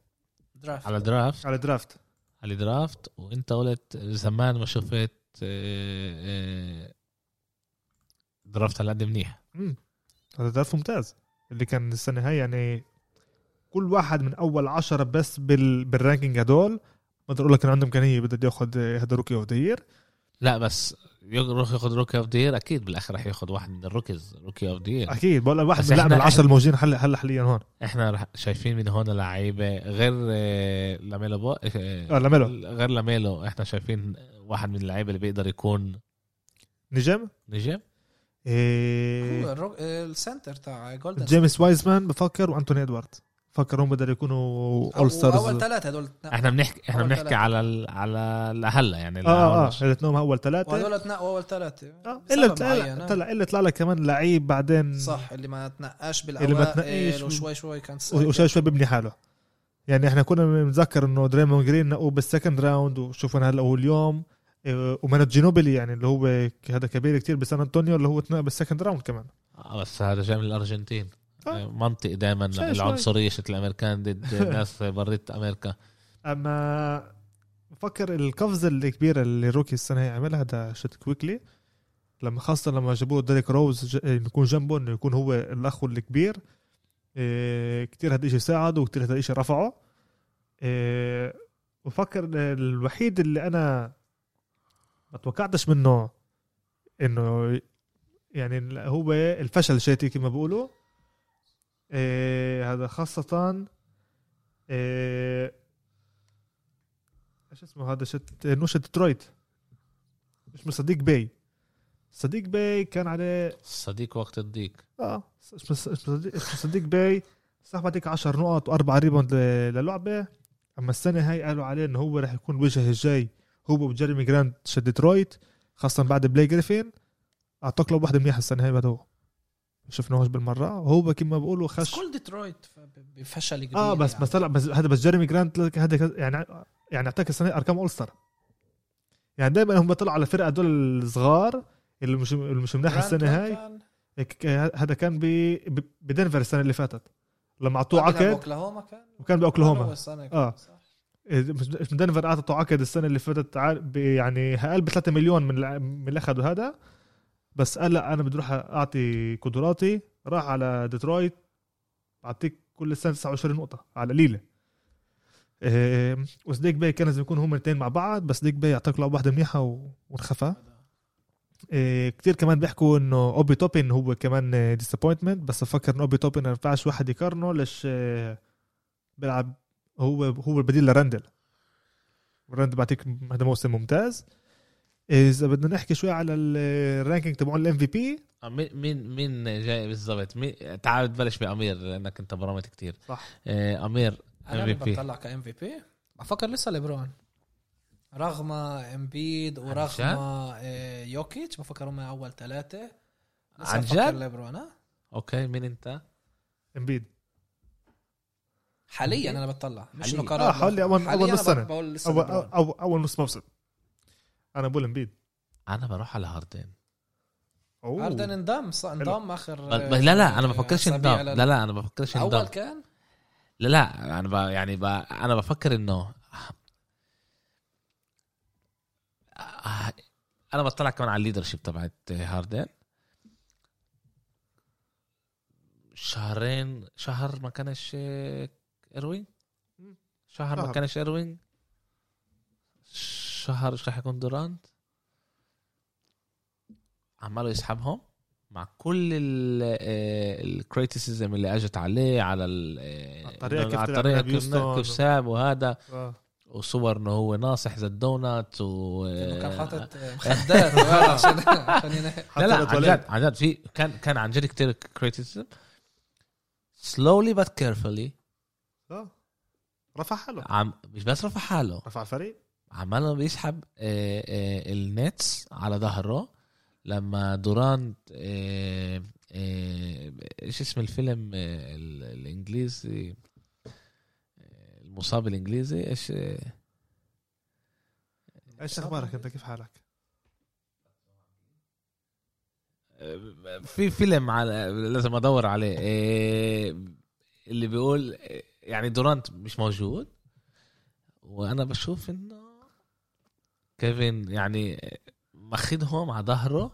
Speaker 3: درافت.
Speaker 1: على درافت
Speaker 2: على درافت
Speaker 1: على درافت وانت قلت زمان ما شفت آه، آه، درافت هالقد منيح
Speaker 2: امم هذا درس ممتاز اللي كان السنه هاي يعني كل واحد من اول عشرة بس بال... بالرانكينج هدول بقدر اقول لك انه عنده امكانيه بده ياخذ هذا روكي اوف دير
Speaker 1: لا بس يروح ياخذ روكي اوف دير اكيد بالاخر رح ياخذ واحد من الروكيز روكي اوف دير
Speaker 2: اكيد بقول لك واحد
Speaker 1: بس
Speaker 2: من اللاعب
Speaker 1: إحنا-
Speaker 2: العشرة الموجودين هلا هلا حاليا هون
Speaker 1: احنا رح- شايفين من هون لعيبه غير آه، لاميلو بو...
Speaker 2: آه،
Speaker 1: آه،
Speaker 2: لاميلو
Speaker 1: غير لاميلو احنا شايفين واحد من اللعيبه اللي بيقدر يكون
Speaker 2: نجم
Speaker 1: نجم
Speaker 3: هو
Speaker 2: إيه...
Speaker 3: الرو- آه، السنتر تاع جولدن
Speaker 2: جيمس وايزمان بفكر وانتوني ادوارد فكر هم بدهم يكونوا
Speaker 3: أو-
Speaker 2: اول
Speaker 3: اول
Speaker 2: ستارز
Speaker 3: ثلاثه هدول
Speaker 1: احنا بنحكي احنا
Speaker 3: أول
Speaker 1: بنحكي
Speaker 3: ثلاثة.
Speaker 1: على ال... على هلا يعني
Speaker 2: اه اه
Speaker 1: الأول.
Speaker 2: الاثنين اول ثلاثه
Speaker 3: وهدول تنقوا اول ثلاثه
Speaker 2: آه.
Speaker 3: بسبب
Speaker 2: الا
Speaker 3: معين،
Speaker 2: طلع
Speaker 3: آه.
Speaker 2: طلع الا طلع لك كمان لعيب بعدين
Speaker 3: صح اللي ما تنقاش
Speaker 2: اللي ما تنقاش.
Speaker 3: بالاوائل وشوي شوي كان سيء.
Speaker 2: وشوي شوي ببني حاله يعني احنا كنا بنتذكر انه دريمون جرين نقوه بالسكند راوند وشوفنا هلا هو اليوم إيه، ومن جينوبلي يعني اللي هو ك- هذا كبير كتير بسان انطونيو اللي هو اتنقى بالسكند راوند كمان
Speaker 1: آه، بس هذا جاي من الارجنتين
Speaker 2: آه.
Speaker 1: آه، منطق دائما
Speaker 2: شوي
Speaker 1: العنصريه شت الامريكان ضد ناس بريت امريكا
Speaker 2: اما بفكر القفزه الكبيره اللي روكي السنه هي عملها ده شت كويكلي لما خاصه لما جابوه ديريك روز ج- إيه، يكون جنبه انه يكون هو الاخ الكبير إيه كتير هذا الشيء ساعده وكتير هذا الشيء رفعه إيه وفكر الوحيد اللي انا ما توقعتش منه انه يعني هو الفشل شاتي كما بيقولوا إيه هذا خاصة إيه ايش اسمه هذا شت نوشة ديترويت اسمه صديق باي صديق باي كان عليه
Speaker 1: صديق وقت الضيق
Speaker 2: اه اسمه اسمه صديق, اسمه صديق باي صح بعطيك 10 نقط واربع ريبوند ل- للعبه اما السنه هاي قالوا عليه انه هو رح يكون وجهه الجاي هو وجيرمي جراند شد ديترويت خاصه بعد بلاي جريفين اعطاك لو واحده منيحه السنه هاي بعد هو شفناهوش بالمره وهو كما بقولوا
Speaker 3: بس
Speaker 2: خش
Speaker 3: كل ديترويت ف- بفشل كبير
Speaker 2: اه بس
Speaker 3: يعني.
Speaker 2: بس هلا بس هذا بس جيرمي جرانت لك- هذا كز- يعني يعني اعطاك السنه ارقام اول ستار يعني دائما هم بيطلعوا على فرقه هدول الصغار اللي مش اللي مش مناح
Speaker 3: جرانت
Speaker 2: السنه هاي
Speaker 3: كان-
Speaker 2: ك- ك- هذا كان ب ب- بدنفر السنه اللي فاتت لما اعطوه
Speaker 3: كان بيلعب
Speaker 2: عقد
Speaker 3: اوكلاهوما كان
Speaker 2: وكان
Speaker 3: أول
Speaker 2: باوكلاهوما
Speaker 3: سنة كان،
Speaker 2: آه.
Speaker 3: صح.
Speaker 2: إيه، مش مش دنفر اعطته عقد السنه اللي فاتت عار- ب- يعني اقل ب 3 مليون من الع- من اللي اخذوا هذا بس قال لا انا بدي اروح اعطي قدراتي راح على ديترويت بعطيك كل سنه 29 نقطه على ليله إيه، وصديق باي كان لازم يكون هم الاثنين مع بعض بس صديق باي اعطاك لعبه واحده منيحه و- وانخفى إيه، كتير كمان بيحكوا انه اوبي توبين هو كمان ديسابوينتمنت بس بفكر انه اوبي توبين ما ينفعش واحد يقارنه ليش إيه، بيلعب هو هو البديل لراندل راندل بعطيك هذا موسم ممتاز اذا بدنا نحكي شوي على آه، الرانكينج تبعون الام في بي
Speaker 1: آه، مين مين مين جاي بالضبط مين- تعال تبلش بامير لانك انت برمت كتير
Speaker 2: صح.
Speaker 1: آه، امير
Speaker 3: انا اللي
Speaker 1: MVP.
Speaker 3: بطلع كام في بي بفكر لسه ليبرون رغم امبيد ورغم
Speaker 1: عن
Speaker 3: آه، يوكيتش بفكر هم اول ثلاثه لسه
Speaker 1: عن
Speaker 3: بفكر
Speaker 1: جد؟
Speaker 3: ليبرون آه.
Speaker 1: اوكي مين انت
Speaker 2: امبيد
Speaker 3: حاليا انا بتطلع مش انه
Speaker 4: حالياً.
Speaker 3: قرار
Speaker 2: آه، حوالي أول-
Speaker 3: حالياً
Speaker 2: أول آه. نص
Speaker 3: أنا
Speaker 2: سنة.
Speaker 3: بقول لسه
Speaker 2: اول
Speaker 3: لبرون.
Speaker 2: اول اول نص موسم انا بقول امبيد
Speaker 1: انا بروح على هاردن
Speaker 2: أوه.
Speaker 3: هاردن انضم ص- انضم اخر
Speaker 1: ب- لا لا انا ما بفكرش
Speaker 3: أسابيع
Speaker 1: انضم
Speaker 3: لل-
Speaker 1: لا لا انا ما بفكرش انضم
Speaker 3: اول كان
Speaker 1: لا لا انا ب... يعني ب... انا بفكر انه آه، انا بطلع كمان على الليدرشيب تبعت هاردن شهرين شهر ما كانش آه، اروين شهر ما
Speaker 2: شهر.
Speaker 1: كانش اروين شهر ايش راح يكون دورانت عماله يسحبهم مع كل الكريتيسيزم اللي اجت عليه على ال- آه،
Speaker 2: الطريقة
Speaker 1: إنه-
Speaker 2: كيف
Speaker 1: على
Speaker 2: تلعب
Speaker 1: الطريقه
Speaker 2: لعب
Speaker 1: كيف
Speaker 2: يوستون.
Speaker 1: كيف ساب وهذا
Speaker 2: آه.
Speaker 1: وصور انه هو ناصح زي الدونات و
Speaker 3: لأنه كان حاطط
Speaker 1: آه.
Speaker 3: آه، مخدات ورا عشان عشان ينام.
Speaker 1: لا
Speaker 2: حتى
Speaker 1: لا
Speaker 2: لو
Speaker 1: عن
Speaker 2: اتولدت.
Speaker 1: جد عن جد في كان كان عن جد كثير كريتيسيزم slowly but carefully
Speaker 2: آه. رفع حاله
Speaker 1: عم مش بس رفع حاله
Speaker 2: رفع الفريق
Speaker 1: عماله بيسحب آه، آه، النتس على ظهره لما دورانت آه، آه، ايش اسم الفيلم آه، ال- الانجليزي آه، المصاب الانجليزي ايش آه،
Speaker 2: ايش اخبارك انت كيف حالك؟
Speaker 1: في فيلم على لازم ادور عليه إيه، اللي بيقول إيه، يعني دورانت مش موجود وانا بشوف انه كيفن يعني ماخدهم على ظهره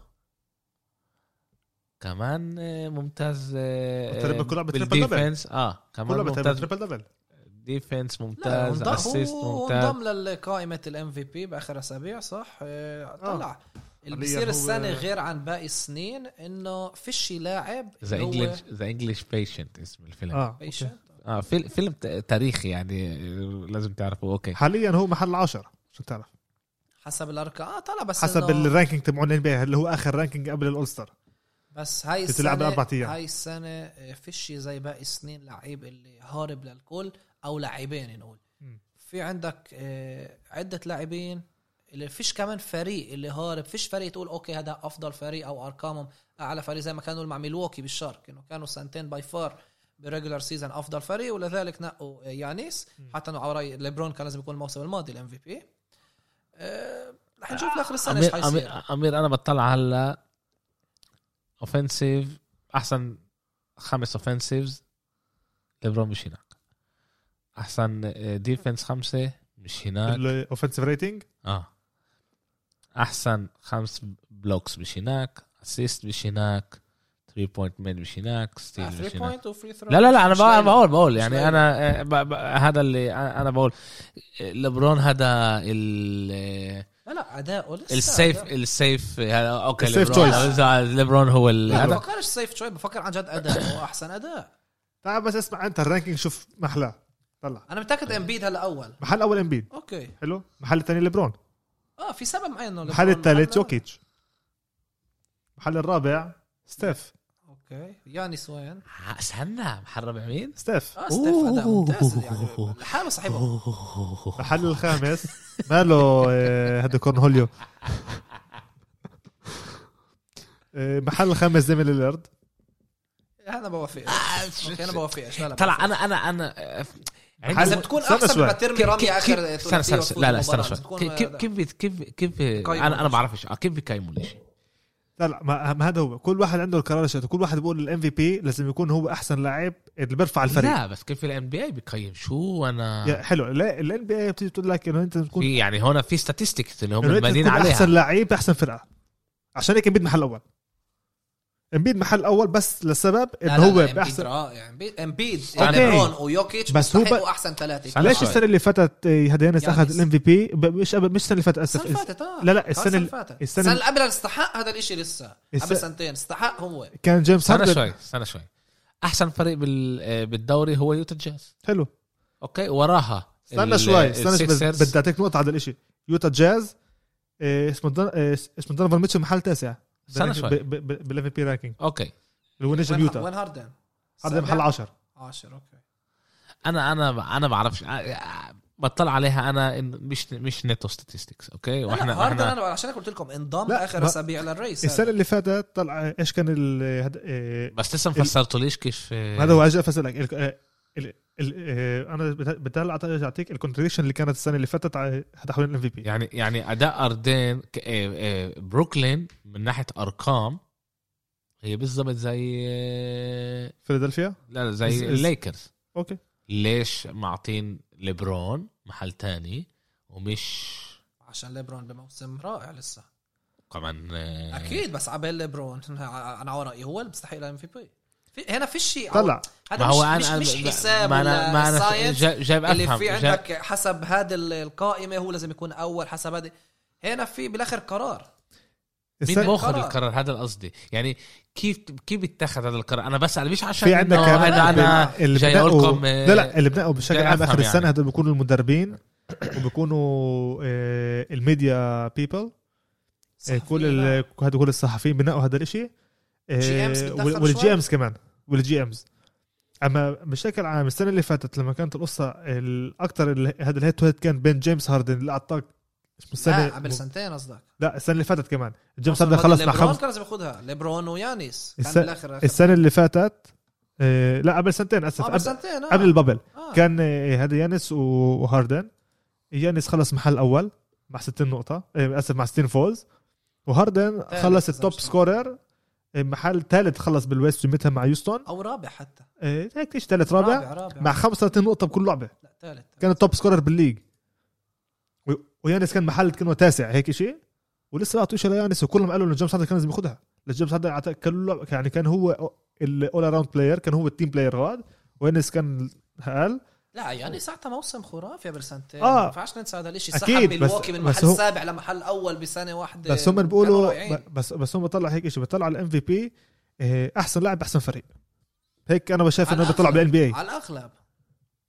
Speaker 1: كمان إيه، ممتاز إيه،
Speaker 2: بتربل- كلها بتربل
Speaker 1: بالديفنس اه كمان
Speaker 2: كله بتعمل
Speaker 1: ممتاز
Speaker 2: تريبل دبل
Speaker 1: ديفنس
Speaker 3: لا
Speaker 1: ممتاز
Speaker 3: انضم
Speaker 1: اسيست
Speaker 3: هو
Speaker 1: ممتاز
Speaker 3: انضم لقائمة الام في بي باخر اسابيع صح؟ آه،
Speaker 2: آه.
Speaker 3: طلع اللي
Speaker 2: حالياً
Speaker 3: بصير
Speaker 2: هو-
Speaker 3: السنة غير عن باقي السنين انه فيش لاعب
Speaker 1: ذا
Speaker 3: اللي هو
Speaker 1: انجلش ذا انجلش بيشنت اسم الفيلم اه,
Speaker 2: اه
Speaker 3: patient.
Speaker 2: أوكي.
Speaker 1: آه فيل- فيلم ت- تاريخي يعني إيه، لازم تعرفه اوكي
Speaker 2: حاليا هو محل عشرة شو بتعرف
Speaker 3: حسب الارقام اه طلع بس
Speaker 2: حسب
Speaker 3: إنه-
Speaker 2: الرانكينج تبعون الان بي إيه، اللي هو اخر رانكينج قبل الاولستر
Speaker 3: بس هاي السنة
Speaker 2: بتلعب أربع أيام.
Speaker 3: هاي السنة آه، فيش زي باقي السنين لعيب اللي هارب للكل أو لاعبين نقول
Speaker 2: مم.
Speaker 3: في عندك آه، عدة لاعبين اللي فيش كمان فريق اللي هارب فيش فريق تقول أوكي هذا أفضل فريق أو أرقامهم أعلى فريق زي ما كانوا مع ميلواكي بالشرق إنه كانوا سنتين باي فار بريجولار سيزون أفضل فريق ولذلك نقوا آه، يانيس حتى إنه عوراي ليبرون كان لازم يكون الموسم الماضي الام في بي آه، رح نشوف لاخر السنه ايش
Speaker 1: امير
Speaker 3: حيصير
Speaker 1: امير, أمير انا بطلع هلا اوفنسيف احسن خمس اوفنسيفز ليبرون مش هناك احسن ديفنس خمسه مش هناك
Speaker 2: الاوفنسيف ريتنج
Speaker 1: اه احسن خمس بلوكس مش هناك اسيست مش هناك 3 بوينت مين مش هناك ستيل مش
Speaker 3: 3
Speaker 1: هناك
Speaker 3: بوينت وفري ثرو
Speaker 1: لا لا لا انا
Speaker 3: مش
Speaker 1: بقول
Speaker 3: ليلة.
Speaker 1: بقول, بقول يعني
Speaker 3: ليلة.
Speaker 1: انا آه، ب- ب- هذا اللي انا أنا بقول آه، ليبرون هذا ال آه،
Speaker 3: لا لا اداؤه لسه
Speaker 1: السيف
Speaker 3: أداؤه.
Speaker 1: السيف هذا اوكي
Speaker 2: السيف
Speaker 1: ليبرون
Speaker 2: choice.
Speaker 1: إذا ليبرون هو ال-
Speaker 3: لا
Speaker 1: هذا
Speaker 3: بفكرش سيف شوي بفكر عن جد اداء هو احسن اداء
Speaker 2: تعال بس اسمع انت الرانكينج شوف محلاه طلع
Speaker 3: انا متاكد
Speaker 1: أيوة.
Speaker 3: امبيد هلا اول
Speaker 2: محل اول امبيد
Speaker 3: اوكي
Speaker 2: حلو محل الثاني ليبرون
Speaker 3: اه في سبب معين انه
Speaker 2: المحل
Speaker 3: ليبرون
Speaker 2: الثالث
Speaker 3: محل-
Speaker 2: يوكيتش المحل الرابع ستيف
Speaker 3: اوكي يعني سوين
Speaker 1: استنى محرم مين؟
Speaker 2: ستيف
Speaker 3: اه ستيف اداء
Speaker 1: أوه.
Speaker 3: ممتاز يعني لحاله صاحبه
Speaker 2: المحل الخامس ماله آه، هذا كورنهوليو آه، محل الخامس زي ليلارد
Speaker 3: انا بوافق
Speaker 1: آه،
Speaker 3: اوكي انا بوافقش لا لا
Speaker 1: طلع انا انا انا آه، عندي-
Speaker 3: لازم تكون
Speaker 2: استنى
Speaker 3: احسن
Speaker 2: شوي.
Speaker 3: لما ترمي رميه
Speaker 1: كيف-
Speaker 3: اخر
Speaker 1: استنى استنى استنى. لا لا استنى شوي كيف كيف-
Speaker 3: كيف
Speaker 1: كيف بيت- كيف كيف
Speaker 3: بيقيموا
Speaker 1: انا انا
Speaker 3: الإشي.
Speaker 1: بعرفش آه، كيف بيقيموا الشيء
Speaker 2: لا لا ما ما هذا هو كل واحد عنده القرار شاته كل واحد بيقول الام في بي لازم يكون هو احسن لاعب اللي بيرفع الفريق
Speaker 1: لا بس كيف الان بي اي بيقيم شو
Speaker 2: يا
Speaker 1: انا
Speaker 2: حلو الان بي اي بتيجي بتقول لك انه انت تكون
Speaker 1: في يعني هون في ستاتستكس اللي هم
Speaker 2: انه انت
Speaker 1: مالين
Speaker 2: تكون احسن
Speaker 1: عليها
Speaker 2: لعيب احسن فرقه عشان هيك امبيد محل اول امبيد محل اول بس لسبب انه هو باحسن
Speaker 3: امبيد امبيد
Speaker 1: أوكي.
Speaker 3: ليبرون ويوكيتش
Speaker 2: بس هو ب-
Speaker 3: بيستحقوا احسن ثلاثه
Speaker 1: استنى
Speaker 2: ليش
Speaker 1: شوي.
Speaker 2: السنه اللي فاتت آه، هذا يانس
Speaker 1: يعني
Speaker 3: يانس.
Speaker 2: اخذ الام في بي مش قبل مش السنه اللي فاتت
Speaker 3: السنه
Speaker 2: اسف
Speaker 3: اللي فاتت اه
Speaker 2: لا، لا،
Speaker 3: آه،
Speaker 2: السنة
Speaker 3: السنه
Speaker 2: ال-
Speaker 3: اللي فاتت
Speaker 2: السنة-
Speaker 3: السنه اللي قبلها استحق هذا الشيء لسه
Speaker 2: السنة-
Speaker 3: قبل سنتين استحق هو
Speaker 2: كان جيمس
Speaker 1: استنى
Speaker 2: هاردن
Speaker 1: آه، شوي استنى شوي احسن فريق بال- آه، بالدوري هو يوتا جاز
Speaker 2: حلو
Speaker 1: اوكي وراها
Speaker 2: استنى
Speaker 1: ال-
Speaker 2: شوي استنى بس-
Speaker 1: السيكسرز.
Speaker 2: بدي اعطيك نقطه على الاشي يوتا جاز آه، اسمه دون- آه، اسمه دونيفان ميتشل محل تاسع
Speaker 1: استنى شوي.
Speaker 2: بال ام في بي رانكينج
Speaker 1: اوكي
Speaker 2: اللي هو نجم
Speaker 3: وين-
Speaker 2: يوتا
Speaker 3: وين هاردن؟
Speaker 2: هذا
Speaker 3: سابع؟
Speaker 2: محل 10
Speaker 3: 10 اوكي
Speaker 1: انا انا انا بعرفش آه، بطلع عليها انا إن مش مش نيتو ستاتستكس اوكي
Speaker 3: واحنا
Speaker 1: واحنا
Speaker 3: هاردن
Speaker 1: احنا
Speaker 3: انا عشان هيك قلت لكم انضم
Speaker 2: لا،
Speaker 3: اخر
Speaker 2: ما-
Speaker 3: اسابيع للريس
Speaker 2: السنه
Speaker 3: هذا.
Speaker 2: اللي فاتت طلع ايش كان ال- هاد- آه،
Speaker 1: بس لسه ما فسرتوليش كيف آه،
Speaker 2: هذا هو اجل فسألك ال- ال- ال- آه، انا بتهيألي أعط- اعطيك الكونتريشن اللي كانت السنه اللي فاتت ع- حتحول الام في بي
Speaker 1: يعني يعني اداء اردن ك- إيه، إيه، بروكلين من ناحيه ارقام هي بالضبط زي لا
Speaker 2: فيلادلفيا
Speaker 1: لا زي
Speaker 2: بس- بس-
Speaker 1: الليكرز
Speaker 2: اوكي
Speaker 1: ليش معطين ليبرون محل تاني ومش
Speaker 3: عشان ليبرون بموسم رائع لسه
Speaker 1: كمان آه،
Speaker 3: اكيد بس عبال ليبرون انا على رايي هو اللي بيستحق الام في بي هنا في شيء
Speaker 2: طلع
Speaker 1: ما هو
Speaker 3: مش,
Speaker 1: انا
Speaker 3: مش,
Speaker 1: أنا-
Speaker 3: مش حساب
Speaker 1: ما
Speaker 3: ولا
Speaker 1: انا ما انا
Speaker 3: science.
Speaker 1: جا- جايب
Speaker 3: اللي
Speaker 1: افهم
Speaker 3: في
Speaker 1: جايب-
Speaker 3: عندك حسب هذه ال- القائمه هو لازم يكون اول حسب هذه هنا في بالاخر قرار
Speaker 2: إيه،
Speaker 1: مين
Speaker 2: السنة-
Speaker 1: باخذ
Speaker 3: القرار.
Speaker 1: القرار هذا قصدي يعني كيف كيف اتخذ هذا القرار انا بسال مش عشان
Speaker 2: في عندك
Speaker 1: إنه
Speaker 2: كمان
Speaker 1: انا انا
Speaker 2: اللي
Speaker 1: جاي
Speaker 2: بدأوا-
Speaker 1: اقول لكم آه،
Speaker 2: لا لا اللي بنقوا بشكل
Speaker 1: جاي
Speaker 2: عام
Speaker 1: أفهم
Speaker 2: اخر السنه
Speaker 1: يعني.
Speaker 2: هدول بيكونوا المدربين وبيكونوا آه، الميديا بيبل آه، كل ال- هدول كل الصحفيين بنقوا هذا الشيء
Speaker 3: GMs بتدخل
Speaker 2: والجي
Speaker 3: شوي.
Speaker 2: امز كمان والجي امز اما بشكل عام السنه اللي فاتت لما كانت القصه الاكثر هذا الهيد تو هيد كان بين جيمس هاردن اللي اعطاك مش
Speaker 3: لا
Speaker 2: السنه
Speaker 3: قبل سنتين قصدك
Speaker 2: لا السنه اللي فاتت كمان جيمس
Speaker 3: أصلاً
Speaker 2: هاردن خلص مع
Speaker 3: ليبرون
Speaker 2: خمس
Speaker 3: كان لازم ياخذها ليبرون ويانيس كان
Speaker 2: السنة-
Speaker 3: بالاخر آخر-
Speaker 2: السنه اللي فاتت آه، لا قبل سنتين اسف
Speaker 3: آه،
Speaker 2: قبل-
Speaker 3: قبل سنتين آه.
Speaker 2: قبل البابل
Speaker 3: آه.
Speaker 2: كان آه، هذا يانس و- وهاردن يانس خلص محل اول مع 60 نقطة آه، اسف مع 60 فوز وهاردن
Speaker 3: تالت
Speaker 2: خلص
Speaker 3: إذا
Speaker 2: التوب
Speaker 3: مش
Speaker 2: سكورر آه، محل ثالث خلص بالويست سميتها مع يوستون
Speaker 3: او رابع حتى
Speaker 2: آه، هيك ايش ثالث رابع
Speaker 3: رابع, رابع.
Speaker 2: مع 35 نقطة بكل لعبة
Speaker 3: لا ثالث
Speaker 2: كان التوب سكورر بالليج و- ويانس كان محل كانه تاسع هيك شيء ولسه ما اعطوش ليانس وكلهم قالوا انه جيمس هاردن كان لازم ياخذها جيمس هاردن أعطى كل لعبة- يعني كان هو الاول اراوند بلاير كان هو التيم بلاير هذا ويانس كان اقل
Speaker 3: لا يعني ساعتها موسم خرافي قبل سنتين
Speaker 2: آه.
Speaker 3: آه. ما ينفعش ننسى هذا الشيء
Speaker 2: أكيد،
Speaker 3: سحب
Speaker 2: بس-
Speaker 3: ميلواكي من
Speaker 2: بس
Speaker 3: محل
Speaker 2: هو-
Speaker 3: سابع لمحل اول بسنه واحده
Speaker 2: بس هم
Speaker 3: كانوا
Speaker 2: بيقولوا
Speaker 3: رائعين.
Speaker 2: ب- بس بس هم بيطلع هيك شيء بيطلع على الام في بي احسن آه، لاعب احسن فريق هيك انا بشايف
Speaker 3: على
Speaker 2: انه بيطلع بالان
Speaker 3: الأغلب.
Speaker 2: بي اي
Speaker 3: على الاغلب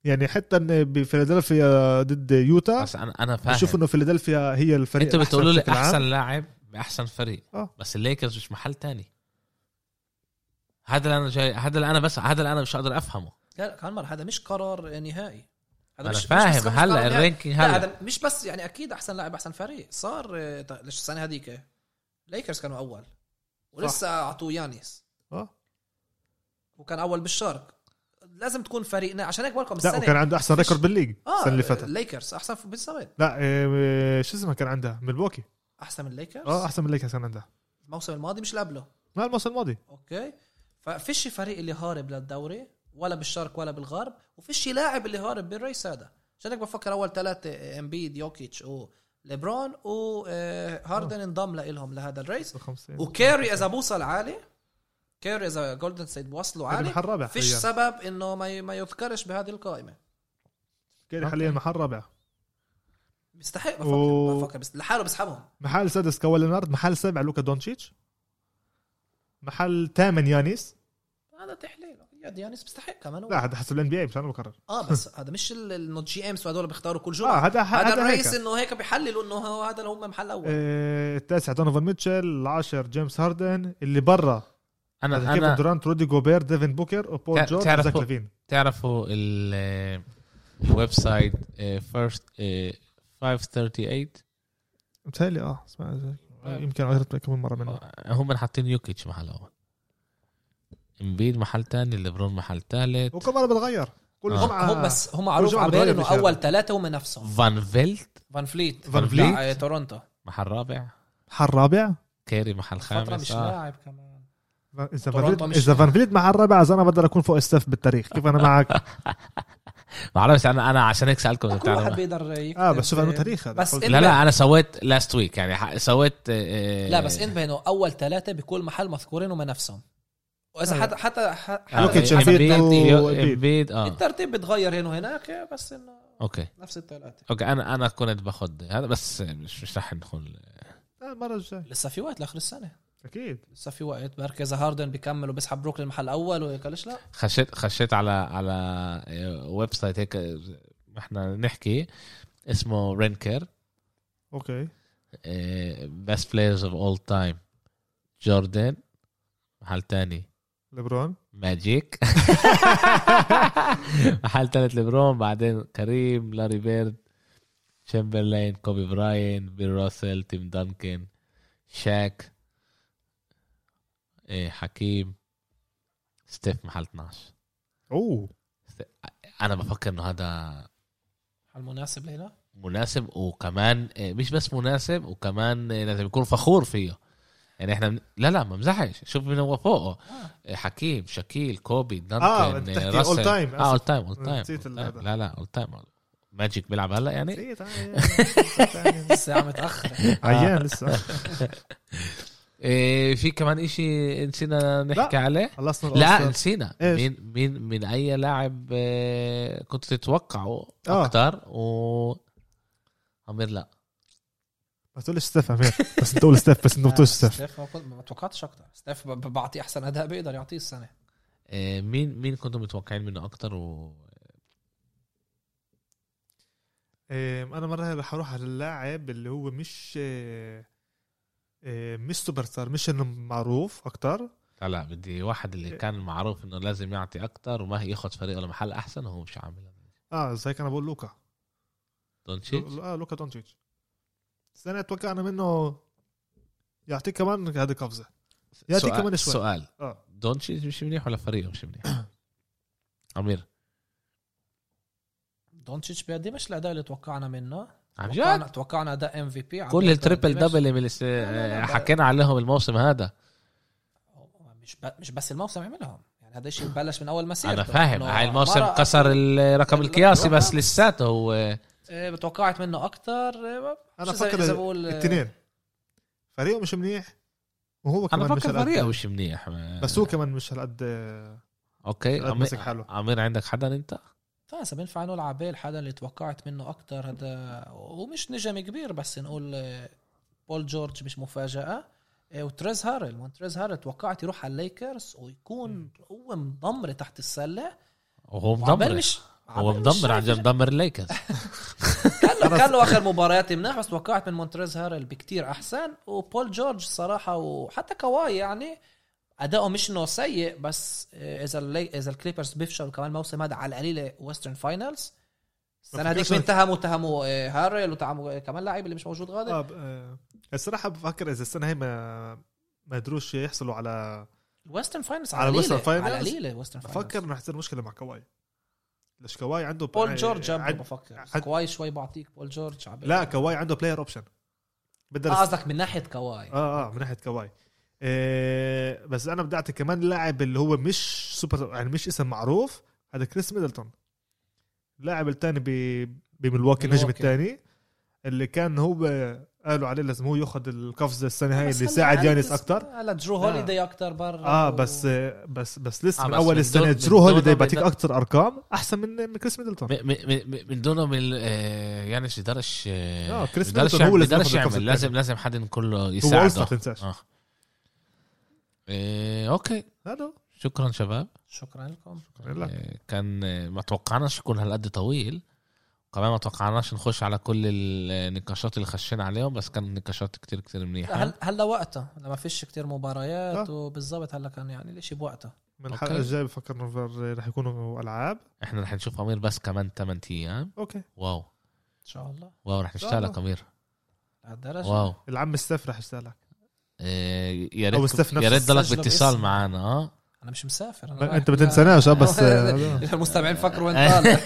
Speaker 2: يعني حتى إن بفيلادلفيا ضد يوتا
Speaker 1: بس انا انا فاهم
Speaker 2: بشوف انه فيلادلفيا هي الفريق
Speaker 1: انتوا بتقولوا لي
Speaker 2: بشكل عام.
Speaker 1: احسن لاعب باحسن فريق
Speaker 2: آه.
Speaker 1: بس الليكرز مش محل تاني هذا اللي انا جاي هذا اللي انا بس هذا اللي انا مش قادر افهمه
Speaker 3: لا كان هذا مش قرار نهائي هذا
Speaker 1: انا
Speaker 3: مش- مش بس-
Speaker 1: فاهم
Speaker 3: مش قرار
Speaker 1: هلا
Speaker 3: نهائي.
Speaker 1: الرانكينج
Speaker 3: لا
Speaker 1: هلا
Speaker 3: هذا مش بس يعني اكيد احسن لاعب احسن فريق صار آه، ط- ليش السنه هذيك ليكرز كانوا اول ولسه اعطوه يانيس
Speaker 2: آه.
Speaker 3: وكان اول بالشرق لازم تكون فريقنا عشان هيك بقول لكم
Speaker 2: لا
Speaker 3: السنه
Speaker 2: وكان عنده احسن
Speaker 3: فيش-
Speaker 2: ريكورد بالليج
Speaker 3: اه
Speaker 2: السنه اللي فاتت
Speaker 3: ليكرز احسن في- بالضبط
Speaker 2: لا إيه، شو اسمها كان عندها ملواكي
Speaker 3: احسن من ليكرز
Speaker 2: اه احسن من الليكرز كان عندها
Speaker 3: الموسم الماضي مش اللي قبله
Speaker 2: ما الموسم الماضي
Speaker 3: اوكي ففيش فريق اللي هارب للدوري ولا بالشرق ولا بالغرب وفيش لاعب اللي هارب بالريس هذا عشان هيك بفكر آه، اول ثلاثه امبيد يوكيتش وليبرون وهاردن آه، انضم لهم لهذا الريس
Speaker 2: 56
Speaker 3: وكاري اذا بوصل عالي كاري اذا جولدن ستيت بوصلوا
Speaker 2: يعني
Speaker 3: عالي
Speaker 2: محل رابع
Speaker 3: فيش
Speaker 2: حاليا
Speaker 3: سبب انه ما ي- ما يذكرش بهذه القائمه
Speaker 2: كيري حاليا محل رابع
Speaker 3: بيستحق بفكر
Speaker 2: و-
Speaker 3: بفكر بس لحاله بسحبهم
Speaker 2: محل سادس كواي لينارد محل سابع لوكا دونتشيتش محل ثامن يانيس
Speaker 3: هذا تحليل يا ديانيس بيستحق كمان هو.
Speaker 2: لا هذا حسب الان بي اي مش انا بكرر
Speaker 3: اه بس هذا مش ال- انه جي امس وهدول بيختاروا كل جمعه
Speaker 2: اه هذا
Speaker 3: هذا
Speaker 2: هذا
Speaker 3: الرئيس
Speaker 2: هيك
Speaker 3: انه هيك بيحللوا انه هو هذا اللي هم محل اول
Speaker 2: آه، التاسع دونوفان ميتشل العاشر جيمس هاردن اللي برا
Speaker 1: انا
Speaker 2: هذا كيفن
Speaker 1: انا
Speaker 2: دورانت رودي جوبير ديفن بوكر وبول
Speaker 1: تع-
Speaker 2: جورج
Speaker 1: تعرف-
Speaker 2: وزاك لافين
Speaker 1: تعرفوا ال- الويب سايت آه، first آه، 538
Speaker 2: متهيألي اه اسمع زي-
Speaker 3: آه.
Speaker 2: يمكن غيرت كمان مره منه
Speaker 1: هم حاطين يوكيتش محل اول امبيد محل تاني ليبرون محل ثالث
Speaker 2: وكل مره بتغير كل
Speaker 1: آه.
Speaker 2: جمعه
Speaker 3: هم بس هم معروف
Speaker 2: والجمعة
Speaker 3: عبال
Speaker 2: بتغير
Speaker 3: انه
Speaker 2: بالشارع.
Speaker 3: اول ثلاثه هم نفسهم
Speaker 1: فان فيلت
Speaker 3: فان فليت
Speaker 2: فان
Speaker 1: فليت؟
Speaker 3: مع تورونتو
Speaker 1: محل رابع
Speaker 2: محل رابع
Speaker 1: كيري محل
Speaker 3: فتره
Speaker 1: خامس
Speaker 3: مش
Speaker 1: آه.
Speaker 3: لاعب كمان
Speaker 2: اذا فان
Speaker 3: تورونتو مش-
Speaker 2: فليت- اذا فان فليت محل رابع اذا انا بقدر اكون فوق ستيف بالتاريخ كيف انا معك
Speaker 1: ما اعرفش انا انا عشان هيك سالكم إذا
Speaker 3: كل واحد
Speaker 1: بتعرفوا.
Speaker 3: بيقدر إيه. يكتب
Speaker 2: اه بس شوف عنده تاريخ هذا
Speaker 3: بس
Speaker 2: قلت-
Speaker 3: ال-
Speaker 1: لا لا انا سويت لاست ويك يعني ح- سويت آه،
Speaker 3: لا بس انبه انه اول ثلاثه بكل محل مذكورين هم نفسهم واذا
Speaker 2: آه.
Speaker 3: حتى حتى ح-
Speaker 1: آه،
Speaker 2: يوكيتش،
Speaker 1: إمبيد-
Speaker 2: أكيد،
Speaker 1: يو-
Speaker 2: وإمبيد.
Speaker 1: امبيد
Speaker 2: آه.
Speaker 1: اه
Speaker 3: الترتيب بتغير هنا وهناك بس انه
Speaker 1: اوكي
Speaker 3: نفس الثلاثه
Speaker 1: اوكي انا انا كنت باخذ هذا بس مش مش رح ندخل
Speaker 2: آه، المره الجايه
Speaker 3: لسه في وقت لاخر السنه
Speaker 2: اكيد
Speaker 3: لسه في وقت بركي اذا هاردن بيكمل وبيسحب بروكلين محل اول وهيك ليش لا
Speaker 1: خشيت خشيت على على ويب سايت هيك احنا نحكي اسمه رينكر
Speaker 2: اوكي
Speaker 1: بيست بلايرز اوف اول تايم جوردن محل تاني
Speaker 2: ليبرون
Speaker 1: ماجيك محل تالت ليبرون بعدين كريم لاري بيرد تشامبرلين كوبي براين بيل راسل تيم دانكن شاك إيه، حكيم ستيف محل 12
Speaker 2: اوه
Speaker 1: انا بفكر انه هذا
Speaker 3: هل مناسب لهنا؟
Speaker 1: مناسب وكمان آه، مش بس مناسب وكمان آه، لازم يكون فخور فيه يعني احنا من... لا لا ما امزحش شوف من هو فوقه آه، حكيم شكيل كوبي دانتن
Speaker 2: آه، أنت تحكي
Speaker 1: آه، راسل.
Speaker 2: all time.
Speaker 1: اه اول تايم اول تايم
Speaker 2: نسيت ال- هذا.
Speaker 1: لا لا اول تايم ماجيك بيلعب هلا يعني
Speaker 2: إيه، تعال- تعال-
Speaker 3: الساعه متاخره
Speaker 2: عيان لسه
Speaker 1: إيه في كمان اشي نسينا نحكي
Speaker 2: لا.
Speaker 1: عليه
Speaker 2: خلصنا
Speaker 1: لا
Speaker 2: الأرسنال.
Speaker 1: نسينا
Speaker 2: إيش؟
Speaker 1: مين مين من اي لاعب آه، كنت تتوقعه
Speaker 2: آه.
Speaker 1: اكثر و عمير لا
Speaker 2: ما تقولش ستيف عمير بس انت تقول ستيف بس انت ما بتقولش ستيف
Speaker 3: ستيف آه، ما كنت- ما توقعتش اكتر ستيف ب- بعطيه احسن اداء بيقدر يعطيه السنه
Speaker 1: آه، مين مين كنتم متوقعين منه اكثر و
Speaker 2: إيه، انا مره رح اروح على اللاعب اللي هو مش إيه، إيه، مش سوبر ستار مش انه معروف اكتر
Speaker 1: لا لا بدي واحد اللي
Speaker 3: إيه.
Speaker 1: كان معروف انه لازم يعطي اكثر وما ياخذ فريقه لمحل احسن وهو مش عامل
Speaker 2: اه زي كان بقول لوكا
Speaker 1: دونتشيتش
Speaker 2: لو- اه لوكا دونتش السنه توقعنا منه يعطيك كمان هذه قفزه يعطيك
Speaker 1: سؤال-
Speaker 2: كمان شوي.
Speaker 1: سؤال
Speaker 2: اه
Speaker 1: دونتشيتش مش منيح ولا فريقه مش منيح عمير
Speaker 3: دونتشيتش بيقدمش الاداء اللي توقعنا منه
Speaker 1: عن جد
Speaker 3: توقعنا توقعنا اداء ام في بي
Speaker 1: كل التريبل دبل اللي س-
Speaker 3: لا، لا،
Speaker 1: حكينا عليهم الموسم هذا
Speaker 3: مش ب... مش بس الموسم عملهم يعني هذا الشيء بلش من اول مسيرته
Speaker 1: انا فاهم
Speaker 3: إنه
Speaker 1: هاي الموسم
Speaker 3: مرة-
Speaker 1: كسر الرقم
Speaker 3: لا،
Speaker 1: القياسي
Speaker 3: لا،
Speaker 1: بس
Speaker 3: لا.
Speaker 1: لساته هو
Speaker 3: آه، توقعت منه اكتر آه، ما-
Speaker 2: انا
Speaker 3: مش زي-
Speaker 2: فكر
Speaker 3: إذا بقول، آه،
Speaker 2: الاثنين فريقه مش منيح وهو كمان
Speaker 1: انا
Speaker 2: مش
Speaker 1: فكر
Speaker 2: هالقد.
Speaker 1: فريقه مش منيح
Speaker 2: بس هو كمان مش هالقد آه،
Speaker 3: إيه،
Speaker 1: اوكي
Speaker 2: هالقد
Speaker 1: عمي-
Speaker 2: ماسك حاله
Speaker 1: عمير عندك حدا انت
Speaker 3: طيب إذا بينفع نقول على بيل حدا اللي توقعت منه اكتر هذا ومش نجم كبير بس نقول آه، بول جورج مش مفاجاه آه، وتريز هارل ما تريز هارل توقعت يروح على الليكرز ويكون هو مدمر تحت السله
Speaker 1: وهو
Speaker 3: وعبال
Speaker 1: مدمر
Speaker 3: مش
Speaker 1: هو
Speaker 3: عبال مش
Speaker 1: مدمر عن
Speaker 3: عارف
Speaker 1: جد مدمر الليكرز
Speaker 3: كان له كان له اخر مباريات منيح بس توقعت من مونتريز هارل بكتير احسن وبول جورج صراحه وحتى كواي يعني اداؤه مش انه سيء بس آه، اذا اللي- اذا الكليبرز بيفشلوا كمان الموسم هذا على القليله ويسترن فاينلز السنه هذيك
Speaker 2: بفكرش
Speaker 3: مين
Speaker 2: إنه-
Speaker 3: تهموا تهموا آه، هارل وتهموا آه، كمان لاعب اللي مش موجود غادر
Speaker 2: آه، ب- آه، الصراحه بفكر اذا السنه هي ما ما قدروش يحصلوا على
Speaker 3: ويسترن فاينلز
Speaker 2: على
Speaker 3: على القليله
Speaker 2: Western Finals؟
Speaker 3: على القليله ويسترن
Speaker 2: بفكر
Speaker 3: فاينلز
Speaker 2: انه حتصير مشكله مع كواي ليش كواي عنده
Speaker 3: بول جورج جنبه
Speaker 2: عن...
Speaker 3: بفكر
Speaker 2: عد-
Speaker 3: كواي شوي بعطيك بول جورج عبال.
Speaker 2: لا كواي عنده بلاير اوبشن
Speaker 3: آه،
Speaker 2: بقدر آه,
Speaker 3: قصدك من ناحيه كواي
Speaker 2: اه اه من ناحيه كواي إيه بس انا بدي اعطي كمان لاعب اللي هو مش سوبر يعني مش اسم معروف هذا كريس ميدلتون اللاعب الثاني ب بملواكي النجم
Speaker 3: ملواكي.
Speaker 2: الثاني اللي كان هو قالوا عليه لازم هو ياخذ القفزه السنه هاي
Speaker 3: بس
Speaker 2: اللي
Speaker 3: هلا
Speaker 2: يساعد
Speaker 3: يعني
Speaker 2: يانس
Speaker 3: بس-
Speaker 2: اكثر
Speaker 3: هلا درو
Speaker 2: لا.
Speaker 3: هوليداي اكثر برا
Speaker 2: اه
Speaker 3: و-
Speaker 2: آه. بس بس بس لسه
Speaker 1: آه،
Speaker 2: من
Speaker 1: بس
Speaker 2: اول
Speaker 1: من
Speaker 2: السنه
Speaker 1: دون-
Speaker 2: درو
Speaker 1: من دون
Speaker 2: هوليداي
Speaker 1: ما
Speaker 2: بيعطيك
Speaker 1: بدأ-
Speaker 2: اكثر ارقام احسن من من كريس ميدلتون
Speaker 1: م- م- م- من دونهم ال- آه، يعني شي درش آه،
Speaker 2: آه، كريس
Speaker 1: بدرش
Speaker 2: ميدلتون هو
Speaker 1: يعمل-
Speaker 2: لازم
Speaker 1: بدرش
Speaker 2: ياخد القفز
Speaker 1: يعمل لازم
Speaker 2: التاني.
Speaker 1: لازم حد كله
Speaker 2: هو
Speaker 1: يساعده
Speaker 2: ما تنساش
Speaker 1: آه. إيه، اوكي
Speaker 2: هذا هو.
Speaker 1: شكرا شباب
Speaker 3: شكرا لكم
Speaker 2: يلا.
Speaker 1: إيه، كان إيه، ما توقعناش يكون هالقد طويل كمان ما توقعناش نخش على كل النقاشات اللي خشينا عليهم بس كان نقاشات كتير كتير منيحه
Speaker 3: هل هلا وقتها لما فيش كتير مباريات
Speaker 2: آه.
Speaker 3: وبالضبط هلا كان يعني الاشي بوقتها
Speaker 2: من الحلقه
Speaker 1: أوكي.
Speaker 2: الجايه بفكر انه رح يكونوا العاب
Speaker 1: احنا رح نشوف امير بس كمان 8 ايام
Speaker 2: اوكي
Speaker 1: واو
Speaker 3: ان شاء الله
Speaker 1: واو رح نشتغلك امير
Speaker 3: لهالدرجه
Speaker 1: واو
Speaker 2: العم ستيف رح يسالك
Speaker 1: إيه، يا
Speaker 2: أو ستيف
Speaker 1: ريت يا
Speaker 2: نفسه
Speaker 1: ريت ضلك
Speaker 3: سجله
Speaker 1: باتصال
Speaker 3: باسمه.
Speaker 1: معنا اه
Speaker 3: انا مش مسافر انا
Speaker 2: انت ما تنساناش آه، بس آه،
Speaker 3: المستمعين فكروا وين طالع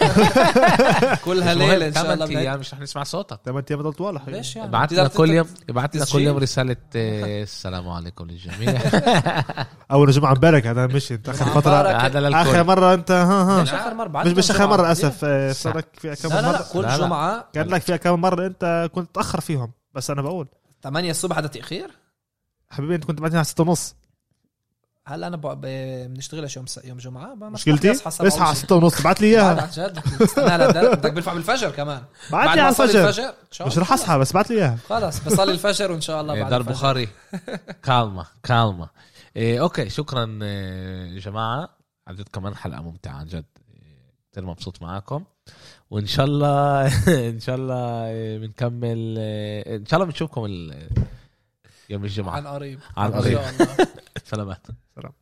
Speaker 3: كل هالليله ان شاء
Speaker 1: 8
Speaker 3: الله بنعيد.
Speaker 1: ايام مش رح نسمع صوتك
Speaker 2: ثمان ايام بضل طوال حقيقي.
Speaker 3: ليش يعني
Speaker 1: ابعت لنا
Speaker 3: بتقدر
Speaker 1: كل
Speaker 3: تت-
Speaker 1: يوم ابعت لنا كل
Speaker 3: تسجيل.
Speaker 1: يوم رساله آه، السلام عليكم للجميع
Speaker 2: اول جمعه مبارك هذا مشي انت اخر
Speaker 3: جمعة
Speaker 2: فتره
Speaker 3: مبارك.
Speaker 1: هذا
Speaker 2: اخر
Speaker 1: للكل
Speaker 2: مره انت ها ها
Speaker 3: مش اخر مره بعد
Speaker 2: مش مش اخر
Speaker 3: الجمعة.
Speaker 2: مره اسف آه، صار
Speaker 1: ساعة.
Speaker 2: لك فيها كم
Speaker 3: لا لا لا
Speaker 2: مره
Speaker 1: لا،
Speaker 3: كل
Speaker 1: لا.
Speaker 3: جمعه
Speaker 2: كان لك فيها كم مره انت كنت تاخر فيهم بس انا بقول
Speaker 3: 8 الصبح هذا تاخير
Speaker 2: حبيبي انت كنت بعدين على 6 ونص
Speaker 3: هلا انا ب- ب- بنشتغلش يوم س- يوم جمعه ما- ما
Speaker 2: مشكلتي
Speaker 3: بصحى سبعة
Speaker 2: اصحى على
Speaker 3: وعشرين.
Speaker 2: 6 ونص ابعت لي
Speaker 3: بعد
Speaker 2: اياها
Speaker 3: عن جد استنى لهالدرجة. بدك بنفع بالفجر كمان
Speaker 2: بعت
Speaker 3: بعد
Speaker 2: لي
Speaker 3: ما
Speaker 2: على
Speaker 3: أصلي
Speaker 2: الفجر
Speaker 3: إن شاء
Speaker 2: مش
Speaker 3: الله.
Speaker 2: رح اصحى بس بعت لي اياها
Speaker 3: خلص بصلي الفجر وان شاء الله
Speaker 1: إيه،
Speaker 3: بعد
Speaker 1: دار
Speaker 3: الفجر.
Speaker 1: بخاري كالما كالما إيه، اوكي شكرا إيه، جماعه عن جد كمان حلقه ممتعه عن جد إيه، كتير مبسوط معاكم وان شاء الله ان شاء الله إيه، بنكمل إيه، ان شاء الله بنشوفكم ال- يوم الجمعه
Speaker 3: عن قريب
Speaker 1: عن
Speaker 3: إن
Speaker 1: قريب.
Speaker 3: شاء الله
Speaker 1: سلامات
Speaker 2: سلام